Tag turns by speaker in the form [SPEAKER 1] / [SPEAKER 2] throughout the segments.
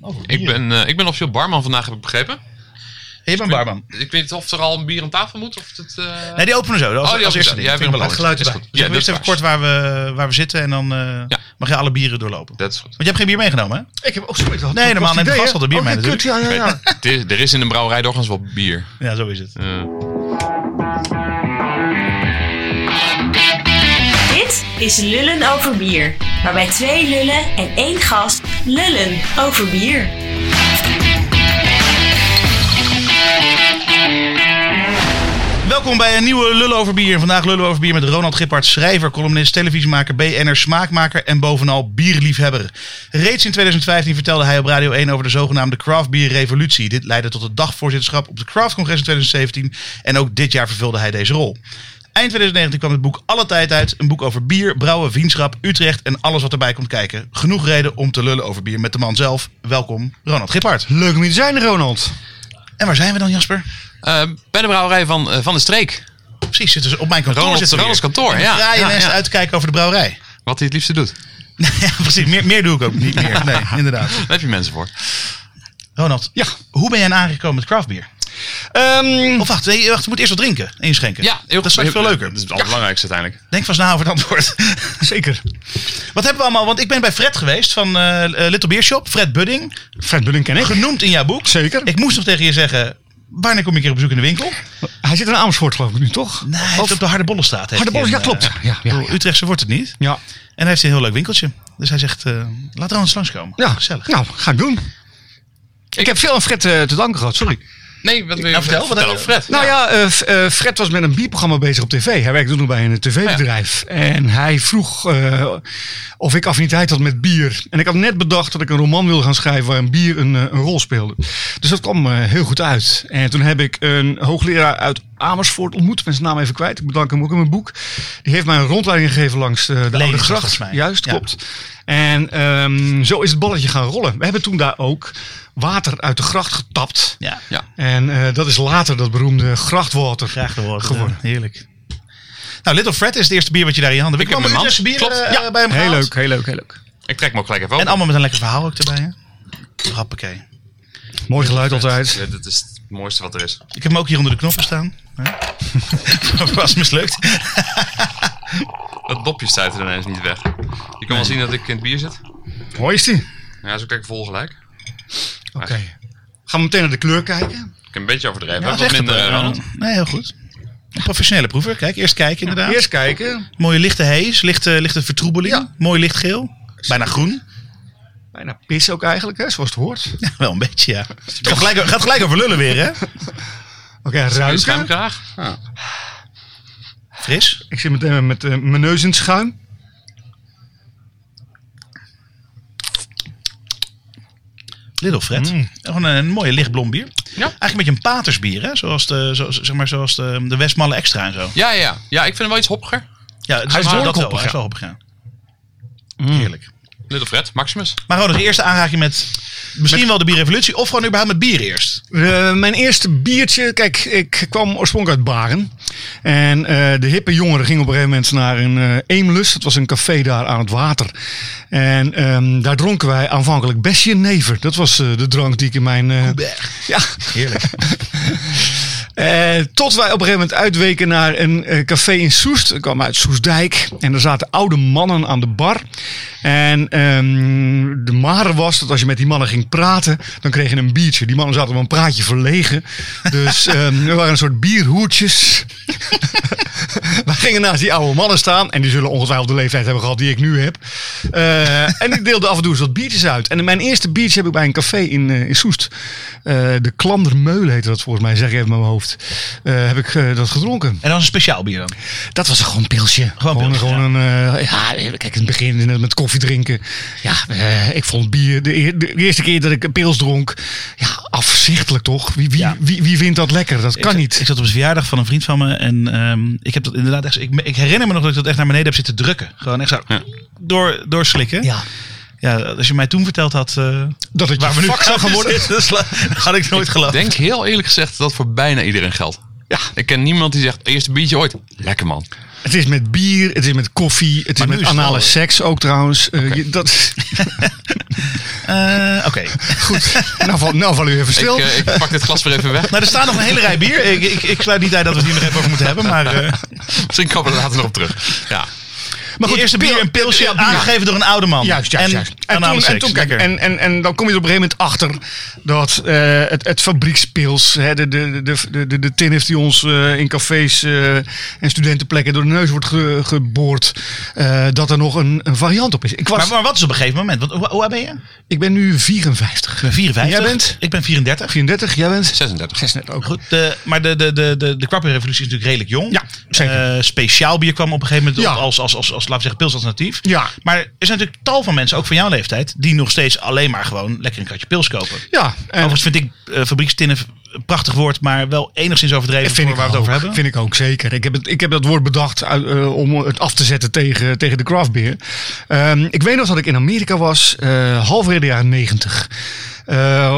[SPEAKER 1] Oh, goed,
[SPEAKER 2] Ik
[SPEAKER 1] bier.
[SPEAKER 2] ben, eh, ik ben officieel barman vandaag, heb ik begrepen.
[SPEAKER 1] Hey, je bent barman.
[SPEAKER 2] Ik weet niet of er al een bier aan tafel moet. Of het, eh,
[SPEAKER 1] Nee, die openen zo. Dat was
[SPEAKER 2] Oh, die
[SPEAKER 1] als
[SPEAKER 2] openen zo.
[SPEAKER 1] eerste
[SPEAKER 2] Jij
[SPEAKER 1] ding. Dat vind
[SPEAKER 2] hebt
[SPEAKER 1] ik
[SPEAKER 2] een belangrijk.
[SPEAKER 1] belangrijk. Geluid
[SPEAKER 2] Is
[SPEAKER 1] erbij.
[SPEAKER 2] goed. Ja,
[SPEAKER 1] Zeg maar eerst
[SPEAKER 2] dat
[SPEAKER 1] even kort waar we, waar we zitten en dan eh, mag je alle bieren doorlopen.
[SPEAKER 2] Dat is goed.
[SPEAKER 1] Want je hebt geen bier meegenomen, hè?
[SPEAKER 3] Ik heb ook zoiets.
[SPEAKER 1] Nee, normaal neemt de gast al de bier mee
[SPEAKER 3] Kut, Oh, ja, ja, ja.
[SPEAKER 2] Het is- er is in een brouwerij doorgaans wel bier.
[SPEAKER 1] Ja, zo is het.
[SPEAKER 2] Eh,
[SPEAKER 4] Dit is Lullen over bier, waarbij twee lullen en één gast lullen over bier.
[SPEAKER 1] Welkom bij een nieuwe Lullen over Bier. Vandaag Lullen over Bier met Ronald Gippard, schrijver, columnist, televisiemaker, BN'er, smaakmaker en bovenal bierliefhebber. Reeds in 2015 vertelde hij op Radio 1 over de zogenaamde craft beer revolutie. Dit leidde tot het dagvoorzitterschap op de Craft Congress in 2017 en ook dit jaar vervulde hij deze rol. Eind 2019 kwam het boek Alle Tijd uit. Een boek over bier, brouwen, vriendschap, Utrecht en alles wat erbij komt kijken. Genoeg reden om te lullen over bier met de man zelf. Welkom, Ronald Gippard.
[SPEAKER 3] Leuk om hier te zijn, Ronald.
[SPEAKER 1] En waar zijn we dan, Jasper?
[SPEAKER 2] eh, bij de brouwerij van, eh, van de Streek.
[SPEAKER 1] Precies, zitten ze op mijn kantoor.
[SPEAKER 2] Ronald,
[SPEAKER 1] zitten we
[SPEAKER 2] Ronald's
[SPEAKER 1] hier.
[SPEAKER 2] kantoor.
[SPEAKER 1] Ja,
[SPEAKER 2] Ja, ja,
[SPEAKER 1] en
[SPEAKER 2] ja.
[SPEAKER 1] uit te kijken over de brouwerij.
[SPEAKER 2] Wat hij het liefste doet.
[SPEAKER 1] Ja, precies. Meer, meer doe ik ook niet meer. Nee, inderdaad.
[SPEAKER 2] Daar heb je mensen voor.
[SPEAKER 1] Ronald,
[SPEAKER 3] Ja.
[SPEAKER 1] hoe ben jij in aangekomen met craftbier?
[SPEAKER 3] Ehm,
[SPEAKER 1] Of wacht, nee, wacht, je moet eerst wat drinken en inschenken.
[SPEAKER 2] Ja, heel
[SPEAKER 1] dat is straks veel leuker.
[SPEAKER 2] Dat is het allerbelangrijkste uiteindelijk.
[SPEAKER 1] Denk vast na over het antwoord.
[SPEAKER 3] zeker.
[SPEAKER 1] Wat hebben we allemaal? Want ik ben bij Fred geweest van eh, eh, Little Beer Shop. Fred Budding,
[SPEAKER 3] Fred Budding ken ik.
[SPEAKER 1] genoemd in jouw boek.
[SPEAKER 3] Zeker.
[SPEAKER 1] Ik moest nog tegen je zeggen, wanneer kom ik hier op bezoek in de winkel?
[SPEAKER 3] Hij zit in Amersfoort, geloof ik nu, toch?
[SPEAKER 1] Nee, hij heeft op de Harde Bollenstraat. heeft
[SPEAKER 3] Harde
[SPEAKER 1] hij
[SPEAKER 3] Bollen-
[SPEAKER 1] een,
[SPEAKER 3] ja, klopt.
[SPEAKER 1] eh,
[SPEAKER 3] Ja, ja,
[SPEAKER 1] ik bedoel,
[SPEAKER 3] ja.
[SPEAKER 1] Utrechtse wordt het niet.
[SPEAKER 3] Ja.
[SPEAKER 1] En hij heeft een heel leuk winkeltje. Dus hij zegt, eh, laat Ronald langskomen.
[SPEAKER 3] Ja,
[SPEAKER 1] Gezellig.
[SPEAKER 3] Nou, ga ik doen. Ik heb veel aan Fred eh, te danken gehad, sorry.
[SPEAKER 2] Nee, wat wil je
[SPEAKER 1] Nou, vertel, wat heb
[SPEAKER 2] vertellen
[SPEAKER 1] je-
[SPEAKER 2] over Fred?
[SPEAKER 3] Nou ja, eh, F- eh, Fred was met een bierprogramma bezig op tv. Hij werkte toen nog bij een tv-bedrijf. En hij vroeg eh, of ik affiniteit had met bier. En ik had net bedacht dat ik een roman wilde gaan schrijven waarin bier een, eh, een rol speelde. Dus dat kwam eh, heel goed uit. En toen heb ik een hoogleraar uit Amersfoort ontmoet. Ik ben zijn naam even kwijt. Ik bedank hem ook in mijn boek. Die heeft mij een rondleiding gegeven langs eh, de Oude
[SPEAKER 1] Lelystad,
[SPEAKER 3] Gracht.
[SPEAKER 1] volgens mij.
[SPEAKER 3] Juist,
[SPEAKER 1] Ja.
[SPEAKER 3] klopt. En ehm, zo is het balletje gaan rollen. We hebben toen daar ook water uit de gracht getapt.
[SPEAKER 1] Ja.
[SPEAKER 2] Ja.
[SPEAKER 3] En eh, dat is later dat beroemde grachtwater.
[SPEAKER 1] Graag te worden.
[SPEAKER 3] Geworden.
[SPEAKER 1] Ja, eh, heerlijk. Nou, Little Fred is het eerste bier wat je daar in je handen hebt.
[SPEAKER 2] Ik heb
[SPEAKER 1] allemaal
[SPEAKER 2] hem in
[SPEAKER 1] Utrechtse
[SPEAKER 2] mijn
[SPEAKER 1] bieren
[SPEAKER 2] hand.
[SPEAKER 1] eh, bij hem
[SPEAKER 3] Heel
[SPEAKER 1] gehaald.
[SPEAKER 3] leuk, heel leuk, heel leuk.
[SPEAKER 2] Ik trek me ook gelijk even open.
[SPEAKER 1] En allemaal met een lekker verhaal ook erbij. Hè? Hoppakee.
[SPEAKER 3] Mooi geluid altijd.
[SPEAKER 2] Ja, dat is het mooiste wat er is.
[SPEAKER 1] Ik heb hem ook hier onder de knoppen staan. Hè? Was mislukt.
[SPEAKER 2] Dat dopje stuit er ineens niet weg. Je kan wel zien dat ik in het bier zit.
[SPEAKER 3] Mooi is die.
[SPEAKER 2] Ja, zo kijk ik vol gelijk. Ik
[SPEAKER 3] Oké. Gaan we meteen naar de kleur kijken?
[SPEAKER 2] heb een beetje overdreven.
[SPEAKER 1] Ja,
[SPEAKER 2] Wat
[SPEAKER 1] zeg het
[SPEAKER 2] minder,
[SPEAKER 1] wel.
[SPEAKER 2] eh, Ronald.
[SPEAKER 1] Nee, heel goed. Een professionele proever. Kijk, eerst kijken inderdaad.
[SPEAKER 3] Eerst kijken.
[SPEAKER 1] Mooie lichte hees, lichte, lichte vertroebeling.
[SPEAKER 3] Ja.
[SPEAKER 1] Mooi lichtgeel. Bijna groen.
[SPEAKER 3] Bijna pis ook eigenlijk, hè, zoals het hoort.
[SPEAKER 1] Ja, wel een beetje, ja. Het gaat gelijk, gaat gelijk over lullen weer, hè?
[SPEAKER 3] Oké,
[SPEAKER 2] Een
[SPEAKER 3] ruiken.
[SPEAKER 2] schuimkraag.
[SPEAKER 1] Fris.
[SPEAKER 3] Ik zit meteen met eh, mijn neus in het schuim.
[SPEAKER 1] Little Fred. Mm. Gewoon een, een mooie lichtblond bier. Eigenlijk een beetje een patersbier, hè? Zoals de, zo, zeg maar, zoals de, de Westmalle Extra en zo.
[SPEAKER 2] Ja, ja. ja, ik vind hem wel iets hoppiger.
[SPEAKER 1] Ja, het
[SPEAKER 3] Hij is
[SPEAKER 1] wel-
[SPEAKER 3] behoorlijk
[SPEAKER 1] dat wel.
[SPEAKER 3] hoppig,
[SPEAKER 1] Hij is
[SPEAKER 3] ja. Mm.
[SPEAKER 1] wel hoppig, ja. Heerlijk.
[SPEAKER 2] Little Fred, Maximus.
[SPEAKER 1] Maar Ronald, de eerste aanraking met misschien wel de bierrevolutie of gewoon überhaupt met bier eerst.
[SPEAKER 3] Eh, mijn eerste biertje, kijk, ik kwam oorspronkelijk uit Baren. En eh, de hippe jongeren gingen op een gegeven moment naar een eh Eemlus. Dat was een café daar aan het water. En ehm, daar dronken wij aanvankelijk besje never. Dat was eh, de drank die ik in mijn... eh, ja,
[SPEAKER 1] Heerlijk.
[SPEAKER 3] Eh, tot wij op een gegeven moment uitweken naar een eh, café in Soest. Ik kwam uit Soestdijk. En er zaten oude mannen aan de bar. En ehm, de mare was dat als je met die mannen ging praten, dan kreeg je een biertje. Die mannen zaten om een praatje verlegen. Dus ehm we waren een soort bierhoertjes. wij gingen naast die oude mannen staan. En die zullen ongetwijfeld de leeftijd hebben gehad die ik nu heb. Eh, en ik deelde af en toe eens wat biertjes uit. En mijn eerste biertje heb ik bij een café in, eh, in Soest. Eh, de Klandermeulen heette dat volgens mij, zeg ik even uit mijn hoofd. Eh, heb ik eh, dat gedronken.
[SPEAKER 1] En dan een speciaal bier dan.
[SPEAKER 3] Dat was gewoon een pilsje. Gewoon,
[SPEAKER 1] pilsje,
[SPEAKER 3] gewoon een. eh, ja, kijk, in het begin net met koffie drinken. Ja, eh, ik vond bier. De, eer- de eerste keer dat ik een pils dronk. Ja, afzichtelijk toch? Wie, wie,
[SPEAKER 1] Ja.
[SPEAKER 3] wie, wie vindt dat lekker? Dat kan
[SPEAKER 1] ik,
[SPEAKER 3] niet.
[SPEAKER 1] Ik zat op een verjaardag van een vriend van me en ehm, ik heb dat inderdaad echt. Ik, ik herinner me nog dat ik dat echt naar beneden heb zitten drukken. Gewoon echt zo door, doorslikken. Ja.
[SPEAKER 3] ja,
[SPEAKER 1] als je mij toen verteld had eh
[SPEAKER 3] dat het
[SPEAKER 1] waar we nu
[SPEAKER 3] vak zou gaan worden.
[SPEAKER 1] zitten, dan sla- dan had ik nooit
[SPEAKER 2] Ik
[SPEAKER 1] geloofd.
[SPEAKER 2] denk heel eerlijk gezegd dat voor bijna iedereen geldt.
[SPEAKER 3] Ja.
[SPEAKER 2] Ik ken niemand die zegt, eerste biertje ooit. Lekker man.
[SPEAKER 3] Het is met bier, het is met koffie, het
[SPEAKER 1] Maar nu
[SPEAKER 3] is met
[SPEAKER 1] is het
[SPEAKER 3] anale
[SPEAKER 1] wel-
[SPEAKER 3] seks ook trouwens. Eh, je- dat,
[SPEAKER 1] Eh, Oké.
[SPEAKER 3] goed, nou, val- nou val u even
[SPEAKER 2] Ik,
[SPEAKER 3] stil.
[SPEAKER 2] eh, ik pak dit glas weer even weg.
[SPEAKER 1] Nou, er staan nog een hele rij bier. Ik, ik, ik sluit niet uit dat we het hier nog even over moeten hebben. Maar eh,
[SPEAKER 2] Misschien komen we er later nog op terug. Ja.
[SPEAKER 3] maar
[SPEAKER 1] eerst een bier en pilsje
[SPEAKER 3] ja, bier.
[SPEAKER 1] aangegeven door een oude man.
[SPEAKER 3] Juist, juist,
[SPEAKER 1] en,
[SPEAKER 3] juist.
[SPEAKER 1] En,
[SPEAKER 3] toen, en, toen, kijk, en, en, en dan kom je er op een gegeven moment achter dat eh, het, het fabriekspils, hè, de, de, de, de, de, de tin heeft die ons eh, in cafés eh, en studentenplekken door de neus wordt ge- geboord, eh, dat er nog een, een variant op is. Ik, was,
[SPEAKER 1] maar, maar wat is op een gegeven moment? Wat, hoe, hoe oud ben je? Ik
[SPEAKER 3] ik ben nu 54.
[SPEAKER 1] ben 54.
[SPEAKER 3] Jij bent?
[SPEAKER 1] Ik ben 34.
[SPEAKER 3] 34, jij bent?
[SPEAKER 2] 36.
[SPEAKER 3] 36 ook.
[SPEAKER 1] Goed, de, maar de, de, de, de, de kwappenrevolutie is natuurlijk redelijk jong.
[SPEAKER 3] Ja, zeker.
[SPEAKER 1] Eh, speciaal bier kwam op een gegeven moment
[SPEAKER 3] Ja.
[SPEAKER 1] op als, als, als, als, laten we zeggen, pilsalternatief.
[SPEAKER 3] Ja.
[SPEAKER 1] Maar er zijn natuurlijk tal van mensen, ook van jouw leeftijd, die nog steeds alleen maar gewoon lekker een kratje pils kopen.
[SPEAKER 3] Ja, en
[SPEAKER 1] Overigens vind ik eh, fabriekstinnen een prachtig woord, maar wel enigszins overdreven
[SPEAKER 3] vind
[SPEAKER 1] voor
[SPEAKER 3] ik
[SPEAKER 1] waar we het
[SPEAKER 3] ook,
[SPEAKER 1] over hebben.
[SPEAKER 3] Vind ik ook, zeker. Ik heb, het, ik heb dat woord bedacht uit, eh, om het af te zetten tegen, tegen de craft beer. Ehm, ik weet nog dat ik in Amerika was, eh halverwege de jaren negentig.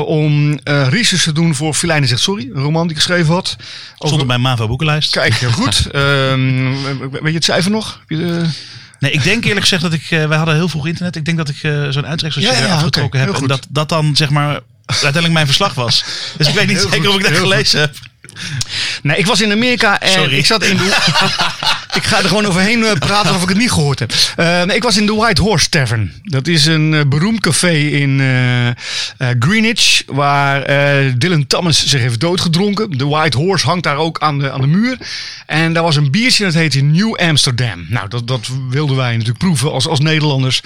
[SPEAKER 3] om eh, research te doen voor Filijnen zegt sorry, een roman die ik geschreven had. Over-
[SPEAKER 1] Stond op mijn MAVO boekenlijst.
[SPEAKER 3] Kijk, heel goed. Ehm, weet je het cijfer nog? Heb je eh? de-
[SPEAKER 1] Nee, ik denk eerlijk gezegd dat ik. eh, wij hadden heel vroeg internet. Ik denk dat ik eh, zo'n uittreksel
[SPEAKER 3] Ja, ja, ja,
[SPEAKER 1] afgetrokken
[SPEAKER 3] oké, heel
[SPEAKER 1] heb. En
[SPEAKER 3] goed.
[SPEAKER 1] dat, dat dan zeg maar. Uiteindelijk mijn verslag was. Dus ik weet niet
[SPEAKER 3] Heel
[SPEAKER 1] zeker
[SPEAKER 3] goed,
[SPEAKER 1] of ik dat
[SPEAKER 3] heel
[SPEAKER 1] gelezen heb.
[SPEAKER 3] Nee, ik was in Amerika en
[SPEAKER 1] Sorry.
[SPEAKER 3] ik zat in de... ik ga er gewoon overheen eh, praten of ik het niet gehoord heb. Eh, ik was in de White Horse Tavern. Dat is een eh, beroemd café in eh, eh, Greenwich, waar eh, Dylan Thomas zich heeft doodgedronken. De White Horse hangt daar ook aan de, aan de muur. En daar was een biertje dat heette New Amsterdam. Nou, dat, dat wilden wij natuurlijk proeven als, als Nederlanders.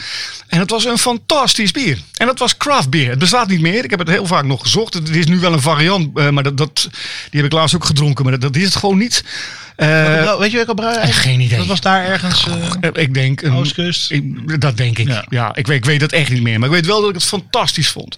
[SPEAKER 3] En het was een fantastisch bier. En dat was craft beer. Het bestaat niet meer. Ik heb het heel vaak nog gezocht. Het is nu wel een variant, eh, maar dat, dat, die heb ik laatst ook gedronken. Maar dat, dat is het gewoon niet. Eh,
[SPEAKER 1] Wel, weet je welke brouwerij? eigenlijk?
[SPEAKER 3] geen idee.
[SPEAKER 1] Dat was daar ergens. eh,
[SPEAKER 3] Eh, Ik denk een.
[SPEAKER 1] Oostkust.
[SPEAKER 3] Ik- dat denk ik.
[SPEAKER 1] Ja.
[SPEAKER 3] Ja, ik, weet, ik weet dat echt niet meer. Maar ik weet wel dat ik het fantastisch vond.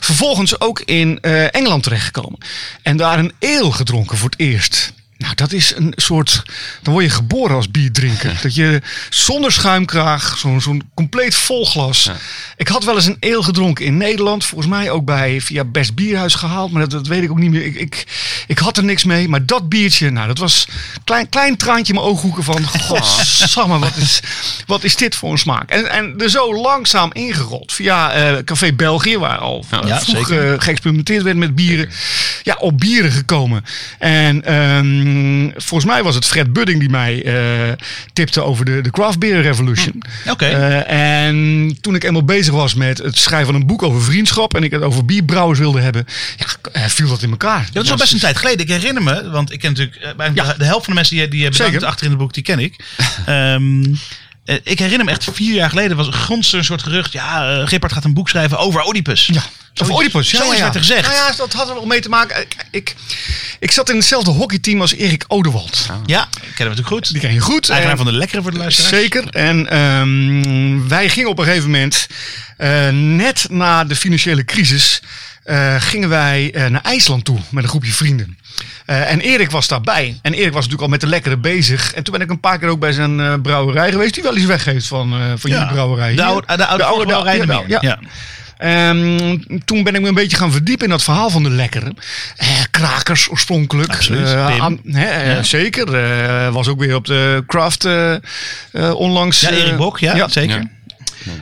[SPEAKER 3] Vervolgens ook in eh, Engeland terechtgekomen. En daar een eel gedronken voor het eerst. Nou, dat is een soort. Dan word je geboren als bierdrinker. Dat je zonder schuimkraag, zo'n zo'n compleet vol glas. Ik had wel eens een eel gedronken in Nederland. Volgens mij ook bij via Best Bierhuis gehaald. Maar dat, dat weet ik ook niet meer. Ik, ik, ik had er niks mee. Maar dat biertje, nou, dat was een klein, klein traantje in mijn ooghoeken van. Godsamme, wat is, wat is dit voor een smaak? En, en er zo langzaam ingerold via eh, Café België, waar al eh,
[SPEAKER 1] ja,
[SPEAKER 3] vroeg
[SPEAKER 1] zeker.
[SPEAKER 3] eh, geëxperimenteerd werd met bieren. Ja, op bieren gekomen. En ehm, volgens mij was het Fred Budding die mij eh, tipte over de, de Craft Beer Revolution.
[SPEAKER 1] Hm, Oké.
[SPEAKER 3] Eh, en toen ik eenmaal bezig was met het schrijven van een boek over vriendschap en ik het over bierbrouwers wilde hebben, ja, eh, viel dat in elkaar.
[SPEAKER 1] Ja, dat is al best een tijd geleden. Ik herinner me, want ik ken natuurlijk eh, bijna de helft van de mensen die, die je bedankt
[SPEAKER 3] Zeker.
[SPEAKER 1] achter in het boek, die ken ik. Ehm, eh, ik herinner me echt vier jaar geleden was grondste een soort gerucht. Ja, eh, Gippard gaat een boek schrijven over Oedipus.
[SPEAKER 3] Ja. Of Oedipus, ja,
[SPEAKER 1] Zo
[SPEAKER 3] ja,
[SPEAKER 1] werd
[SPEAKER 3] ja.
[SPEAKER 1] er gezegd.
[SPEAKER 3] Nou ja, dat had er wel mee te maken. Ik, ik, ik zat in hetzelfde hockeyteam als Erik Odewald.
[SPEAKER 1] Ja, kennen we natuurlijk goed.
[SPEAKER 3] Die eh, ken je goed.
[SPEAKER 1] Eigenaar
[SPEAKER 3] En-
[SPEAKER 1] van de lekkere voor de luisteraars.
[SPEAKER 3] Zeker. En ehm, wij gingen op een gegeven moment, eh, net na de financiële crisis, eh, gingen wij eh, naar IJsland toe met een groepje vrienden. Eh, en Erik was daarbij. En Erik was natuurlijk al met de lekkere bezig. En toen ben ik een paar keer ook bij zijn eh, brouwerij geweest, die wel iets weggeeft van, eh, van jullie brouwerij.
[SPEAKER 1] De
[SPEAKER 3] hier.
[SPEAKER 1] oude, de oude, brouwerij in de Meer.
[SPEAKER 3] ja.
[SPEAKER 1] Ja.
[SPEAKER 3] Ehm, toen ben ik me een beetje gaan verdiepen in dat verhaal van de lekkere. Eh, krakers oorspronkelijk.
[SPEAKER 1] Absoluut,
[SPEAKER 3] Eh,
[SPEAKER 1] Pim.
[SPEAKER 3] hè, eh,
[SPEAKER 1] Ja.
[SPEAKER 3] Zeker. Eh, was ook weer op de craft eh, eh, onlangs.
[SPEAKER 1] Ja, Erik
[SPEAKER 3] eh,
[SPEAKER 1] Bok, ja, zeker.
[SPEAKER 2] Ja.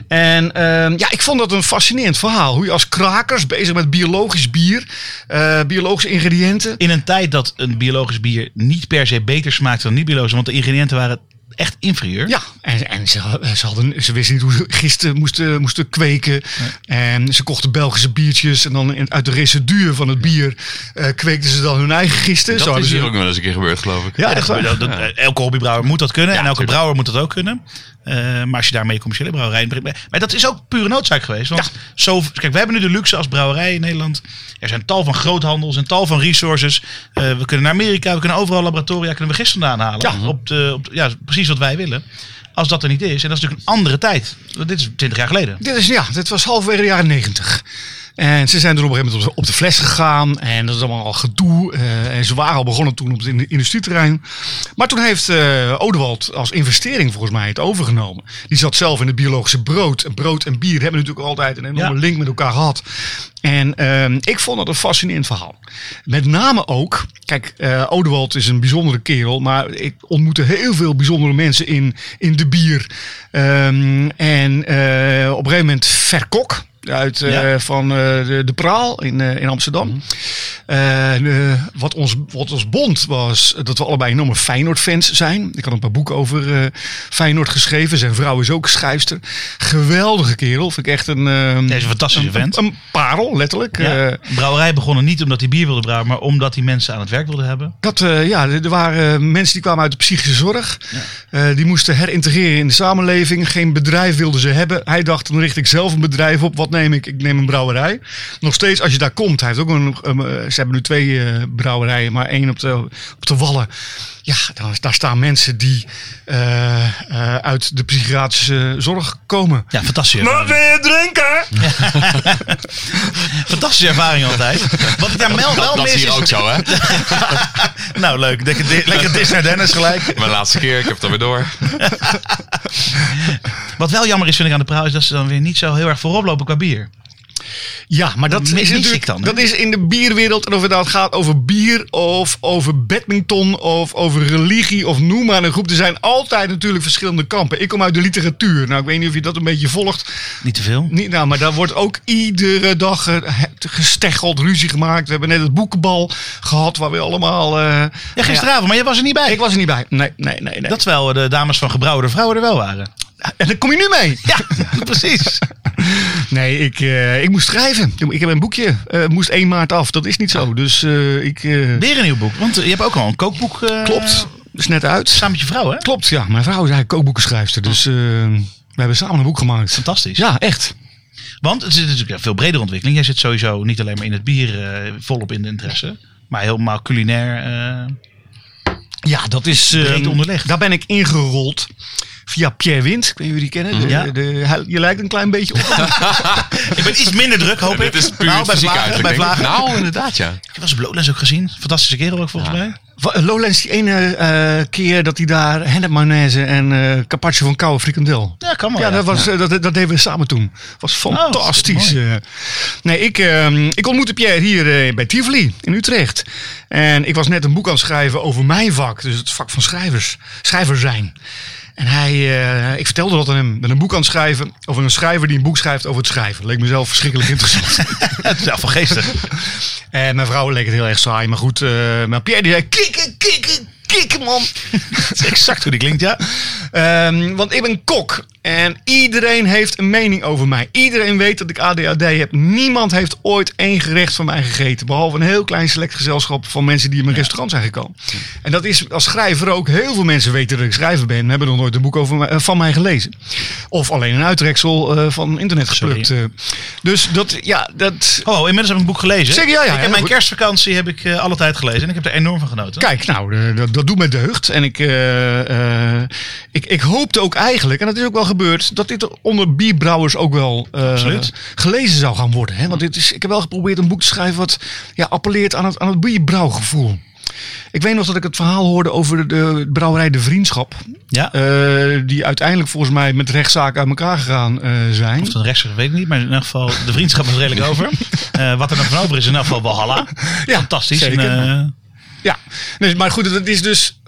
[SPEAKER 3] En ehm, ja, ik vond dat een fascinerend verhaal. Hoe je als krakers bezig met biologisch bier, eh, biologische ingrediënten.
[SPEAKER 1] In een tijd dat een biologisch bier niet per se beter smaakt dan niet-biologisch, want de ingrediënten waren echt inferieur.
[SPEAKER 3] Ja, en, en ze, eh, ze, hadden, ze wisten niet hoe ze gisten moesten, moesten kweken. En ze kochten Belgische biertjes. En dan in- uit de residuen van het bier eh, kweekten ze dan hun eigen gisten.
[SPEAKER 2] Dat
[SPEAKER 3] hadden
[SPEAKER 2] is
[SPEAKER 3] ze-
[SPEAKER 2] hier ook nog wel eens een keer gebeurd, geloof ik.
[SPEAKER 3] dus- Ja,
[SPEAKER 1] dat
[SPEAKER 3] echt waar.
[SPEAKER 1] dat- dat- Elke hobbybrouwer moet dat kunnen en elke
[SPEAKER 2] tuurlijk.
[SPEAKER 1] brouwer moet dat ook kunnen. Eh, maar als je daarmee commerciële brouwerij inbrengt. maar- Maar dat is ook pure noodzaak geweest. Want zo, kijk, we hebben nu de luxe als brouwerij in Nederland. Er zijn tal van groothandels en tal van resources. Eh, we kunnen naar Amerika, we kunnen overal laboratoria, kunnen we gisteren vandaan halen.
[SPEAKER 3] Ja.
[SPEAKER 1] Op de, op de- ja, precies wat wij willen. Als dat er niet is, en dat is natuurlijk een andere tijd. Want Dit is 20 jaar geleden.
[SPEAKER 3] Dit is, ja, dit was halverwege de jaren negentig. En ze zijn dus op een gegeven moment op de, op de fles gegaan. En dat is allemaal al gedoe. Eh, en ze waren al begonnen toen op het in- industrieterrein. Maar toen heeft eh Odewald als investering volgens mij het overgenomen. Die zat zelf in het biologische brood. En brood en bier hebben natuurlijk altijd een enorme
[SPEAKER 1] Ja.
[SPEAKER 3] link met elkaar gehad. En ehm, ik vond dat een fascinerend verhaal. Met name ook, kijk, eh Odewald is een bijzondere kerel, maar ik ontmoette heel veel bijzondere mensen in, in de bier. Ehm, en eh, op een gegeven moment Verkok. Uit, eh,
[SPEAKER 1] Ja. Mhm.
[SPEAKER 3] Van eh, de, de Praal in, eh, in Amsterdam. En, eh, wat, ons, wat ons bond was dat we allebei enorme Feyenoord-fans zijn. Ik had een paar boeken over eh, Feyenoord geschreven. Zijn vrouw is ook schrijfster. Geweldige kerel. Vind ik echt een... ehm,
[SPEAKER 1] Deze fantastische vent.
[SPEAKER 3] een parel, letterlijk.
[SPEAKER 1] Ja.
[SPEAKER 3] Eh,
[SPEAKER 1] Brouwerij begonnen niet omdat hij bier wilde brouwen, maar omdat die mensen aan het werk wilden hebben.
[SPEAKER 3] dat, eh, ja, er er waren eh, mensen die kwamen uit de psychische zorg. Eh, die moesten herintegreren in de samenleving. Geen bedrijf wilden ze hebben. Hij dacht, dan richt ik zelf een bedrijf op. Wat neem ik? Ik neem een brouwerij. Nog steeds, als je daar komt. Hij heeft ook een, een, eh, ze hebben nu twee eh, brouwerijen, maar één op de, op de Wallen. Ja, daar, daar staan mensen die eh, eh, uit de psychiatrische zorg komen.
[SPEAKER 1] Ja, fantastische ervaring.
[SPEAKER 3] wil je drinken?
[SPEAKER 1] Fantastische ervaring altijd. Wat ik daar wel, wel
[SPEAKER 2] Dat
[SPEAKER 1] mis
[SPEAKER 2] is hier
[SPEAKER 1] is-
[SPEAKER 2] ook zo, hè?
[SPEAKER 1] Nou, leuk. Lekker, di- lekker dis naar Dennis gelijk.
[SPEAKER 2] Mijn laatste keer, ik heb het alweer door.
[SPEAKER 1] Wat wel jammer is, vind ik aan de praal, is dat ze dan weer niet zo heel erg voorop lopen qua bier.
[SPEAKER 3] Ja, maar dat
[SPEAKER 1] Mis- mis
[SPEAKER 3] is
[SPEAKER 1] ik
[SPEAKER 3] natuurlijk
[SPEAKER 1] dan, hè?
[SPEAKER 3] dat is in de bierwereld. En of het nou gaat over bier of over badminton of over religie of noem maar een groep. Er zijn altijd natuurlijk verschillende kampen. Ik kom uit de literatuur. Nou, ik weet niet of je dat een beetje volgt.
[SPEAKER 1] Niet te veel.
[SPEAKER 3] Niet, nou, maar daar wordt ook iedere dag ge- he- gesteggeld, ruzie gemaakt. We hebben net het boekenbal gehad waar we allemaal... eh,
[SPEAKER 1] Ja, gisteravond, maar je was er niet bij.
[SPEAKER 3] ja, ik was er niet bij. Nee, nee, nee. nee.
[SPEAKER 1] Dat terwijl de dames van gebrouwde vrouwen er wel waren.
[SPEAKER 3] en dan kom je nu mee.
[SPEAKER 1] Ja, precies.
[SPEAKER 3] Nee, ik, eh, ik moest schrijven. Ik heb een boekje. Eh moest 1 maart af. Dat is niet zo. Dus eh, ik... eh,
[SPEAKER 1] Weer een nieuw boek. Want eh, je hebt ook al een kookboek. eh,
[SPEAKER 3] Klopt. Is net uit.
[SPEAKER 1] Samen met je vrouw, hè?
[SPEAKER 3] Klopt, ja. Mijn vrouw is eigenlijk kookboekenschrijfster. Dus eh, we hebben samen een boek gemaakt.
[SPEAKER 1] Fantastisch.
[SPEAKER 3] Ja, echt.
[SPEAKER 1] Want het is natuurlijk een veel bredere ontwikkeling. Jij zit sowieso niet alleen maar in het bier eh, volop in de interesse. Maar helemaal culinair. eh,
[SPEAKER 3] Ja, dat is...
[SPEAKER 1] Breed onderlegd.
[SPEAKER 3] Ehm, Daar ben ik ingerold via Pierre Wind. Ik weet niet wie die kennen. De-
[SPEAKER 1] Ja.
[SPEAKER 3] de- hij- je lijkt een klein beetje op hem.
[SPEAKER 1] Ik ben iets minder druk, hoop ik.
[SPEAKER 2] Dit is puur
[SPEAKER 1] nou, bij
[SPEAKER 2] fysiek
[SPEAKER 1] Vlagen, bij
[SPEAKER 2] eigenlijk. denk ik.
[SPEAKER 1] Vlagen.
[SPEAKER 2] Nou, inderdaad, ja.
[SPEAKER 1] Ik heb wel eens Blowlands ook gezien. Fantastische kerel ook volgens mij.
[SPEAKER 3] Wa- Lowlands die ene eh, keer dat hij daar hennep mayonaise en eh carpaccio van koude frikandel.
[SPEAKER 1] Ja, kan wel.
[SPEAKER 3] Ja,
[SPEAKER 1] ja. Oh,
[SPEAKER 3] dat, was, eh, dat, dat deden we samen toen. was fantastisch.
[SPEAKER 1] mooi.
[SPEAKER 3] eh. nee, ik, ehm, ik ontmoette Pierre hier eh, bij Tivoli in Utrecht. En ik was net een boek aan het schrijven over mijn vak. Dus het vak van schrijvers. Schrijver zijn. En hij, eh, ik vertelde dat aan hem. Ik ben een boek aan het schrijven over een schrijver die een boek schrijft over het schrijven. Leek mezelf verschrikkelijk interessant.
[SPEAKER 1] Het is wel van geestig.
[SPEAKER 3] En mijn vrouw leek het heel erg saai. Maar goed, eh, maar Pierre die zei kikken, kikken, kikken man.
[SPEAKER 1] Dat is exact hoe die klinkt, ja.
[SPEAKER 3] Ehm, want ik ben kok en iedereen heeft een mening over mij. Iedereen weet dat ik ADHD heb. Niemand heeft ooit één gerecht van mij gegeten. Behalve een heel klein select gezelschap van mensen die in mijn restaurant zijn gekomen. En dat is als schrijver ook. Heel veel mensen weten dat ik schrijver ben. Hebben nog nooit een boek over mij, eh, van mij gelezen. Of alleen een uittreksel eh, van internet geplukt. eh. Dus dat, ja, dat...
[SPEAKER 1] Oh, inmiddels heb ik een boek gelezen.
[SPEAKER 3] Zeker, ja, ja,
[SPEAKER 1] ik
[SPEAKER 3] heel
[SPEAKER 1] heb mijn
[SPEAKER 3] goed.
[SPEAKER 1] kerstvakantie heb ik eh, alle tijd gelezen. En ik heb er enorm van genoten.
[SPEAKER 3] Kijk, nou, eh, dat, dat doet me deugd. En ik, eh, eh, ik, ik hoopte ook eigenlijk, en dat is ook wel gebeurd, dat dit onder bierbrouwers ook wel eh,
[SPEAKER 1] Absoluut. Mm.
[SPEAKER 3] gelezen zou gaan worden. Hè? Want dit is, ik heb wel geprobeerd een boek te schrijven wat ja, appelleert aan het, aan het bierbrouwgevoel. Ik weet nog dat ik het verhaal hoorde over de brouwerij De Vriendschap.
[SPEAKER 1] Ja.
[SPEAKER 3] eh, die uiteindelijk volgens mij met rechtszaken uit elkaar gegaan eh, zijn.
[SPEAKER 1] Of het een rechtszaak is, weet ik niet. Maar in elk geval, de vriendschap is redelijk over. Eh, wat er nog van over is, in elk geval Walhalla.
[SPEAKER 3] Ja,
[SPEAKER 1] Fantastisch.
[SPEAKER 3] zeker.
[SPEAKER 1] En, eh,
[SPEAKER 3] Ja, nee, maar goed, dat is dus.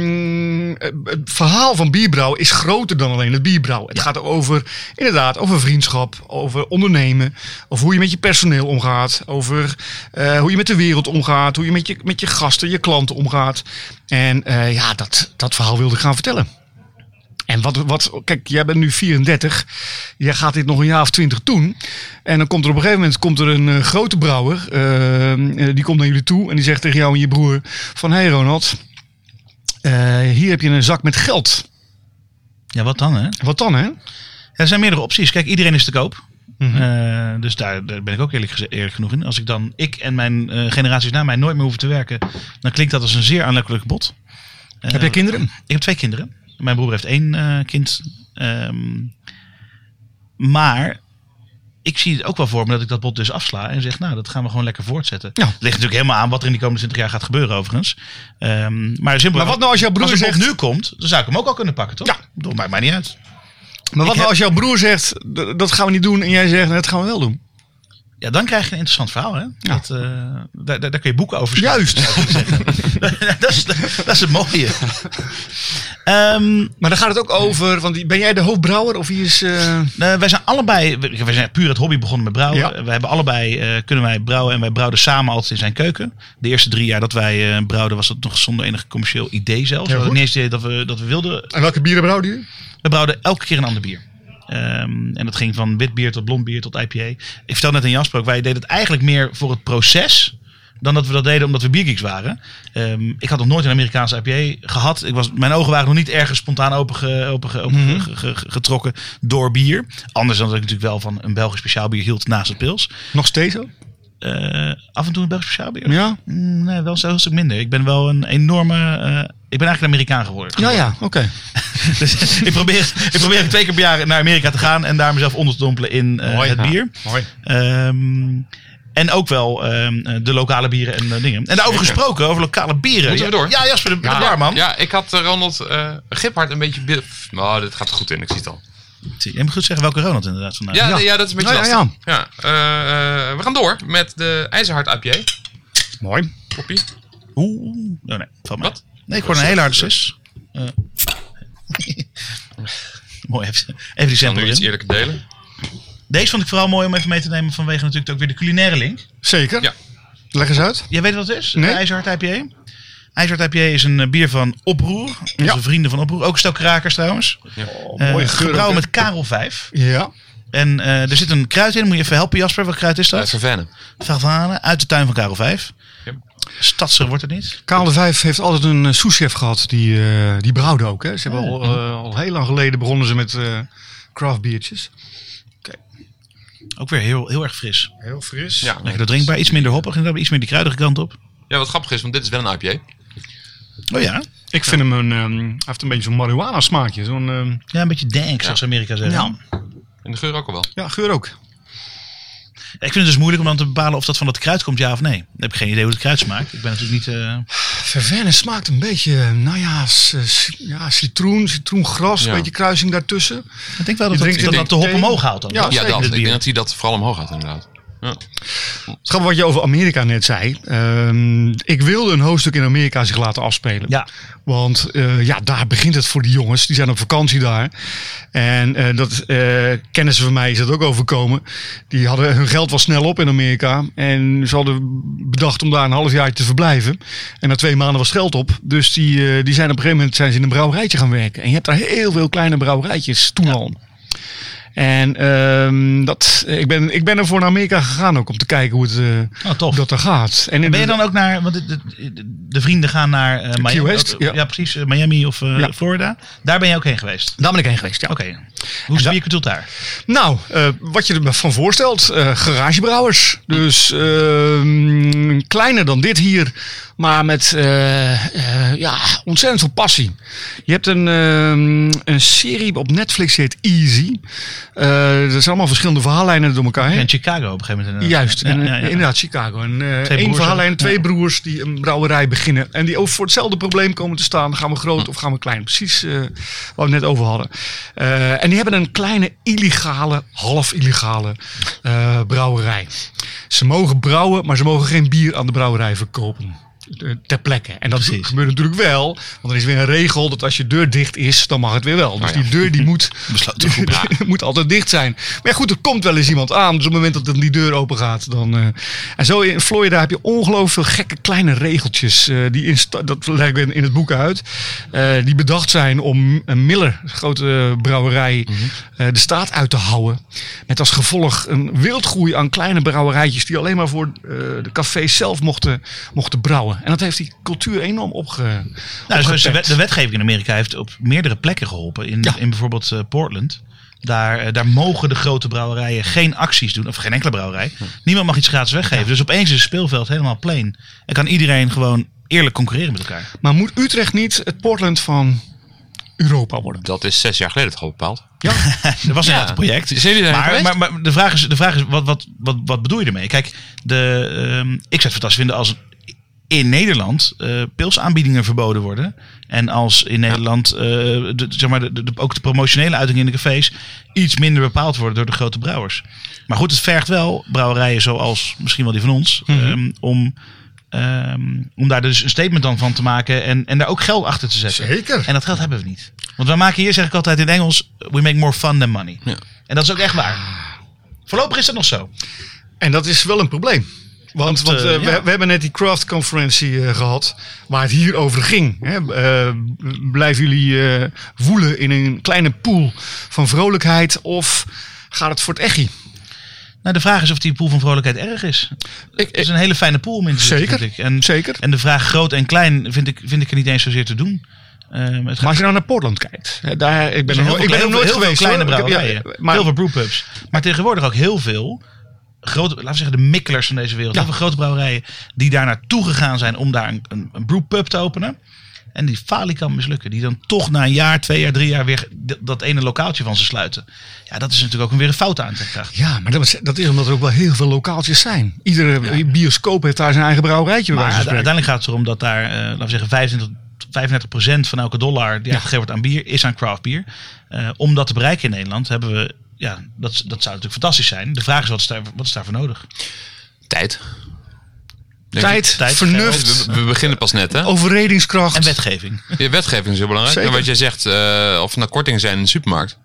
[SPEAKER 3] ehm, het verhaal van bierbrouw is groter dan alleen het bierbrouw. Het gaat over, inderdaad, over vriendschap, over ondernemen, over hoe je met je personeel omgaat, over eh, hoe je met de wereld omgaat, hoe je met je, met je gasten, je klanten omgaat. En eh, ja, dat, dat verhaal wilde ik gaan vertellen. En wat, wat, kijk, jij bent nu 34. Jij gaat dit nog een jaar of twintig doen. En dan komt er op een gegeven moment komt er een eh, grote brouwer. eh, eh, die komt naar jullie toe en die zegt tegen jou en je broer: Van hé hey Ronald, eh, hier heb je een zak met geld.
[SPEAKER 1] ja, wat dan, hè?
[SPEAKER 3] Wat dan, hè?
[SPEAKER 1] Ja, er zijn meerdere opties. Kijk, iedereen is te koop.
[SPEAKER 3] Mhm.
[SPEAKER 1] Eh, dus daar, daar ben ik ook eerlijk, geze- eerlijk genoeg in. Als ik dan, ik en mijn eh, generaties na mij nooit meer hoeven te werken, dan klinkt dat als een zeer aanlokkelijk bod. Eh,
[SPEAKER 3] heb jij kinderen?
[SPEAKER 1] Ik heb twee kinderen. Mijn broer heeft één eh, kind. Ehm, maar ik zie het ook wel voor me dat ik dat bod dus afsla en zeg, nou, dat gaan we gewoon lekker voortzetten.
[SPEAKER 3] Ja.
[SPEAKER 1] Het ligt natuurlijk helemaal aan wat er in die komende 20 jaar gaat gebeuren, overigens. Ehm, maar simpel,
[SPEAKER 3] Maar wat nou als jouw broer
[SPEAKER 1] als het bod
[SPEAKER 3] zegt-
[SPEAKER 1] nu komt, dan zou ik hem ook al kunnen pakken, toch?
[SPEAKER 3] Ja.
[SPEAKER 1] Dat maakt mij niet uit.
[SPEAKER 3] Maar wat
[SPEAKER 1] Ik heb-
[SPEAKER 3] nou als jouw broer zegt, "D- dat gaan we niet doen. En jij zegt, dat gaan we wel doen.
[SPEAKER 1] Ja, dan krijg je een interessant verhaal, hè? Dat, eh, daar, daar daar kun je boeken over schrijven.
[SPEAKER 3] Juist.
[SPEAKER 1] dat, is, dat is het mooie. Ehm,
[SPEAKER 3] Maar dan gaat het ook over, want die- ben wij de hoofdbrouwer of wie is... eh,
[SPEAKER 1] Eh, wij zijn allebei, we wij zijn puur het hobby begonnen met brouwen.
[SPEAKER 3] Ja.
[SPEAKER 1] We hebben allebei, eh, kunnen wij brouwen en wij brouwden samen altijd in zijn keuken. De eerste drie jaar dat wij eh, brouwden was dat nog zonder enig commercieel idee zelfs. we hadden
[SPEAKER 3] Heel goed.
[SPEAKER 1] niet eens het idee dat we, dat we wilden.
[SPEAKER 3] En welke bieren brouwde je?
[SPEAKER 1] We brouwden elke keer een ander bier. Ehm, en dat ging van wit bier tot blond bier tot IPA. Ik vertelde net aan Jasper ook, wij deden het eigenlijk meer voor het proces... dan dat we dat deden omdat we biergeeks waren. Ehm, ik had nog nooit een Amerikaanse IPA gehad. Ik was, mijn ogen waren nog niet ergens spontaan opengetrokken open, ge- open
[SPEAKER 3] Mhm.
[SPEAKER 1] ge- ge- ge- getrokken door bier. Anders dan dat ik natuurlijk wel van een Belgisch speciaal bier hield naast het pils.
[SPEAKER 3] Nog steeds ook?
[SPEAKER 1] Eh, af en toe een Belgisch speciaal bier?
[SPEAKER 3] Ja.
[SPEAKER 1] Mm, nee, wel een stuk minder. Ik ben wel een enorme... eh, ik ben eigenlijk een Amerikaan geworden.
[SPEAKER 3] Ja, ja, oké.
[SPEAKER 1] Dus ik probeer, ik probeer twee keer per jaar naar Amerika te gaan en daar mezelf onder te dompelen in eh,
[SPEAKER 2] Mooi,
[SPEAKER 1] het
[SPEAKER 2] ja.
[SPEAKER 1] bier.
[SPEAKER 3] Mooi.
[SPEAKER 1] Ehm, en ook wel ehm, eh, de lokale bieren en eh, dingen. En daarover gesproken, over lokale bieren.
[SPEAKER 2] Moeten we door?
[SPEAKER 1] Ja, Jasper, de, de barman.
[SPEAKER 2] Ja, ik had eh, Ronald eh Giphard een beetje... bi- Oh, dit gaat er goed in, ik zie het al.
[SPEAKER 1] Je moet goed zeggen welke Ronald inderdaad vandaag.
[SPEAKER 2] Ja, nee, ja, dat is een beetje
[SPEAKER 3] Ja, ja,
[SPEAKER 2] lastig. Ja, eh, eh, we gaan door met de IJzerhard IPA.
[SPEAKER 3] Mooi.
[SPEAKER 2] Poppy.
[SPEAKER 1] Oeh, oh nee, valt mij.
[SPEAKER 2] Wat?
[SPEAKER 1] Nee, ik hoor een hele harde zus. mooi, even, even die
[SPEAKER 2] Dan
[SPEAKER 1] sample
[SPEAKER 2] nu iets
[SPEAKER 1] erin.
[SPEAKER 2] eerlijker delen.
[SPEAKER 1] Deze vond ik vooral mooi om even mee te nemen vanwege natuurlijk ook weer de culinaire link.
[SPEAKER 3] Zeker.
[SPEAKER 2] Ja.
[SPEAKER 3] Leg eens uit.
[SPEAKER 1] Jij weet wat het is?
[SPEAKER 3] Nee.
[SPEAKER 1] Een IJzerhard IPA? IJzerhard IPA is een eh, bier van Oproer. Onze
[SPEAKER 3] Ja.
[SPEAKER 1] vrienden van Oproer. Ook een stel krakers trouwens.
[SPEAKER 3] Oh,
[SPEAKER 1] Eh
[SPEAKER 3] geur ook,
[SPEAKER 1] gebrouwen
[SPEAKER 3] hè?
[SPEAKER 1] met Karel 5.
[SPEAKER 3] Ja.
[SPEAKER 1] En eh, er zit een kruid in. Moet je even helpen Jasper. Wat kruid is
[SPEAKER 2] Uit
[SPEAKER 1] dat?
[SPEAKER 2] Vervennen.
[SPEAKER 1] Vervanen. Uit de tuin van Karel 5.
[SPEAKER 2] Ja.
[SPEAKER 1] Stadser wordt het niet.
[SPEAKER 3] Karel de Vijf heeft altijd een eh, souschef gehad die, eh, die brouwde ook. Hè? Ze hebben al, eh, al heel lang geleden begonnen ze met eh craft biertjes.
[SPEAKER 1] Ook weer heel, heel erg fris.
[SPEAKER 3] Heel fris.
[SPEAKER 2] Ja,
[SPEAKER 1] Lekker drinkbaar. Iets minder hoppig. Inderdaad. Iets meer die kruidige kant op.
[SPEAKER 2] ja, wat grappig is, want dit is wel een IPA.
[SPEAKER 1] Oh ja.
[SPEAKER 3] Ik vind hem een, ehm, hij heeft een beetje zo'n marihuana smaakje. Zo'n, ehm,
[SPEAKER 1] Ja, een beetje dank zoals Amerika zegt.
[SPEAKER 3] Ja.
[SPEAKER 2] En de geur ook al wel.
[SPEAKER 3] ja, geur ook.
[SPEAKER 1] Ik vind het dus moeilijk om dan te bepalen of dat van dat kruid komt, ja of nee. Dan heb ik geen idee hoe het kruid smaakt. Ik ben natuurlijk niet... eh,
[SPEAKER 3] Ververne smaakt een beetje, eh, nou ja, s- s- ja citroen, citroengras,
[SPEAKER 2] Ja.
[SPEAKER 3] een beetje kruising daartussen.
[SPEAKER 1] Ik denk wel dat
[SPEAKER 3] Je
[SPEAKER 1] dat,
[SPEAKER 3] drinkt-
[SPEAKER 2] ik
[SPEAKER 1] dat, dat
[SPEAKER 2] denk-
[SPEAKER 1] de hop
[SPEAKER 3] thee.
[SPEAKER 1] omhoog haalt dan.
[SPEAKER 3] Ja,
[SPEAKER 2] Ja,
[SPEAKER 3] Oh, zeker.
[SPEAKER 2] dat.
[SPEAKER 1] dit
[SPEAKER 2] Ik denk
[SPEAKER 1] bier.
[SPEAKER 2] dat hij dat vooral omhoog gaat inderdaad. Ja.
[SPEAKER 3] Het grappige wat je over Amerika net zei. ehm, ik wilde een hoofdstuk in Amerika zich laten afspelen.
[SPEAKER 1] Ja.
[SPEAKER 3] Want eh, ja, daar begint het voor die jongens. Die zijn op vakantie daar. En eh, dat eh, kennissen van mij is dat ook overkomen. Die hadden hun geld was snel op in Amerika. En ze hadden bedacht om daar een half jaar te verblijven. En na twee maanden was het geld op. Dus die, eh, die zijn op een gegeven moment zijn ze in een brouwerijtje gaan werken. En je hebt daar heel veel kleine brouwerijtjes toen al. En ehm, dat, ik, ben, ik ben ervoor naar Amerika gegaan ook om te kijken hoe het, eh,
[SPEAKER 1] Oh, tof.
[SPEAKER 3] hoe dat er gaat. En in
[SPEAKER 1] ben je
[SPEAKER 3] de-
[SPEAKER 1] dan ook naar, want de, de, de vrienden gaan naar eh, Miami.
[SPEAKER 3] West,
[SPEAKER 1] ja.
[SPEAKER 3] ja.
[SPEAKER 1] precies, eh, Miami of eh,
[SPEAKER 3] Ja.
[SPEAKER 1] Florida. Daar ben je ook heen geweest.
[SPEAKER 3] daar ben ik heen geweest, ja.
[SPEAKER 1] Oké. Hoe is de
[SPEAKER 3] da-
[SPEAKER 1] biercultuur daar?
[SPEAKER 3] Nou, eh, wat je er van voorstelt, eh, garagebrouwers. Dus ehm, kleiner dan dit hier, maar met eh, eh, ja, ontzettend veel passie. Je hebt een, ehm, een serie op Netflix die heet Easy. Eh er zijn allemaal verschillende verhaallijnen door elkaar heen.
[SPEAKER 1] In Chicago op een gegeven moment. inderdaad.
[SPEAKER 3] Juist,
[SPEAKER 1] Ja,
[SPEAKER 3] en, eh,
[SPEAKER 1] ja, ja.
[SPEAKER 3] inderdaad, Chicago. En, eh, één
[SPEAKER 1] broers
[SPEAKER 3] verhaallijn,
[SPEAKER 1] ook,
[SPEAKER 3] twee
[SPEAKER 1] ja.
[SPEAKER 3] broers die een brouwerij beginnen. En die ook voor hetzelfde probleem komen te staan. Gaan we groot of gaan we klein? Precies eh, wat we net over hadden. Eh, en die hebben een kleine illegale, half illegale eh, brouwerij. Ze mogen brouwen, maar ze mogen geen bier aan de brouwerij verkopen. eh, Ter plekke. En dat
[SPEAKER 1] Precies.
[SPEAKER 3] gebeurt natuurlijk wel. Want er is weer een regel dat als je deur dicht is, dan mag het weer wel. Dus
[SPEAKER 2] Oh ja.
[SPEAKER 3] die deur die moet
[SPEAKER 1] Besloten groep.
[SPEAKER 3] het moet altijd dicht zijn. Maar ja, goed, er komt wel eens iemand aan. Dus op het moment dat dan die deur open gaat, dan. eh, En zo in Florida heb je ongelooflijk veel gekke kleine regeltjes. eh, die in sta- dat leg ik in, in het boek uit. eh, die bedacht zijn om een Miller, grote brouwerij, eh, de staat uit te houden. Met als gevolg een wildgroei aan kleine brouwerijtjes. die alleen maar voor eh, de cafés zelf mochten, mochten brouwen. En dat heeft die cultuur enorm opge.
[SPEAKER 1] Nou, dus de,
[SPEAKER 3] opgepept.
[SPEAKER 1] wet- de wetgeving in Amerika heeft op meerdere plekken geholpen. In,
[SPEAKER 3] Ja.
[SPEAKER 1] in bijvoorbeeld eh, Portland. Daar, eh, daar mogen de grote brouwerijen geen acties doen. Of geen enkele brouwerij. Niemand mag iets gratis weggeven. Dus opeens is het speelveld helemaal plain. En kan iedereen gewoon eerlijk concurreren met elkaar.
[SPEAKER 3] Maar moet Utrecht niet het Portland van Europa worden.
[SPEAKER 2] Dat is zes jaar geleden toch al bepaald?
[SPEAKER 1] Dat was inderdaad een project.
[SPEAKER 2] Zijn jullie daar niet
[SPEAKER 1] Maar,
[SPEAKER 2] geweest?
[SPEAKER 1] maar, maar de vraag is, de vraag is wat, wat, wat, wat bedoel je ermee? Kijk, de, ehm, ik zou het fantastisch vinden als in Nederland eh, pilsaanbiedingen verboden worden. En als in Nederland eh, de, zeg maar de, de- ook de promotionele uitingen in de cafés iets minder bepaald worden door de grote brouwers. Maar goed, het vergt wel brouwerijen zoals misschien wel die van ons.
[SPEAKER 2] Mhm.
[SPEAKER 1] ehm, om, ehm, om daar dus een statement dan van te maken en, en daar ook geld achter te zetten.
[SPEAKER 5] Zeker.
[SPEAKER 1] En dat geld hebben we niet. Want wij maken hier, zeg ik altijd in Engels, we make more fun than money. En dat is ook echt waar. Voorlopig is dat nog zo.
[SPEAKER 5] En dat is wel een probleem.
[SPEAKER 1] Dat,
[SPEAKER 3] Want, want
[SPEAKER 1] eh,
[SPEAKER 3] eh, we,
[SPEAKER 1] ja.
[SPEAKER 3] we hebben net die craft-conferentie eh, gehad, waar het hier over ging. Hè. Eh, blijven jullie eh, woelen in een kleine pool van vrolijkheid of gaat het voor het echi?
[SPEAKER 1] Nou, de vraag is of die pool van vrolijkheid erg is. het is een hele fijne pool om in te zitten,
[SPEAKER 3] Zeker,
[SPEAKER 1] vind ik. En,
[SPEAKER 3] Zeker.
[SPEAKER 1] en de vraag groot en klein vind ik, vind ik er niet eens zozeer te doen. Ehm, het
[SPEAKER 3] Maar
[SPEAKER 1] gaat
[SPEAKER 3] als je nou naar Portland kijkt, hè, daar, ik ben er
[SPEAKER 1] heel
[SPEAKER 3] nog-
[SPEAKER 1] veel-
[SPEAKER 3] ik ben er
[SPEAKER 1] heel
[SPEAKER 3] nooit
[SPEAKER 1] veel- heel
[SPEAKER 3] geweest.
[SPEAKER 1] veel kleine
[SPEAKER 3] hoor. Ik heb- ja,
[SPEAKER 1] brouwerijen.
[SPEAKER 3] maar-
[SPEAKER 1] heel veel brewpubs. Maar tegenwoordig ook heel veel grote, laten we zeggen de mikkelers van deze wereld.
[SPEAKER 3] Ja.
[SPEAKER 1] Heel veel grote brouwerijen die daar naartoe gegaan zijn om daar een, een, een brewpub te openen. En die falie kan mislukken. Die dan toch na een jaar, twee jaar, drie jaar weer d- dat ene lokaaltje van ze sluiten. Ja, dat is natuurlijk ook weer een fout aan te krijgen.
[SPEAKER 3] Ja, maar dat, is- dat is omdat er ook wel heel veel lokaaltjes zijn. Iedere bioscoop heeft daar zijn eigen brouwerijtje. bij
[SPEAKER 1] Maar
[SPEAKER 3] wijze van spreken.
[SPEAKER 1] uiteindelijk gaat het erom dat daar, eh, laten we zeggen, 25, 35 van elke dollar die uitgegeven wordt aan bier, is aan craft bier. Eh, om dat te bereiken in Nederland hebben we, ja, dat, dat zou natuurlijk fantastisch zijn. De vraag is, wat is, daar, wat is daarvoor nodig?
[SPEAKER 2] Tijd. Denk ik.
[SPEAKER 3] Tijd,
[SPEAKER 1] tijd,
[SPEAKER 3] vernuft,
[SPEAKER 2] We, we beginnen pas net, hè?
[SPEAKER 3] overredingskracht.
[SPEAKER 1] En wetgeving.
[SPEAKER 2] Je wetgeving is heel belangrijk.
[SPEAKER 3] Zeker.
[SPEAKER 2] En wat jij zegt, eh, of er nou kortingen zijn in de supermarkt.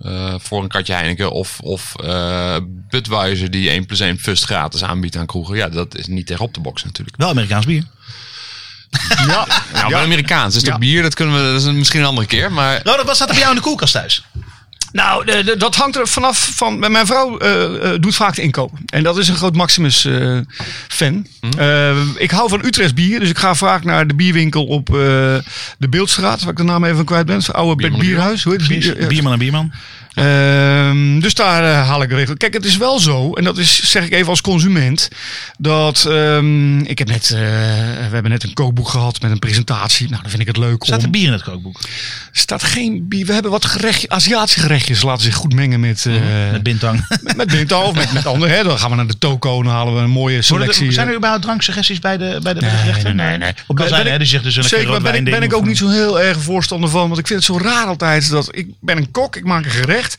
[SPEAKER 2] eh, voor een katje Heineken. Of, of eh Budweiser die 1 plus 1 fust gratis aanbiedt aan kroegen. Ja, dat is niet tegenop te boksen natuurlijk.
[SPEAKER 1] Wel Amerikaans bier.
[SPEAKER 3] Ja,
[SPEAKER 2] Nou, wel Amerikaans. Dus
[SPEAKER 3] Ja.
[SPEAKER 2] dat bier, dat kunnen we dat is een- misschien een andere keer. Maar
[SPEAKER 1] Ronald, wat staat er bij jou in de koelkast thuis?
[SPEAKER 3] Nou, de- de- dat hangt er vanaf van. Mijn vrouw eh, eh, doet vaak de inkoop. En dat is een groot Maximus-fan.
[SPEAKER 1] Mhm.
[SPEAKER 3] Eh, ik hou van Utrecht bier. Dus ik ga vaak naar de bierwinkel op eh, de Beeldstraat. Waar ik de naam even kwijt ben. Het oude
[SPEAKER 2] Bierman en
[SPEAKER 3] bierhuis. Hoe heet het? Bier- ja.
[SPEAKER 1] Bierman en bierman.
[SPEAKER 3] Ehm, dus daar eh, haal ik regel. Kijk, het is wel zo, en dat is, zeg ik even als consument, dat ehm, ik heb net, eh, we hebben net een kookboek gehad met een presentatie. Nou, dan vind ik het leuk
[SPEAKER 1] Staat
[SPEAKER 3] om.
[SPEAKER 1] er bier in het kookboek?
[SPEAKER 3] staat geen bier. We hebben wat gerechtje, Aziatische gerechtjes laten zich goed mengen met, eh
[SPEAKER 1] Mhm. Met bintang.
[SPEAKER 3] met, met Bintao of met, met anderen. Hè. Dan gaan we naar de toko, dan halen we een mooie selectie. eh,
[SPEAKER 1] Zijn er überhaupt dranksuggesties bij de, bij de, bij de
[SPEAKER 3] Nee,
[SPEAKER 1] gerechten?
[SPEAKER 3] nee, nee, nee.
[SPEAKER 1] Kan
[SPEAKER 3] Ben-
[SPEAKER 1] zijn,
[SPEAKER 3] ben
[SPEAKER 1] hè,
[SPEAKER 3] ik-
[SPEAKER 1] die zegt dus een keer
[SPEAKER 3] Zeker, maar
[SPEAKER 1] rood
[SPEAKER 3] ben ik,
[SPEAKER 1] wijnding
[SPEAKER 3] ben ik
[SPEAKER 1] of
[SPEAKER 3] ook
[SPEAKER 1] een-
[SPEAKER 3] niet zo heel erg voorstander van. Want ik vind het zo raar altijd dat ik ben een kok, ik maak een gerecht. En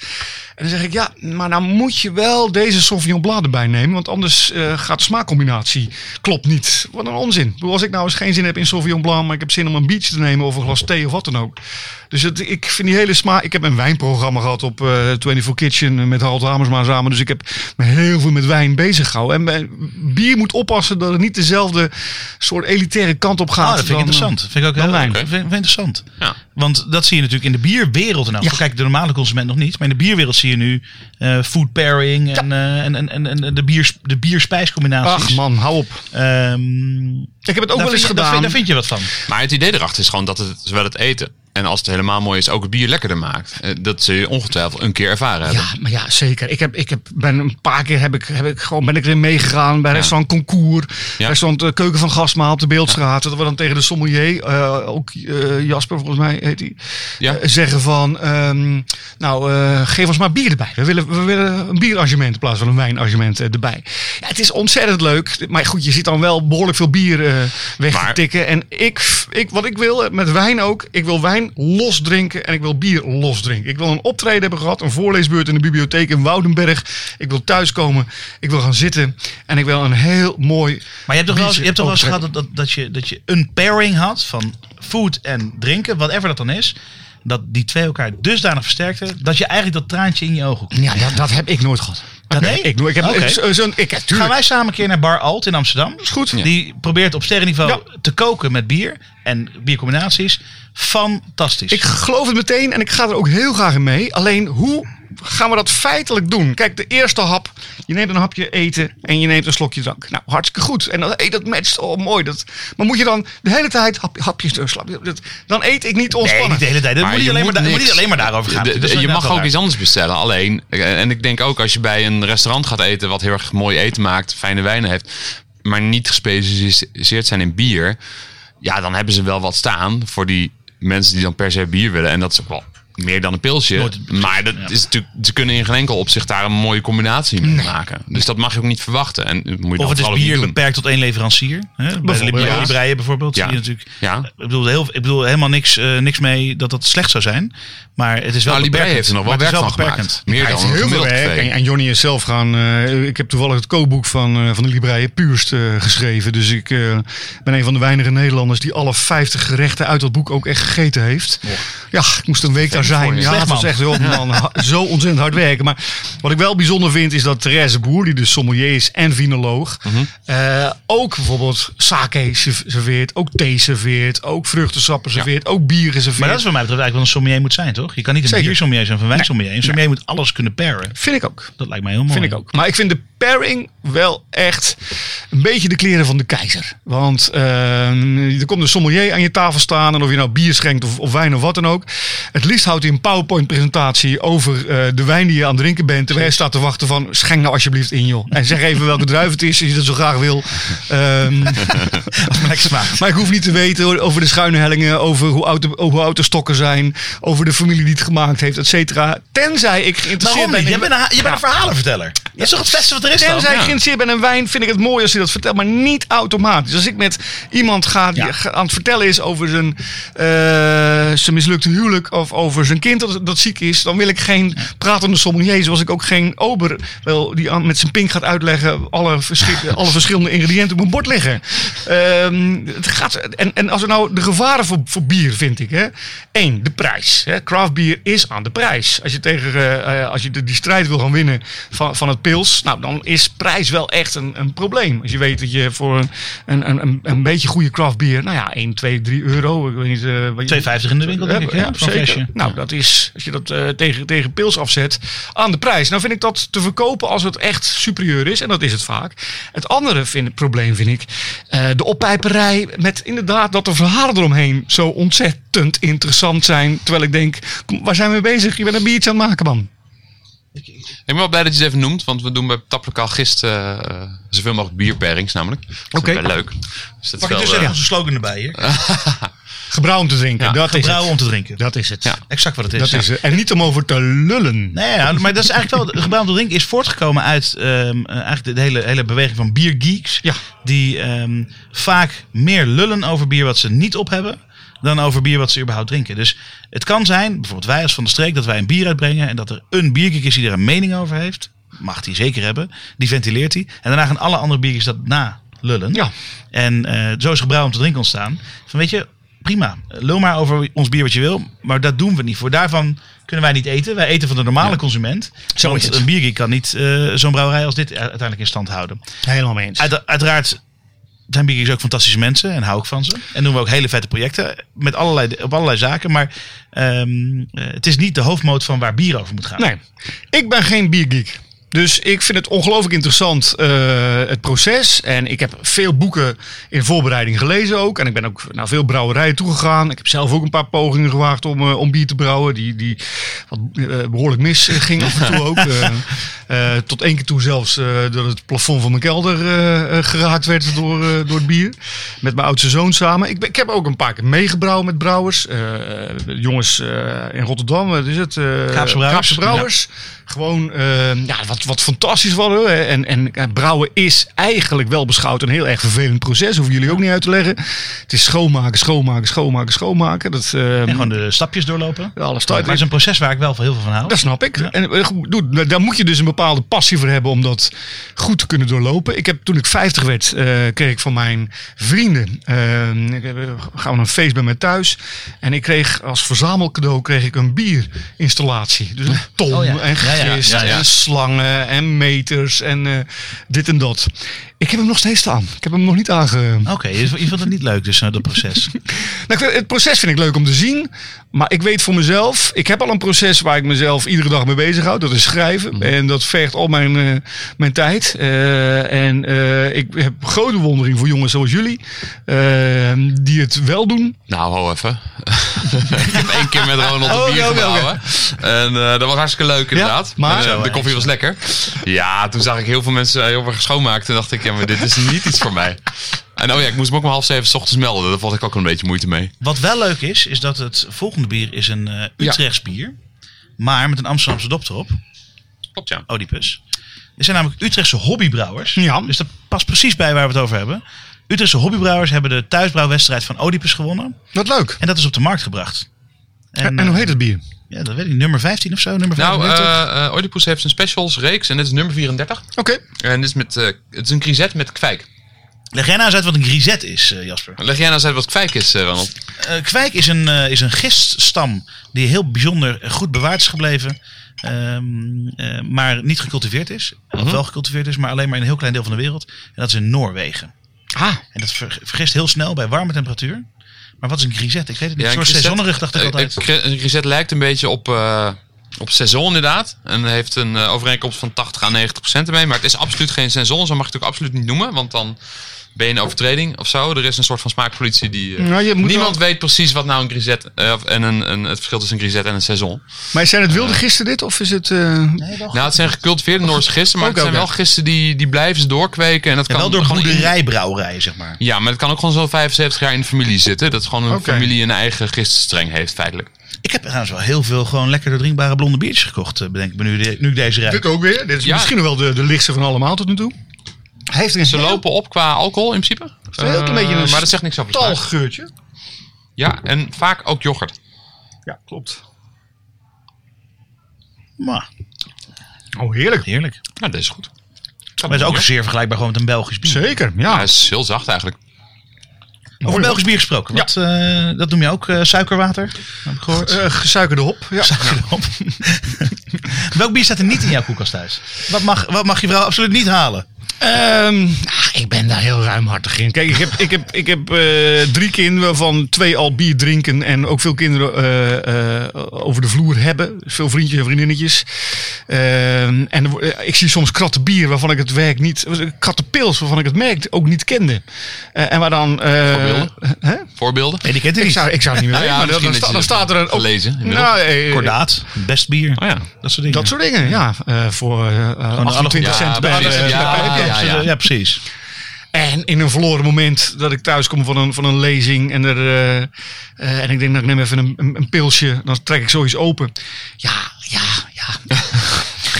[SPEAKER 3] dan zeg ik, ja, maar dan moet je wel deze Sauvignon Blanc erbij nemen. Want anders eh, gaat de smaakcombinatie klopt niet. Wat een onzin. Ik bedoel, als ik nou eens geen zin heb in Sauvignon Blanc, maar ik heb zin om een biertje te nemen of een glas thee of wat dan ook. Dus het, ik vind die hele smaak... Ik heb een wijnprogramma gehad op eh 24 Kitchen met Harold Hamersma samen. Dus ik heb me heel veel met wijn bezig gehouden. En bij- bier moet oppassen dat het niet dezelfde soort elitaire kant op gaat.
[SPEAKER 1] Ah, dat vind ik
[SPEAKER 3] dan, eh,
[SPEAKER 1] interessant. Dat vind ik ook heel
[SPEAKER 3] dan wijn.
[SPEAKER 1] vind, vind ik interessant.
[SPEAKER 2] Ja.
[SPEAKER 1] Want dat zie je natuurlijk in de bierwereld. Nou,
[SPEAKER 3] Ja.
[SPEAKER 1] Kijk, de normale consument nog niet. Maar in de bierwereld zie je nu eh, food pairing en, eh, en, en, en, en de, bier, de bierspijscombinaties.
[SPEAKER 3] Ach man, hou op.
[SPEAKER 1] Ehm,
[SPEAKER 3] Ik heb het ook
[SPEAKER 1] daar
[SPEAKER 3] wel eens
[SPEAKER 1] vind je- daar
[SPEAKER 3] gedaan.
[SPEAKER 1] vind- Daar vind je wat van.
[SPEAKER 2] Maar het idee erachter is gewoon dat het zowel het eten en als het helemaal mooi is, ook het bier lekkerder maakt. Eh, Dat zul je ongetwijfeld een keer ervaren hebben.
[SPEAKER 3] ja, maar ja, zeker. Ik heb, ik heb, ben een paar keer heb ik, heb ik gewoon, ben ik erin meegegaan bij restaurant Concours,
[SPEAKER 2] Ja.
[SPEAKER 3] restaurant eh, Keuken van Gasma op de Beeldstraat. Dat we dan tegen de sommelier, eh, ook eh, Jasper volgens mij heet hij,
[SPEAKER 2] Ja.
[SPEAKER 3] eh, zeggen van, ehm, nou eh, geef ons maar bier erbij. We willen, we willen een bierargument in plaats van een wijnargument eh, erbij. Ja, het is ontzettend leuk, maar goed, je zit dan wel behoorlijk veel bier eh, weg te
[SPEAKER 2] Maar-
[SPEAKER 3] tikken. eh, En ik, ik, wat ik wil, eh, met wijn ook, ik wil wijn los drinken en ik wil bier los drinken. Ik wil een optreden hebben gehad, een voorleesbeurt in de bibliotheek in Woudenberg. Ik wil thuiskomen, ik wil gaan zitten en ik wil een heel mooi...
[SPEAKER 1] Maar je hebt toch wel eens, je hebt toch wel eens
[SPEAKER 3] Biertje
[SPEAKER 1] gehad dat, dat, dat, je, dat je een pairing had van food en drinken, whatever dat dan is. Dat die twee elkaar dusdanig versterkten dat je eigenlijk dat traantje in je ogen komt.
[SPEAKER 3] Ja, dat, dat heb ik nooit gehad.
[SPEAKER 1] Dat
[SPEAKER 3] Nee?
[SPEAKER 1] nee?
[SPEAKER 3] Ik, ik heb
[SPEAKER 1] Oké.
[SPEAKER 3] zo- zo'n... Ik, ja,
[SPEAKER 1] Gaan
[SPEAKER 3] tuurlijk.
[SPEAKER 1] wij samen een keer naar Bar Alt in Amsterdam?
[SPEAKER 3] is goed. Ja.
[SPEAKER 1] Die probeert op sterrenniveau te koken met bier en biercombinaties. Fantastisch.
[SPEAKER 3] Ik geloof het meteen en ik ga er ook heel graag in mee. Alleen hoe gaan we dat feitelijk doen? Kijk, de eerste hap. Je neemt een hapje eten en je neemt een slokje drank. Nou, hartstikke goed. En dat, hey, dat matcht. Oh, mooi. Dat, maar moet je dan de hele tijd hap- hapjes door slap- dat- Dan eet ik niet
[SPEAKER 1] nee,
[SPEAKER 3] ontspannen.
[SPEAKER 1] niet de hele tijd. Dat
[SPEAKER 2] Maar
[SPEAKER 1] moet, niet
[SPEAKER 2] je
[SPEAKER 1] alleen
[SPEAKER 2] moet
[SPEAKER 1] maar, daar- moet
[SPEAKER 2] niks.
[SPEAKER 1] niet alleen maar daarover gaan.
[SPEAKER 2] De- de-
[SPEAKER 1] Dat is
[SPEAKER 2] je
[SPEAKER 1] inderdaad
[SPEAKER 2] mag
[SPEAKER 1] wel
[SPEAKER 2] ook
[SPEAKER 1] waar.
[SPEAKER 2] iets anders bestellen. Alleen, eh, en ik denk ook als je bij een restaurant gaat eten wat heel erg mooi eten maakt, fijne wijnen heeft, maar niet gespecialiseerd zijn in bier, ja, dan hebben ze wel wat staan voor die mensen die dan per se bier willen. En dat is ook wel meer dan een pilsje.
[SPEAKER 1] Nooit een
[SPEAKER 2] maar dat is natuurlijk, ze kunnen in geen enkel opzicht daar een mooie combinatie mee maken. Dus dat mag je ook niet verwachten. En dat moet je dan
[SPEAKER 1] Of het is
[SPEAKER 2] vooral ook niet
[SPEAKER 1] bier
[SPEAKER 2] doen.
[SPEAKER 1] beperkt tot één leverancier. Hè? Bij de
[SPEAKER 3] Bijvoorbeeld,
[SPEAKER 1] libre-
[SPEAKER 2] ja.
[SPEAKER 1] libraaien bijvoorbeeld.
[SPEAKER 2] Ja.
[SPEAKER 1] Zie je natuurlijk,
[SPEAKER 2] Ja.
[SPEAKER 1] Ik, bedoel, heel, ik bedoel helemaal niks, eh, niks mee dat dat slecht zou zijn. Maar het is wel
[SPEAKER 2] Nou, Libre
[SPEAKER 1] beperkend.
[SPEAKER 2] heeft er nog
[SPEAKER 1] Maar
[SPEAKER 2] wel
[SPEAKER 1] het is
[SPEAKER 2] werk van gemaakt. Meer dan
[SPEAKER 3] Hij heeft
[SPEAKER 2] een
[SPEAKER 3] heel veel
[SPEAKER 2] gemiddeld
[SPEAKER 3] werk. En,
[SPEAKER 2] café.
[SPEAKER 3] en Johnny is zelf gaan. eh, ik heb toevallig het kookboek van, eh, van de Libraïe Puurst eh, geschreven. Dus ik eh, ben een van de weinige Nederlanders die alle 50 gerechten uit dat boek ook echt gegeten heeft. Ja, ik moest een week daar zijn.
[SPEAKER 2] voor je.
[SPEAKER 3] Ja,
[SPEAKER 1] Slecht,
[SPEAKER 3] het was
[SPEAKER 1] man.
[SPEAKER 3] echt joh, man, ha- zo ontzettend hard werken. Maar wat ik wel bijzonder vind is dat Therese Boer, die dus sommelier is en vinoloog, eh, ook bijvoorbeeld sake serv- serveert, ook thee serveert, ook vruchtensappen serveert, ook bieren serveert.
[SPEAKER 1] Maar dat is voor mij betreft eigenlijk wel een sommelier moet zijn, toch? Je kan niet een
[SPEAKER 3] Zeker.
[SPEAKER 1] biersommelier zijn of een wijnsommelier. Een sommelier moet alles kunnen paren.
[SPEAKER 3] vind ik ook.
[SPEAKER 1] Dat lijkt mij heel mooi.
[SPEAKER 3] Vind ik ook. Maar ik vind de pairing wel echt een beetje de kleren van de keizer. Want ehm, er komt een sommelier aan je tafel staan. En of je nou bier schenkt of, of wijn of wat dan ook. Het liefst houdt hij een PowerPoint-presentatie over eh, de wijn die je aan het drinken bent. Terwijl je staat te wachten van schenk nou alsjeblieft in joh. En zeg even welke druif het is als je dat zo graag wil. Ehm,
[SPEAKER 1] Maar lekker smaakt.
[SPEAKER 3] maar ik hoef niet te weten over de schuine hellingen, over hoe oud de, hoe oud de stokken zijn, over de familie die het gemaakt heeft, et cetera. Tenzij ik geïnteresseerd
[SPEAKER 1] Waarom
[SPEAKER 3] ben
[SPEAKER 1] niet?
[SPEAKER 3] in-
[SPEAKER 1] Je bent een, ha- je bent een verhalenverteller. Dat is toch het beste wat er is dan?
[SPEAKER 3] Tenzij ik
[SPEAKER 1] Ja.
[SPEAKER 3] geïnteresseerd ben in wijn, vind ik het mooi als hij dat vertelt, maar niet automatisch. Als ik met iemand ga die
[SPEAKER 1] Ja.
[SPEAKER 3] ge- aan het vertellen is over zijn, eh, zijn mislukte huwelijk of over zijn kind dat, dat ziek is, dan wil ik geen pratende sommelier, zoals ik ook geen ober wil die aan, met zijn pink gaat uitleggen alle, verschi- alle verschillende ingrediënten op een bord liggen. Ehm, het gaat, en, en als er nou de gevaren voor, voor bier, vind ik, hè. Eén, de prijs. Hè. Craft bier is aan de prijs. Als je, tegen, eh, eh, als je de- die strijd wil gaan winnen van, van het pils, nou, dan is prijs wel echt een, een probleem. Als je weet dat je voor een, een, een- een, een beetje goede craft bier, nou ja, 1, 2, 3 euro. Ik weet niet, eh, wat je,
[SPEAKER 1] 2,50 in de winkel, denk ik.
[SPEAKER 3] ja,
[SPEAKER 1] Ja, zo'n
[SPEAKER 3] zeker.
[SPEAKER 1] flesje.
[SPEAKER 3] Nou, dat is, als je dat eh, tegen, tegen pils afzet, aan de prijs. Nou vind ik dat te verkopen als het echt superieur is. En dat is het vaak. Het andere vind, probleem vind ik eh, de oppijperij. Met inderdaad dat de verhalen eromheen zo ontzettend interessant zijn. Terwijl ik denk, kom, waar zijn we mee bezig? Je bent een biertje aan het maken, man.
[SPEAKER 2] Ik ben wel blij dat je het even noemt, want we doen bij Taplokaal gisteren eh, zoveel mogelijk bierperings namelijk. Dat is
[SPEAKER 3] Oké.
[SPEAKER 2] wel leuk. Dus dat is
[SPEAKER 1] Pak ik
[SPEAKER 2] wel,
[SPEAKER 1] dus
[SPEAKER 2] eh,
[SPEAKER 1] even onze slogan erbij hier.
[SPEAKER 3] Gebrouw om te drinken. dat is
[SPEAKER 1] Gebrouwen
[SPEAKER 3] het.
[SPEAKER 1] om te drinken.
[SPEAKER 3] Dat is het.
[SPEAKER 1] Exact wat het is.
[SPEAKER 3] Dat
[SPEAKER 1] Ja.
[SPEAKER 3] is het. En niet om over te lullen.
[SPEAKER 1] Nee, ja, maar dat is eigenlijk wel. Gebouw om te drinken is voortgekomen uit ehm, eh, eigenlijk de hele, hele beweging van biergeeks.
[SPEAKER 3] Ja.
[SPEAKER 1] Die ehm, vaak meer lullen over bier wat ze niet op hebben. Dan over bier wat ze überhaupt drinken. Dus het kan zijn, bijvoorbeeld wij als van de streek, dat wij een bier uitbrengen. En dat er een biergeek is die er een mening over heeft. Mag hij zeker hebben. Die ventileert hij. En daarna gaan alle andere biergeeks dat na lullen.
[SPEAKER 3] Ja.
[SPEAKER 1] En eh, zo is gebruik om te drinken ontstaan. Van weet je, prima. Lul maar over ons bier wat je wil. Maar dat doen we niet. Voor daarvan kunnen wij niet eten. Wij eten van de normale consument. Zo want
[SPEAKER 3] is het.
[SPEAKER 1] een biergeek kan niet eh, zo'n brouwerij als dit u- uiteindelijk in stand houden.
[SPEAKER 3] Helemaal mee eens.
[SPEAKER 1] Uit- uiteraard zijn biergeeks ook fantastische mensen. En hou ik van ze. En doen we ook hele vette projecten. Met allerlei, op allerlei zaken. Maar ehm, eh, het is niet de hoofdmoot van waar bier over moet gaan.
[SPEAKER 3] Nee, ik ben geen biergeek. Dus ik vind het ongelooflijk interessant, eh, het proces. En ik heb veel boeken in voorbereiding gelezen ook. En ik ben ook naar veel brouwerijen toegegaan. Ik heb zelf ook een paar pogingen gewaagd om, eh, om bier te brouwen. Die, die wat, eh, behoorlijk mis eh, ging af en toe ook. Eh, eh, tot één keer toe zelfs eh, dat het plafond van mijn kelder eh, eh, geraakt werd door, eh, door het bier. Met mijn oudste zoon samen. Ik, ben- ik heb ook een paar keer meegebrouwen met brouwers. Eh, jongens eh, in Rotterdam, wat is het? eh,
[SPEAKER 1] Kaapse Brouwers.
[SPEAKER 3] Kaapse Brouwers. Gewoon eh, ja, wat, wat fantastisch was. hoor. En, en eh, brouwen is eigenlijk wel beschouwd een heel erg vervelend proces. Hoeven jullie ook niet uit te leggen. Het is schoonmaken, schoonmaken, schoonmaken, schoonmaken. Dat, eh,
[SPEAKER 1] En gewoon de stapjes doorlopen.
[SPEAKER 3] alles
[SPEAKER 1] Maar
[SPEAKER 3] tijd.
[SPEAKER 1] het is een proces waar ik wel heel veel van hou.
[SPEAKER 3] Dat snap ik. En, eh, goed, doe- daar moet je dus een bepaalde passie voor hebben om dat goed te kunnen doorlopen. Ik heb, toen ik 50 werd, eh, kreeg ik van mijn vrienden. eh, ik heb- gaan we een feest bij mij thuis. En ik kreeg als verzamelcadeau kreeg ik een bierinstallatie. Dus een ton
[SPEAKER 1] Oh ja.
[SPEAKER 3] en
[SPEAKER 1] Ja, ja,
[SPEAKER 3] gist
[SPEAKER 1] ja, ja.
[SPEAKER 3] en slangen en meters en eh, dit en dat. Ik heb hem nog steeds staan. Ik heb hem nog niet aange...
[SPEAKER 1] Oké, je, je vond het niet leuk dus, eh, dat proces.
[SPEAKER 3] Nou, ik vind- het proces vind ik leuk om te zien. Maar ik weet voor mezelf, ik heb al een proces waar ik mezelf iedere dag mee bezighoud. Dat is schrijven. En dat vergt al mijn, eh, mijn tijd. Eh, en eh, ik heb grote bewondering voor jongens zoals jullie. eh, die het wel doen.
[SPEAKER 2] Nou, hou even. ik heb één keer met Ronald
[SPEAKER 3] Oh,
[SPEAKER 2] een bier
[SPEAKER 3] oké, oké,
[SPEAKER 2] gebrouwen. En eh, dat was hartstikke leuk inderdaad.
[SPEAKER 3] maar-
[SPEAKER 2] En, eh,
[SPEAKER 3] Zo,
[SPEAKER 2] de koffie was eh, lekker. Ja, toen zag ik heel veel mensen heel erg schoonmaakt. Toen dacht ik, ja, maar dit is niet iets voor mij. En oh ja, ik moest me ook maar half zeven 's ochtends melden. Daar vond ik ook een beetje moeite mee.
[SPEAKER 1] Wat wel leuk is, is dat het volgende bier is een eh Utrechts bier. Maar met een Amsterdamse dop erop.
[SPEAKER 2] Klopt ja.
[SPEAKER 1] Oedipus. Dit zijn namelijk Utrechtse hobbybrouwers.
[SPEAKER 3] Ja.
[SPEAKER 1] Dus dat past precies bij waar we het over hebben. Utrechtse hobbybrouwers hebben de thuisbrouwwedstrijd van Oedipus gewonnen.
[SPEAKER 3] Wat leuk.
[SPEAKER 1] En dat is op de markt gebracht.
[SPEAKER 3] En, en hoe
[SPEAKER 1] eh,
[SPEAKER 3] heet het bier?
[SPEAKER 1] Ja, dat weet ik. Nummer 15 of zo. Nummer
[SPEAKER 2] Nou,
[SPEAKER 1] 35.
[SPEAKER 2] eh, eh, Oedipus heeft zijn specials reeks en dit is nummer 34.
[SPEAKER 3] Oké.
[SPEAKER 2] En dit is met, eh, het is een grisette met kwijk.
[SPEAKER 1] Leg jij nou eens uit wat een grisette is, eh, Jasper.
[SPEAKER 2] Leg jij nou eens uit wat kwijk is, eh, Ronald?
[SPEAKER 1] Eh, kwijk is een, eh, is een giststam die heel bijzonder goed bewaard is gebleven. ehm, eh, maar niet gecultiveerd is.
[SPEAKER 3] Mhm.
[SPEAKER 1] Of wel gecultiveerd is, maar alleen maar in een heel klein deel van de wereld. En dat is in Noorwegen.
[SPEAKER 3] Ah,
[SPEAKER 1] En dat ver- vergist heel snel bij warme temperatuur. Maar wat is een grisette? Ik weet het niet.
[SPEAKER 2] Ja,
[SPEAKER 1] een soort
[SPEAKER 2] grisette-
[SPEAKER 1] seizoenrug dacht ik
[SPEAKER 2] eh,
[SPEAKER 1] altijd.
[SPEAKER 2] eh, gri- Een grisette lijkt een beetje op, eh, op saison inderdaad. En heeft een eh, overeenkomst van 80 à 90 procent ermee. Maar het is absoluut geen saison. Zo mag je het ook absoluut niet noemen. Want dan ben je een overtreding of zo. Er is een soort van smaakpolitie die... eh,
[SPEAKER 3] Nou, je moet
[SPEAKER 2] niemand weet precies wat nou een grisette... eh, of- en een, een, het verschil tussen een grisette en een saison.
[SPEAKER 3] maar zijn het wilde gisteren dit? Of is het... eh,
[SPEAKER 2] Nou, het zijn gecultiveerde Noorse gisten. Maar
[SPEAKER 3] Ook,
[SPEAKER 2] het zijn
[SPEAKER 3] ook,
[SPEAKER 2] wel
[SPEAKER 3] ja.
[SPEAKER 2] gisten die, die blijven ze doorkweken. En dat
[SPEAKER 1] En
[SPEAKER 2] kan
[SPEAKER 1] wel door
[SPEAKER 2] gewoon in-
[SPEAKER 1] boerderijbrouwerijen, zeg maar.
[SPEAKER 2] Ja, maar het kan ook gewoon zo'n 75 jaar in de familie zitten. Dat gewoon een
[SPEAKER 3] Oké.
[SPEAKER 2] familie een eigen gistenstreng heeft, feitelijk.
[SPEAKER 1] Ik heb trouwens wel heel veel gewoon lekker doordrinkbare blonde biertjes gekocht. eh, Bedenk ik me nu, de- nu ik deze ruik.
[SPEAKER 3] Dit ook weer. Dit is
[SPEAKER 2] Ja.
[SPEAKER 3] misschien wel de, de lichtste van allemaal tot nu toe. Hij heeft er een
[SPEAKER 2] Ze
[SPEAKER 3] heel
[SPEAKER 2] lopen op qua alcohol in principe.
[SPEAKER 3] een heel klein
[SPEAKER 2] Eh,
[SPEAKER 3] beetje een
[SPEAKER 2] maar dat zegt niks over de
[SPEAKER 3] tal
[SPEAKER 2] smaak.
[SPEAKER 3] geurtje.
[SPEAKER 2] Ja, en vaak ook yoghurt.
[SPEAKER 3] Ja, klopt.
[SPEAKER 1] Maar,
[SPEAKER 3] Oh, heerlijk.
[SPEAKER 1] heerlijk.
[SPEAKER 2] Ja, dat Nou, is goed.
[SPEAKER 1] Maar het is ook zeer vergelijkbaar gewoon met een Belgisch bier.
[SPEAKER 3] Zeker, ja.
[SPEAKER 2] Ja, het is heel zacht eigenlijk.
[SPEAKER 1] Over Belgisch bier gesproken.
[SPEAKER 3] Ja.
[SPEAKER 1] Wat, eh, dat noem je ook eh, suikerwater, heb ik gehoord.
[SPEAKER 3] Eh, gesuikerde hop. Ja.
[SPEAKER 1] Suikerdamp. Welk bier staat er niet in jouw koelkast thuis? Wat mag, wat mag je vrouw absoluut niet halen?
[SPEAKER 3] Ehm, ah, ik ben daar heel ruimhartig in. Kijk, ik heb, ik heb, ik heb eh, drie kinderen waarvan twee al bier drinken. En ook veel kinderen eh, eh, over de vloer hebben. Dus Veel vriendjes en vriendinnetjes. Ehm, en er wo- eh, ik zie soms kratten bier waarvan ik het werk niet... eh, Kratten pils waarvan ik het merk ook niet kende. Eh, en waar dan... eh,
[SPEAKER 2] Voorbeelden?
[SPEAKER 3] hè?
[SPEAKER 2] Voorbeelden?
[SPEAKER 1] Nee, die kent hij
[SPEAKER 3] Ik
[SPEAKER 1] niet.
[SPEAKER 3] zou, ik zou het niet
[SPEAKER 2] Nou
[SPEAKER 3] meer weten.
[SPEAKER 2] ja,
[SPEAKER 3] maar dan,
[SPEAKER 2] misschien
[SPEAKER 3] dan,
[SPEAKER 2] dat
[SPEAKER 3] sta-
[SPEAKER 2] je
[SPEAKER 3] dan
[SPEAKER 2] dat
[SPEAKER 3] staat er een...
[SPEAKER 2] gelezen inmiddels.
[SPEAKER 3] Nou, eh, eh,
[SPEAKER 1] Kordaat, best bier,
[SPEAKER 2] Oh ja.
[SPEAKER 1] dat soort dingen.
[SPEAKER 3] Dat soort dingen, ja. Eh, voor eh, eh
[SPEAKER 1] alle
[SPEAKER 3] 28
[SPEAKER 2] goede-
[SPEAKER 3] cent
[SPEAKER 2] Ja,
[SPEAKER 3] bij
[SPEAKER 2] precies.
[SPEAKER 3] de-
[SPEAKER 2] Ja,
[SPEAKER 3] bij de
[SPEAKER 2] ja,
[SPEAKER 3] Pepsi.
[SPEAKER 1] ja,
[SPEAKER 2] ja.
[SPEAKER 1] precies.
[SPEAKER 3] En in een verloren moment dat ik thuis kom van een, van een lezing en, er, eh, eh, en ik denk, nou, ik neem even een, een, een pilsje, dan trek ik zoiets open. Ja, ja, ja.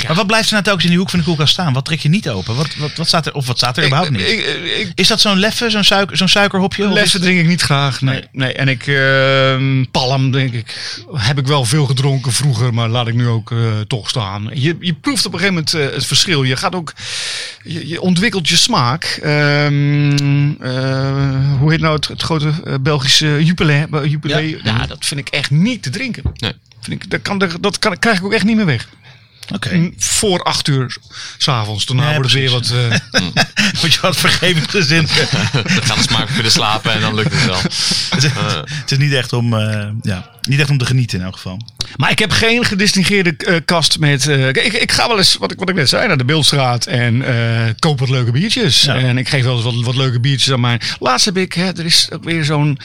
[SPEAKER 1] Maar wat blijft er nou telkens in die hoek van de koelkast staan? Wat trek je niet open? Wat, wat, wat staat er, of wat staat er überhaupt niet?
[SPEAKER 3] Ik, ik, ik,
[SPEAKER 1] is dat zo'n leffe, zo'n suiker, zo'n suikerhopje? Of is
[SPEAKER 3] lessen drink ik niet graag. Nee, nee. En ik, ehm, palm denk ik, heb ik wel veel gedronken vroeger, maar laat ik nu ook eh, toch staan. Je, je proeft op een gegeven moment eh, het verschil. Je gaat ook, je, je ontwikkelt je smaak. Ehm, eh, hoe heet nou het, het grote eh, Belgische jubilee? jubilee? Ja. dat vind ik echt niet te drinken.
[SPEAKER 2] Nee.
[SPEAKER 3] Vind ik, dat kan, er- dat kan, krijg ik ook echt niet meer weg.
[SPEAKER 1] het- Oké.
[SPEAKER 3] Voor acht uur s'avonds. Daarna
[SPEAKER 1] Ja,
[SPEAKER 3] wordt het weer wat... eh,
[SPEAKER 1] Moet je wat vergevend gezin.
[SPEAKER 2] Dan gaan de smaken weer slapen en dan lukt het wel.
[SPEAKER 1] het, is- het is niet echt, om, eh, ja, niet echt om te genieten in elk geval. Nou,
[SPEAKER 3] Maar ik heb geen gedistingeerde eh, kast met. eh, ik, ik ga wel eens, wat ik, wat ik net zei, naar de Beeldstraat en eh, koop wat leuke biertjes.
[SPEAKER 1] Ja.
[SPEAKER 3] En ik geef wel eens wat, wat leuke biertjes aan mijn. Laatst heb ik, hè, er is ook weer zo'n.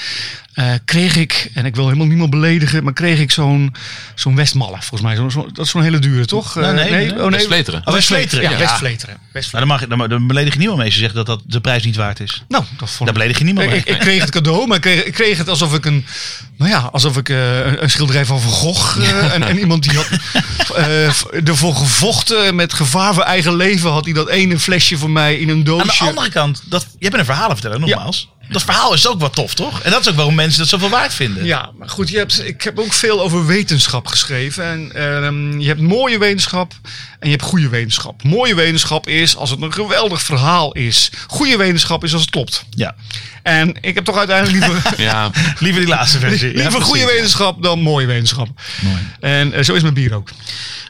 [SPEAKER 3] eh, kreeg ik, en ik wil helemaal niemand beledigen, maar kreeg ik zo'n zo'n Westmalle. Volgens mij, Zo'n- zo'n- dat is zo'n hele dure, toch?
[SPEAKER 1] Nou,
[SPEAKER 3] Eh,
[SPEAKER 1] nee, nee.
[SPEAKER 3] oh,
[SPEAKER 2] Best Vleteren.
[SPEAKER 1] Oh, Westvleteren.
[SPEAKER 3] Ja,
[SPEAKER 1] Ja.
[SPEAKER 3] Westvleteren.
[SPEAKER 1] Maar dan, mag, dan, dan beledig je niemand mee als je zegt dat, dat de prijs niet waard is.
[SPEAKER 3] Nou, dat vond
[SPEAKER 1] Dan
[SPEAKER 3] ik.
[SPEAKER 1] beledig je niemand
[SPEAKER 3] Ik,
[SPEAKER 1] mee.
[SPEAKER 3] ik, ik kreeg het cadeau, maar ik kreeg, ik kreeg het alsof ik een, nou ja, alsof ik eh, een, een schilderij van Van Gogh eh, en, en iemand die had eh, ervoor gevochten met gevaar voor eigen leven, had hij dat ene flesje voor mij in een
[SPEAKER 1] Aan de
[SPEAKER 3] doosje.
[SPEAKER 1] andere kant, dat, jij bent een verhalenverteller, nogmaals. Dat verhaal is ook wat tof, toch? En dat is ook waarom mensen dat zoveel waard vinden.
[SPEAKER 3] Ja, maar goed, je hebt, ik heb ook veel over wetenschap geschreven. En ehm, je hebt mooie wetenschap en je hebt goede wetenschap. Mooie wetenschap is als het een geweldig verhaal is. Goede wetenschap is als het klopt.
[SPEAKER 1] Ja.
[SPEAKER 3] En ik heb toch uiteindelijk liever...
[SPEAKER 2] Ja,
[SPEAKER 1] Liever die laatste versie. Ja,
[SPEAKER 3] Liever goede
[SPEAKER 1] precies.
[SPEAKER 3] wetenschap dan mooie wetenschap.
[SPEAKER 1] Mooi.
[SPEAKER 3] En eh, zo is mijn bier ook.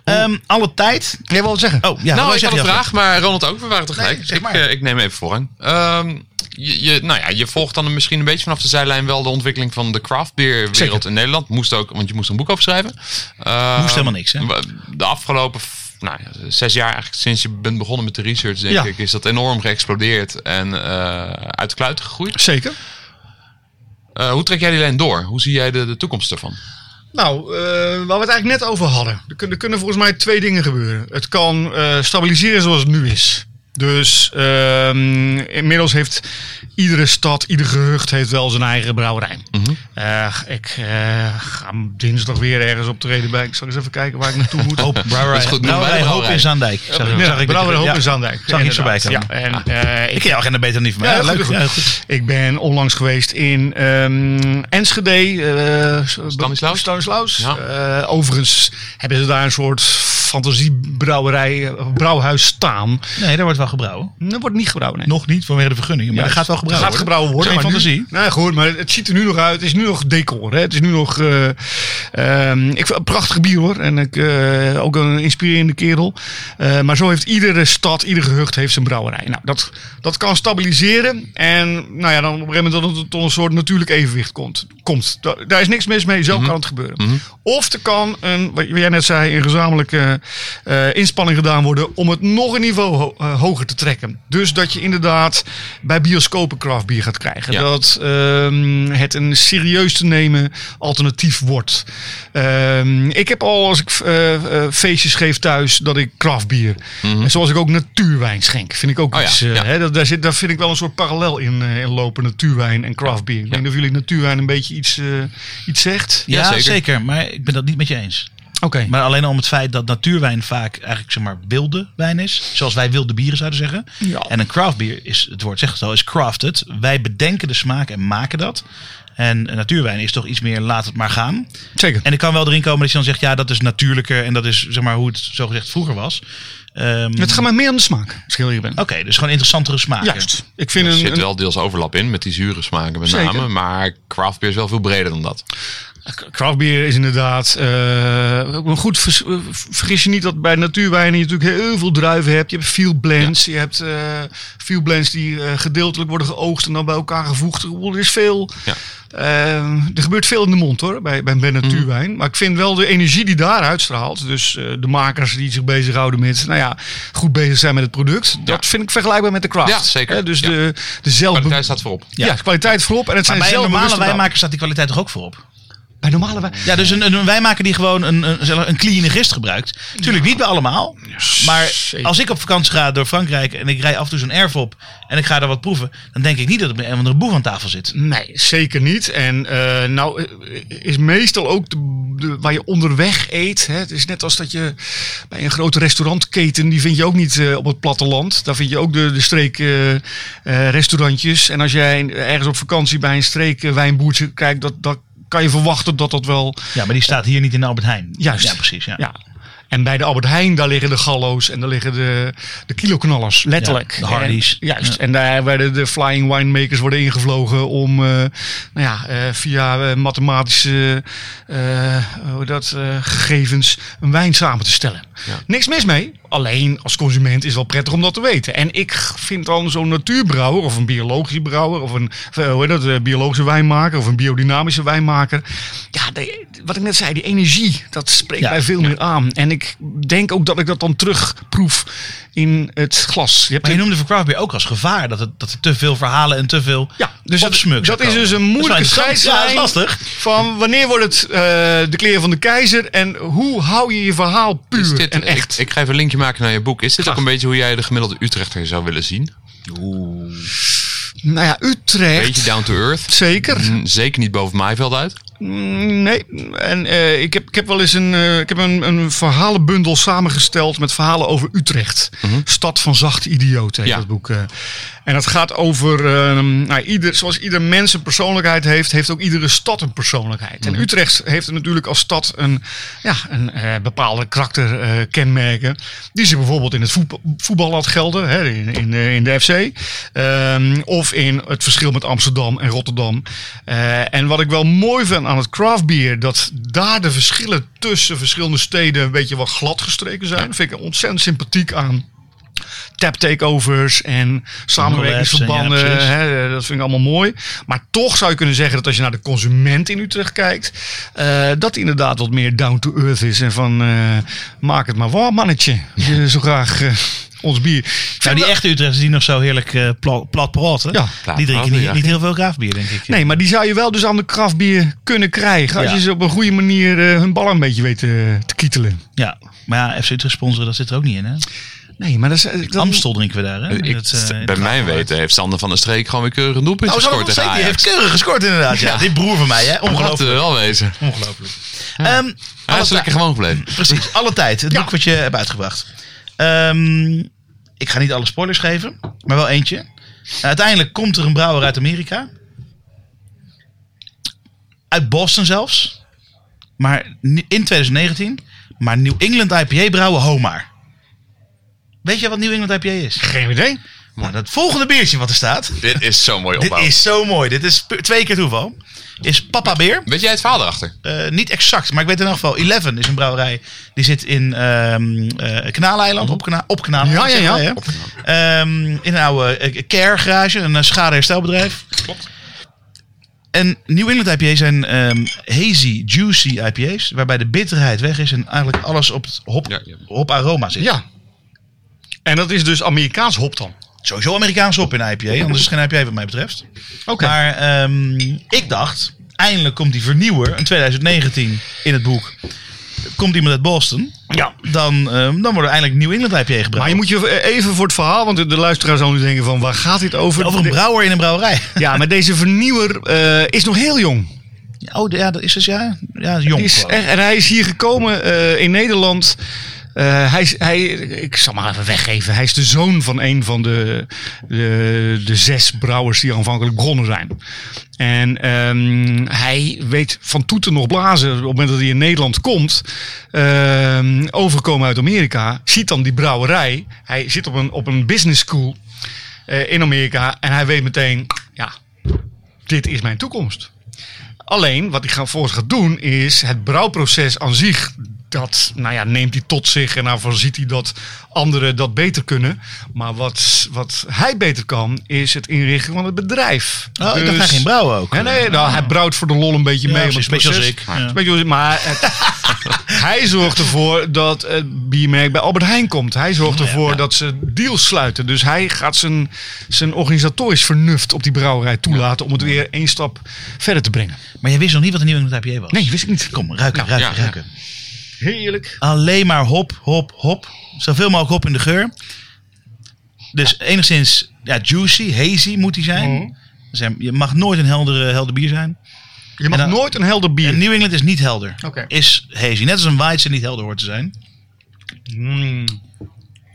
[SPEAKER 1] Ehm, alle tijd.
[SPEAKER 3] Jij wil wat zeggen?
[SPEAKER 1] Oh, ja,
[SPEAKER 2] nou,
[SPEAKER 1] wat
[SPEAKER 2] ik
[SPEAKER 1] zeg
[SPEAKER 2] had een
[SPEAKER 1] je, Jasper?
[SPEAKER 2] vraag, maar Ronald ook. We waren tegelijk.
[SPEAKER 1] Nee, zeg maar.
[SPEAKER 2] ik, eh, ik neem even voorrang. Ehm, je, je, nou ja, je volgt dan misschien een beetje vanaf de zijlijn wel de ontwikkeling van de craft beer wereld
[SPEAKER 3] Zeker.
[SPEAKER 2] in Nederland. Moest ook, want je moest een boek afschrijven. Ehm,
[SPEAKER 1] Moest helemaal niks, hè?
[SPEAKER 2] wa- De afgelopen f- nou, ja, zes jaar, eigenlijk sinds je bent begonnen met de research, denk
[SPEAKER 3] Ja.
[SPEAKER 2] ik, is dat enorm geëxplodeerd en eh, uit de kluiten gegroeid.
[SPEAKER 3] Zeker.
[SPEAKER 2] Eh, hoe trek jij die lijn door? Hoe zie jij de, de toekomst ervan?
[SPEAKER 3] Nou, eh, waar we het eigenlijk net over hadden. Er kunnen, er kunnen volgens mij twee dingen gebeuren. Het kan eh, stabiliseren zoals het nu is. Dus ehm, inmiddels heeft iedere stad, ieder gehucht heeft wel zijn eigen brouwerij.
[SPEAKER 1] Mhm.
[SPEAKER 3] Eh, ik eh, ga dinsdag weer ergens optreden bij. Ik zal eens even kijken waar ik naartoe moet.
[SPEAKER 1] Hoop, brouwerij,
[SPEAKER 2] is goed, noem
[SPEAKER 1] brouwerij
[SPEAKER 2] mij de
[SPEAKER 1] Hoop
[SPEAKER 2] brouwerij.
[SPEAKER 1] Nou, in Zaandijk. Zag, ik-
[SPEAKER 3] Ja,
[SPEAKER 1] zag ik
[SPEAKER 3] Brouwerij Hoop
[SPEAKER 1] ja.
[SPEAKER 3] in Zaandijk.
[SPEAKER 1] Zag ik iets voorbij
[SPEAKER 3] inderdaad.
[SPEAKER 1] komen. Ah.
[SPEAKER 3] Ja, en, eh,
[SPEAKER 1] Ik ken jouw agenda beter niet van mij.
[SPEAKER 3] Ja,
[SPEAKER 1] Ja,
[SPEAKER 3] goed,
[SPEAKER 1] leuk.
[SPEAKER 3] goed.
[SPEAKER 1] Ja, goed.
[SPEAKER 3] Ik ben onlangs geweest in ehm, Enschede. eh
[SPEAKER 2] Stanislaus?
[SPEAKER 3] Stanislaus.
[SPEAKER 2] Ja.
[SPEAKER 3] Eh, overigens hebben ze daar een soort fantasiebrouwerij, eh, brouwhuis staan.
[SPEAKER 1] Nee, daar wordt wel gebrouwen.
[SPEAKER 3] Dat wordt niet gebrouwen. nee.
[SPEAKER 1] Nog niet vanwege de vergunning, maar
[SPEAKER 3] Ja,
[SPEAKER 1] er gaat wel gebrouwen
[SPEAKER 3] gaat gebrouwen worden.
[SPEAKER 1] Geen
[SPEAKER 3] maar nu-
[SPEAKER 1] fantasie.
[SPEAKER 3] nou ja, goed, maar het ziet er nu nog uit. Het is nu nog decor. Hè? Het is nu nog... eh, ehm, ik vind een prachtig bier hoor. En ik, eh, ook een inspirerende kerel. Eh, maar zo heeft iedere stad, ieder gehucht heeft zijn brouwerij. Nou, dat, dat kan stabiliseren. En nou ja, dan op een gegeven moment dat het tot een soort natuurlijk evenwicht komt. komt. Da- daar is niks mis mee. Zo Mhm. kan het gebeuren. Of er kan, een, wat jij net zei, een gezamenlijke eh, inspanning gedaan worden om het nog een niveau ho- eh, hoger te trekken. Dus dat je inderdaad bij bioscopen craft bier gaat krijgen.
[SPEAKER 2] Ja.
[SPEAKER 3] Dat ehm, het een serieus te nemen alternatief wordt. Ehm, ik heb al, als ik eh, eh, feestjes geef thuis, dat ik craft bier. En zoals ik ook natuurwijn schenk. Vind ik ook
[SPEAKER 2] Mhm. Oh ja,
[SPEAKER 3] iets. eh,
[SPEAKER 2] ja.
[SPEAKER 3] hè, dat, daar, zit, daar vind ik wel een soort parallel in, eh, in lopen. Natuurwijn en craft bier. Ik weet niet of jullie natuurwijn een beetje iets, eh, iets zegt.
[SPEAKER 1] Ja,
[SPEAKER 2] Ja,
[SPEAKER 1] zeker.
[SPEAKER 2] zeker.
[SPEAKER 1] Maar ik ben dat niet met je eens.
[SPEAKER 3] Oké.
[SPEAKER 1] Maar alleen al om het feit dat natuurwijn vaak eigenlijk zeg maar wilde wijn is. Zoals wij wilde bieren zouden zeggen.
[SPEAKER 3] Ja.
[SPEAKER 1] En een craft bier is, het woord zegt het al, is crafted. Wij bedenken de smaak en maken dat. En eh, natuurwijn is toch iets meer laat het maar gaan.
[SPEAKER 3] Zeker.
[SPEAKER 1] En ik kan wel erin komen dat je dan zegt, ja, dat is natuurlijker. En dat is zeg maar hoe het zogezegd vroeger was. Ehm,
[SPEAKER 3] Het gaat maar meer om de smaak, als ik heel eerlijk ben.
[SPEAKER 1] Oké, dus gewoon interessantere smaken.
[SPEAKER 3] Juist. Ik vind
[SPEAKER 2] Er
[SPEAKER 3] een,
[SPEAKER 2] Oh, zit
[SPEAKER 3] een
[SPEAKER 2] wel deels overlap in met die zure smaken met
[SPEAKER 3] Zeker.
[SPEAKER 2] name. Maar craft beer is wel veel breder dan dat.
[SPEAKER 3] craft beer is inderdaad eh, ook een goed. vers- eh, vergis je niet dat bij natuurwijnen je natuurlijk heel veel druiven hebt. Je hebt veel blends. Je hebt eh veel blends die eh, gedeeltelijk worden geoogst en dan bij elkaar gevoegd. Ik bedoel, Er is veel.
[SPEAKER 2] Ja.
[SPEAKER 3] Eh, er gebeurt veel in de mond hoor, bij, bij, bij
[SPEAKER 2] Mhm.
[SPEAKER 3] natuurwijn. Maar ik vind wel de energie die daar uitstraalt. Dus eh, de makers die zich bezighouden met, nou ja, goed bezig zijn met het product. Dat vind ik vergelijkbaar met de craft.
[SPEAKER 2] Ja, zeker.
[SPEAKER 3] Hè, dus
[SPEAKER 2] Ja.
[SPEAKER 3] de, de zelf...
[SPEAKER 2] Kwaliteit staat voorop.
[SPEAKER 3] Ja,
[SPEAKER 1] Ja.
[SPEAKER 3] kwaliteit voorop. En het
[SPEAKER 1] Maar
[SPEAKER 3] zijn
[SPEAKER 1] bij een normale
[SPEAKER 3] zelfbewuste brouwers.
[SPEAKER 1] wijnmaker staat die kwaliteit toch ook voorop?
[SPEAKER 3] Bij normale wijn.
[SPEAKER 1] Ja, dus een, een, een wijnmaker die gewoon een, een, een clean gist gebruikt. Tuurlijk niet bij allemaal. Maar
[SPEAKER 3] zeker.
[SPEAKER 1] als ik op vakantie ga door Frankrijk en ik rij af en toe zo'n erf op en ik ga daar wat proeven, dan denk ik niet dat er een of andere boef aan tafel zit.
[SPEAKER 3] Nee, zeker niet. En eh, nou eh, is meestal ook de, de- waar je onderweg eet. Hè? Het is net als dat je bij een grote restaurantketen, die vind je ook niet eh, op het platteland. Daar vind je ook de, de streek eh, eh, restaurantjes. En als jij ergens op vakantie bij een streek eh, wijnboertje kijkt, dat, dat kan je verwachten dat dat wel
[SPEAKER 1] Ja, maar die staat hier niet in de Albert Heijn.
[SPEAKER 3] Juist.
[SPEAKER 1] Ja, precies. Eh, Ja.
[SPEAKER 3] Ja. En bij de Albert Heijn, daar liggen de gallo's en daar liggen de, de kiloknallers, letterlijk.
[SPEAKER 1] Ja, de Hardee's.
[SPEAKER 3] En- juist.
[SPEAKER 1] Ja.
[SPEAKER 3] En daar werden de flying winemakers worden ingevlogen om eh, nou ja, eh, via eh, mathematische eh, hoe dat, eh, gegevens een wijn samen te stellen. Niks mis mee. Alleen als consument is wel prettig om dat te weten. En ik vind dan zo'n natuurbrouwer of een biologische brouwer of een of, eh, hoe heet dat, eh, biologische wijnmaker of een biodynamische wijnmaker. Ja, de- wat ik net zei, die energie, dat spreekt
[SPEAKER 1] Ja.
[SPEAKER 3] mij veel meer aan. En ik denk ook dat ik dat dan terugproef in het glas. hebt
[SPEAKER 1] Maar je
[SPEAKER 3] een-
[SPEAKER 1] noemde voor craft beer ook als gevaar dat, het, dat er te veel verhalen en te veel
[SPEAKER 3] ja, dus dat,
[SPEAKER 1] opsmuk zou
[SPEAKER 3] dat is
[SPEAKER 1] komen.
[SPEAKER 3] dus een
[SPEAKER 1] wel
[SPEAKER 3] moeilijke
[SPEAKER 1] interessant.
[SPEAKER 3] scheidslijn.
[SPEAKER 1] Ja, dat is lastig.
[SPEAKER 3] Van wanneer wordt het eh, de kleren van de keizer en hoe hou je je verhaal puur
[SPEAKER 2] Is dit,
[SPEAKER 3] en echt?
[SPEAKER 2] Ik, ik ga even een linkje maken naar je boek. Is dit
[SPEAKER 3] Graag.
[SPEAKER 2] ook een beetje hoe jij de gemiddelde Utrechter zou willen zien?
[SPEAKER 3] nou ja, Utrecht.
[SPEAKER 2] Beetje down to earth.
[SPEAKER 3] Zeker.
[SPEAKER 2] Mm, Zeker niet boven Maaiveld uit.
[SPEAKER 3] Mm, Nee, en eh, ik, heb, ik heb wel eens een, eh, ik heb een, een verhalenbundel samengesteld met verhalen over Utrecht. Stad van zachte idioten heet
[SPEAKER 2] Mhm. Ja.
[SPEAKER 3] dat boek. eh. En dat gaat over, ehm, nou, ieder, zoals ieder mens een persoonlijkheid heeft, heeft ook iedere stad een persoonlijkheid. En Utrecht heeft natuurlijk als stad een, ja, een eh, bepaalde karakterkenmerken. die ze bijvoorbeeld in het voetbal, voetbal laat gelden, hè, in, in, eh, in de FC. Ehm, of in het verschil met Amsterdam en Rotterdam. Eh, en wat ik wel mooi vind aan het craft beer, dat daar de verschillen tussen verschillende steden een beetje wat glad gestreken zijn. vind ik ontzettend sympathiek aan. Tap takeovers en samenwerkingsverbanden.
[SPEAKER 1] Collabs en ja, precies.
[SPEAKER 3] hè, dat vind ik allemaal mooi. Maar toch zou je kunnen zeggen dat als je naar de consument in Utrecht kijkt, eh, dat die inderdaad wat meer down to earth is. En van eh, maak het maar warm, mannetje. Als je zo graag eh, ons bier. Ik vind
[SPEAKER 1] Nou, die
[SPEAKER 3] wel-
[SPEAKER 1] echte Utrechters die nog zo heerlijk eh, pla- plat praten,
[SPEAKER 3] Ja.
[SPEAKER 1] die drinken niet,
[SPEAKER 2] Ja.
[SPEAKER 1] niet heel veel kraafbier, denk ik.
[SPEAKER 3] Nee, maar die zou je wel dus aan de kraftbier kunnen krijgen. Als
[SPEAKER 1] Ja.
[SPEAKER 3] je ze op een goede manier eh, hun ballen een beetje weet eh, te kietelen.
[SPEAKER 1] Ja. Maar ja, FC Utrecht sponsoren, dat zit er ook niet in, hè?
[SPEAKER 3] Nee, maar dat is... eh, dat-
[SPEAKER 1] Amstel drinken we daar, hè?
[SPEAKER 2] Ik,
[SPEAKER 1] Dat, eh,
[SPEAKER 2] bij
[SPEAKER 1] dat-
[SPEAKER 2] mijn weten heeft Sander van der Streek gewoon weer keurig een
[SPEAKER 3] Nou,
[SPEAKER 2] doelpunt
[SPEAKER 1] Oh, zo
[SPEAKER 2] gescoord
[SPEAKER 1] nog
[SPEAKER 2] tegen
[SPEAKER 1] steeds. Die heeft
[SPEAKER 2] Ajax.
[SPEAKER 1] keurig gescoord, inderdaad. Ja,
[SPEAKER 2] Ja.
[SPEAKER 1] dit broer van mij, hè?
[SPEAKER 2] Laten we
[SPEAKER 1] Ongelooflijk.
[SPEAKER 2] wel wezen.
[SPEAKER 1] Ongelooflijk. Ehm,
[SPEAKER 2] Hij
[SPEAKER 1] alle
[SPEAKER 2] is
[SPEAKER 1] tij-
[SPEAKER 2] lekker gewoon gebleven.
[SPEAKER 1] precies, alle tijd. Het boek wat je hebt uitgebracht. Ehm, ik ga niet alle spoilers geven, maar wel eentje. Nou, uiteindelijk komt er een brouwer uit Amerika. Uit Boston zelfs. Maar ni- in 2019. Maar New England IPA brouwen Homar. Weet je wat New England IPA is?
[SPEAKER 3] Geen idee.
[SPEAKER 1] Nou, dat volgende biertje wat er staat.
[SPEAKER 2] Dit is zo'n mooi
[SPEAKER 1] Dit
[SPEAKER 2] opbouw.
[SPEAKER 1] is zo mooi. Dit is pu- twee keer toeval. Is Papa Beer.
[SPEAKER 2] Weet jij het verhaal erachter?
[SPEAKER 1] Eh, niet exact, maar ik weet in elk geval. Eleven is een brouwerij. Die zit in ehm eh, Kanaaleiland. Op, Kana op Kanaaleiland.
[SPEAKER 3] Ja, ja,
[SPEAKER 1] zeggen
[SPEAKER 3] ja.
[SPEAKER 1] wij, hè? Ehm, in een oude eh, care garage. Een eh, schadeherstelbedrijf.
[SPEAKER 2] Klopt.
[SPEAKER 1] En New England IPA's zijn ehm, hazy, juicy IPA's. Waarbij de bitterheid weg is en eigenlijk alles op het hop,
[SPEAKER 2] Ja, ja.
[SPEAKER 1] hoparoma zit.
[SPEAKER 3] Ja. En dat is dus Amerikaans hop dan.
[SPEAKER 1] Sowieso Amerikaans hop in IPA. Anders is het geen IPA wat mij betreft.
[SPEAKER 3] Oké.
[SPEAKER 1] Maar ehm, ik dacht, eindelijk komt die vernieuwer in 2019 in het boek. Komt iemand uit Boston,
[SPEAKER 3] Ja.
[SPEAKER 1] dan, ehm, dan wordt er eindelijk New England IPA gebruikt.
[SPEAKER 3] Maar je moet je eh, even voor het verhaal, want de- de luisteraar zal nu denken van waar gaat dit over?
[SPEAKER 1] Over een
[SPEAKER 3] De-
[SPEAKER 1] brouwer in een brouwerij.
[SPEAKER 3] Ja, maar deze vernieuwer eh, is nog heel jong.
[SPEAKER 1] Oh, ja, dat is dus ja. Ja, jong.
[SPEAKER 3] Die is
[SPEAKER 1] geloof ik.
[SPEAKER 3] echt, en hij is hier gekomen eh, in Nederland. Eh, hij, is- hij, ik zal maar even weggeven. Hij is de zoon van een van de, de, de zes brouwers die aanvankelijk begonnen zijn. En ehm, hij weet van toeten nog blazen. Op het moment dat hij in Nederland komt, ehm, overkomen uit Amerika, ziet dan die brouwerij. Hij zit op een, op een business school eh, in Amerika en hij weet meteen: ja, dit is mijn toekomst. Alleen wat ik ga, volgens gaat doen is het brouwproces aan zich. Dat nou ja, neemt hij tot zich en daarvan ziet hij dat anderen dat beter kunnen. Maar wat, wat hij beter kan, is het inrichten van het bedrijf.
[SPEAKER 1] Oh, ik dacht hij
[SPEAKER 3] Dus-
[SPEAKER 1] ging brouwen ook.
[SPEAKER 3] Nee, nee, nou, hij brouwt voor de lol een beetje
[SPEAKER 1] Ja,
[SPEAKER 3] mee.
[SPEAKER 1] precies,
[SPEAKER 3] want het
[SPEAKER 1] beetje als
[SPEAKER 3] proces-
[SPEAKER 1] ik. Ja.
[SPEAKER 3] Een beetje als ik, Maar het- hij zorgt ervoor dat het biermerk bij Albert Heijn komt. Hij zorgt ervoor dat ze deals sluiten. Dus hij gaat zijn, zijn organisatorisch vernuft op die brouwerij toelaten... om het weer één stap verder te brengen.
[SPEAKER 1] Maar jij wist nog niet wat een New England IPA was.
[SPEAKER 3] Nee, wist ik niet.
[SPEAKER 1] Kom, ruiken,
[SPEAKER 3] Nou,
[SPEAKER 1] ruiken,
[SPEAKER 2] ja,
[SPEAKER 1] ruiken.
[SPEAKER 3] Heerlijk.
[SPEAKER 1] Alleen maar hop, hop, hop. Zoveel mogelijk hop in de geur. Dus enigszins ja, juicy, hazy moet die zijn.
[SPEAKER 3] Mhm.
[SPEAKER 1] Zijn- Je mag nooit een heldere, helder bier zijn.
[SPEAKER 3] Je mag
[SPEAKER 1] En dan-
[SPEAKER 3] nooit een helder bier.
[SPEAKER 1] En New England is niet helder.
[SPEAKER 3] Oké.
[SPEAKER 1] Is hazy. Net als een Weidse niet helder hoort te zijn.
[SPEAKER 3] Mm,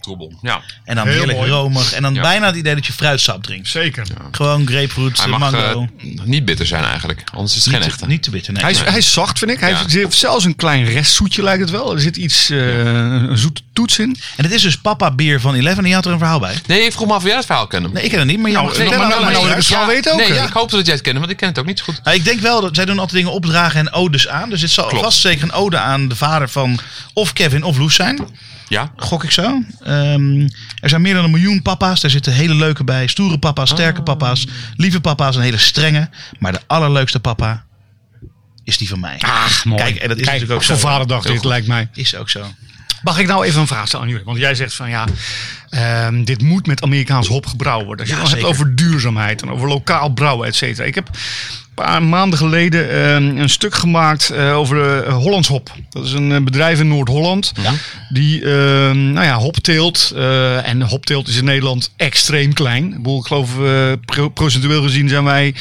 [SPEAKER 2] Troebel. Ja.
[SPEAKER 1] En dan
[SPEAKER 3] Heel
[SPEAKER 1] heerlijk
[SPEAKER 3] mooi.
[SPEAKER 1] romig. En dan
[SPEAKER 2] Ja.
[SPEAKER 1] bijna het idee dat je fruitsap drinkt.
[SPEAKER 3] zeker.
[SPEAKER 1] Gewoon grapefruit,
[SPEAKER 2] Hij
[SPEAKER 1] eh,
[SPEAKER 2] mag
[SPEAKER 1] mango.
[SPEAKER 2] eh, niet bitter zijn eigenlijk. Anders is het geen
[SPEAKER 1] niet,
[SPEAKER 2] echte.
[SPEAKER 1] te, niet te bitter, nee.
[SPEAKER 3] Hij is, hij is zacht, vind ik. Hij
[SPEAKER 2] Ja.
[SPEAKER 3] heeft- heeft zelfs een klein restzoetje, lijkt het wel. Er zit iets, eh, een zoete toets in.
[SPEAKER 1] En het is dus papa bier van Eleven. En je had er een verhaal bij.
[SPEAKER 2] Nee, ik vroeg me af of jij het verhaal kende.
[SPEAKER 1] Nee, ik ken het niet. Maar je
[SPEAKER 3] Nou,
[SPEAKER 1] mag
[SPEAKER 3] nog
[SPEAKER 1] vertellen
[SPEAKER 3] maar
[SPEAKER 1] aan
[SPEAKER 3] nou,
[SPEAKER 1] de
[SPEAKER 3] nou,
[SPEAKER 1] luisteraar.
[SPEAKER 3] zou weten ook,
[SPEAKER 2] Nee,
[SPEAKER 3] hè?
[SPEAKER 2] ja, ik hoop dat jij het kende, want ik ken het ook niet zo goed.
[SPEAKER 1] Nou, ik denk wel dat zij doen altijd dingen opdragen en odes aan. Dus dit zal
[SPEAKER 2] Klopt.
[SPEAKER 1] vast zeker een ode aan de vader van of Kevin of Loes zijn.
[SPEAKER 2] Ja,
[SPEAKER 1] Gok ik zo. Ehm, er zijn meer dan een miljoen papa's. Daar zitten hele leuke bij. Stoere papa's,
[SPEAKER 3] Ah.
[SPEAKER 1] sterke papa's, lieve papa's en hele strenge. Maar de allerleukste papa is die van mij.
[SPEAKER 3] Ach, Ah, mooi.
[SPEAKER 1] Kijk, en dat is natuurlijk ook
[SPEAKER 3] voor
[SPEAKER 1] zo.
[SPEAKER 3] vaderdag dit, lijkt mij.
[SPEAKER 1] Is ook zo.
[SPEAKER 3] Mag ik nou even een vraag stellen aan jullie? Want jij zegt van ja, ehm, dit moet met Amerikaans hop gebrouwen worden. Als
[SPEAKER 1] Ja,
[SPEAKER 3] je het dan hebt
[SPEAKER 1] zeker.
[SPEAKER 3] over duurzaamheid en over lokaal brouwen, et cetera. Ik heb een paar maanden geleden ehm, een stuk gemaakt eh, over eh, Hollands Hop. Dat is een eh, bedrijf in Noord-Holland die ehm, nou ja, hop teelt. eh, en hop teelt is in Nederland extreem klein. Ik, bedoel, ik geloof eh, pro- procentueel gezien zijn wij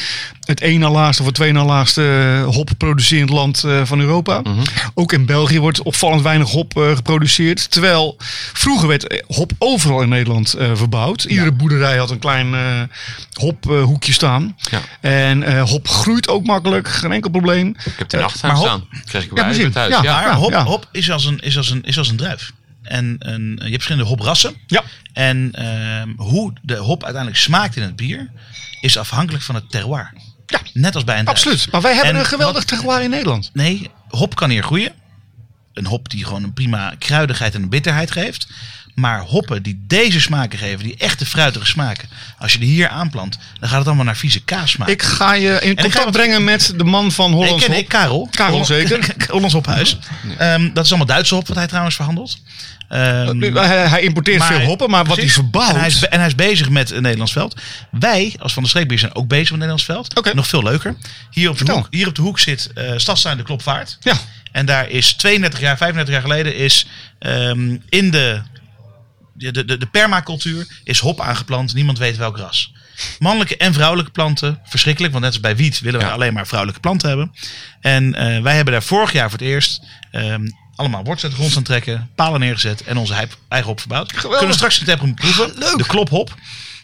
[SPEAKER 3] het één na laagste of het twee na laagste eh, hop producerend land eh, van Europa.
[SPEAKER 2] Mhm.
[SPEAKER 3] Ook in België wordt opvallend weinig hop eh, geproduceerd. Terwijl vroeger werd eh, hop overal in Nederland eh, verbouwd. Iedere boerderij had een klein eh hophoekje staan.
[SPEAKER 2] Ja.
[SPEAKER 3] En eh, hop groeit ook makkelijk, geen enkel probleem.
[SPEAKER 2] ik heb het in
[SPEAKER 3] Eh,
[SPEAKER 2] achtertuin
[SPEAKER 3] maar hop-
[SPEAKER 2] staan. Kreeg ik
[SPEAKER 3] Ja,
[SPEAKER 2] bij
[SPEAKER 3] precies.
[SPEAKER 2] het huis.
[SPEAKER 3] Ja.
[SPEAKER 2] Ja.
[SPEAKER 1] Maar
[SPEAKER 3] ja,
[SPEAKER 1] hop,
[SPEAKER 3] ja.
[SPEAKER 1] hop is, als een, is, als een, is als een druif. En een, je hebt verschillende hoprassen.
[SPEAKER 3] Ja.
[SPEAKER 1] En ehm, hoe de hop uiteindelijk smaakt in het bier is afhankelijk van het terroir.
[SPEAKER 3] Ja.
[SPEAKER 1] Net als bij een druif.
[SPEAKER 3] Absoluut. Maar wij hebben
[SPEAKER 1] En
[SPEAKER 3] een geweldig
[SPEAKER 1] wat-
[SPEAKER 3] terroir in Nederland.
[SPEAKER 1] Nee, hop kan hier groeien. Een hop die gewoon een prima kruidigheid en een bitterheid geeft. Maar hoppen die deze smaken geven, die echte fruitige smaken. Als je die hier aanplant, dan gaat het allemaal naar vieze kaas smaken.
[SPEAKER 3] Ik ga je in
[SPEAKER 1] ga
[SPEAKER 3] contact
[SPEAKER 1] wat-
[SPEAKER 3] brengen met de man van
[SPEAKER 1] Nee, ik
[SPEAKER 3] Hollands
[SPEAKER 1] ken
[SPEAKER 3] Hop.
[SPEAKER 1] ik, Karel.
[SPEAKER 3] Karel, zeker.
[SPEAKER 1] Hollands Hophuis. Ehm, dat is allemaal Duitse hop wat hij trouwens verhandelt. Ehm,
[SPEAKER 3] Hij, hij importeert
[SPEAKER 1] maar-
[SPEAKER 3] veel hoppen, maar wat
[SPEAKER 1] precies.
[SPEAKER 3] hij verbouwt...
[SPEAKER 1] En hij, is, be- en hij is bezig met het Nederlands veld. Wij, als Van de Streekbier, zijn ook bezig met het Nederlands veld.
[SPEAKER 3] Oké.
[SPEAKER 1] Nog veel leuker. Hier op de,
[SPEAKER 3] Vertel.
[SPEAKER 1] hoek, hier op de hoek zit eh Stadstuin de Klopvaart.
[SPEAKER 3] Ja,
[SPEAKER 1] En daar is 32 jaar, 35 jaar geleden is ehm, in de de, de, de permacultuur is hop aangeplant. Niemand weet welk ras. Mannelijke en vrouwelijke planten. Verschrikkelijk, want net als bij wiet willen we
[SPEAKER 2] Ja.
[SPEAKER 1] alleen maar vrouwelijke planten hebben. En eh, wij hebben daar vorig jaar voor het eerst ehm, allemaal wortels uit de grond aan trekken. Palen neergezet en onze hei- eigen hop verbouwd. Kunnen we straks in het hebben proeven. leuk. De klophop.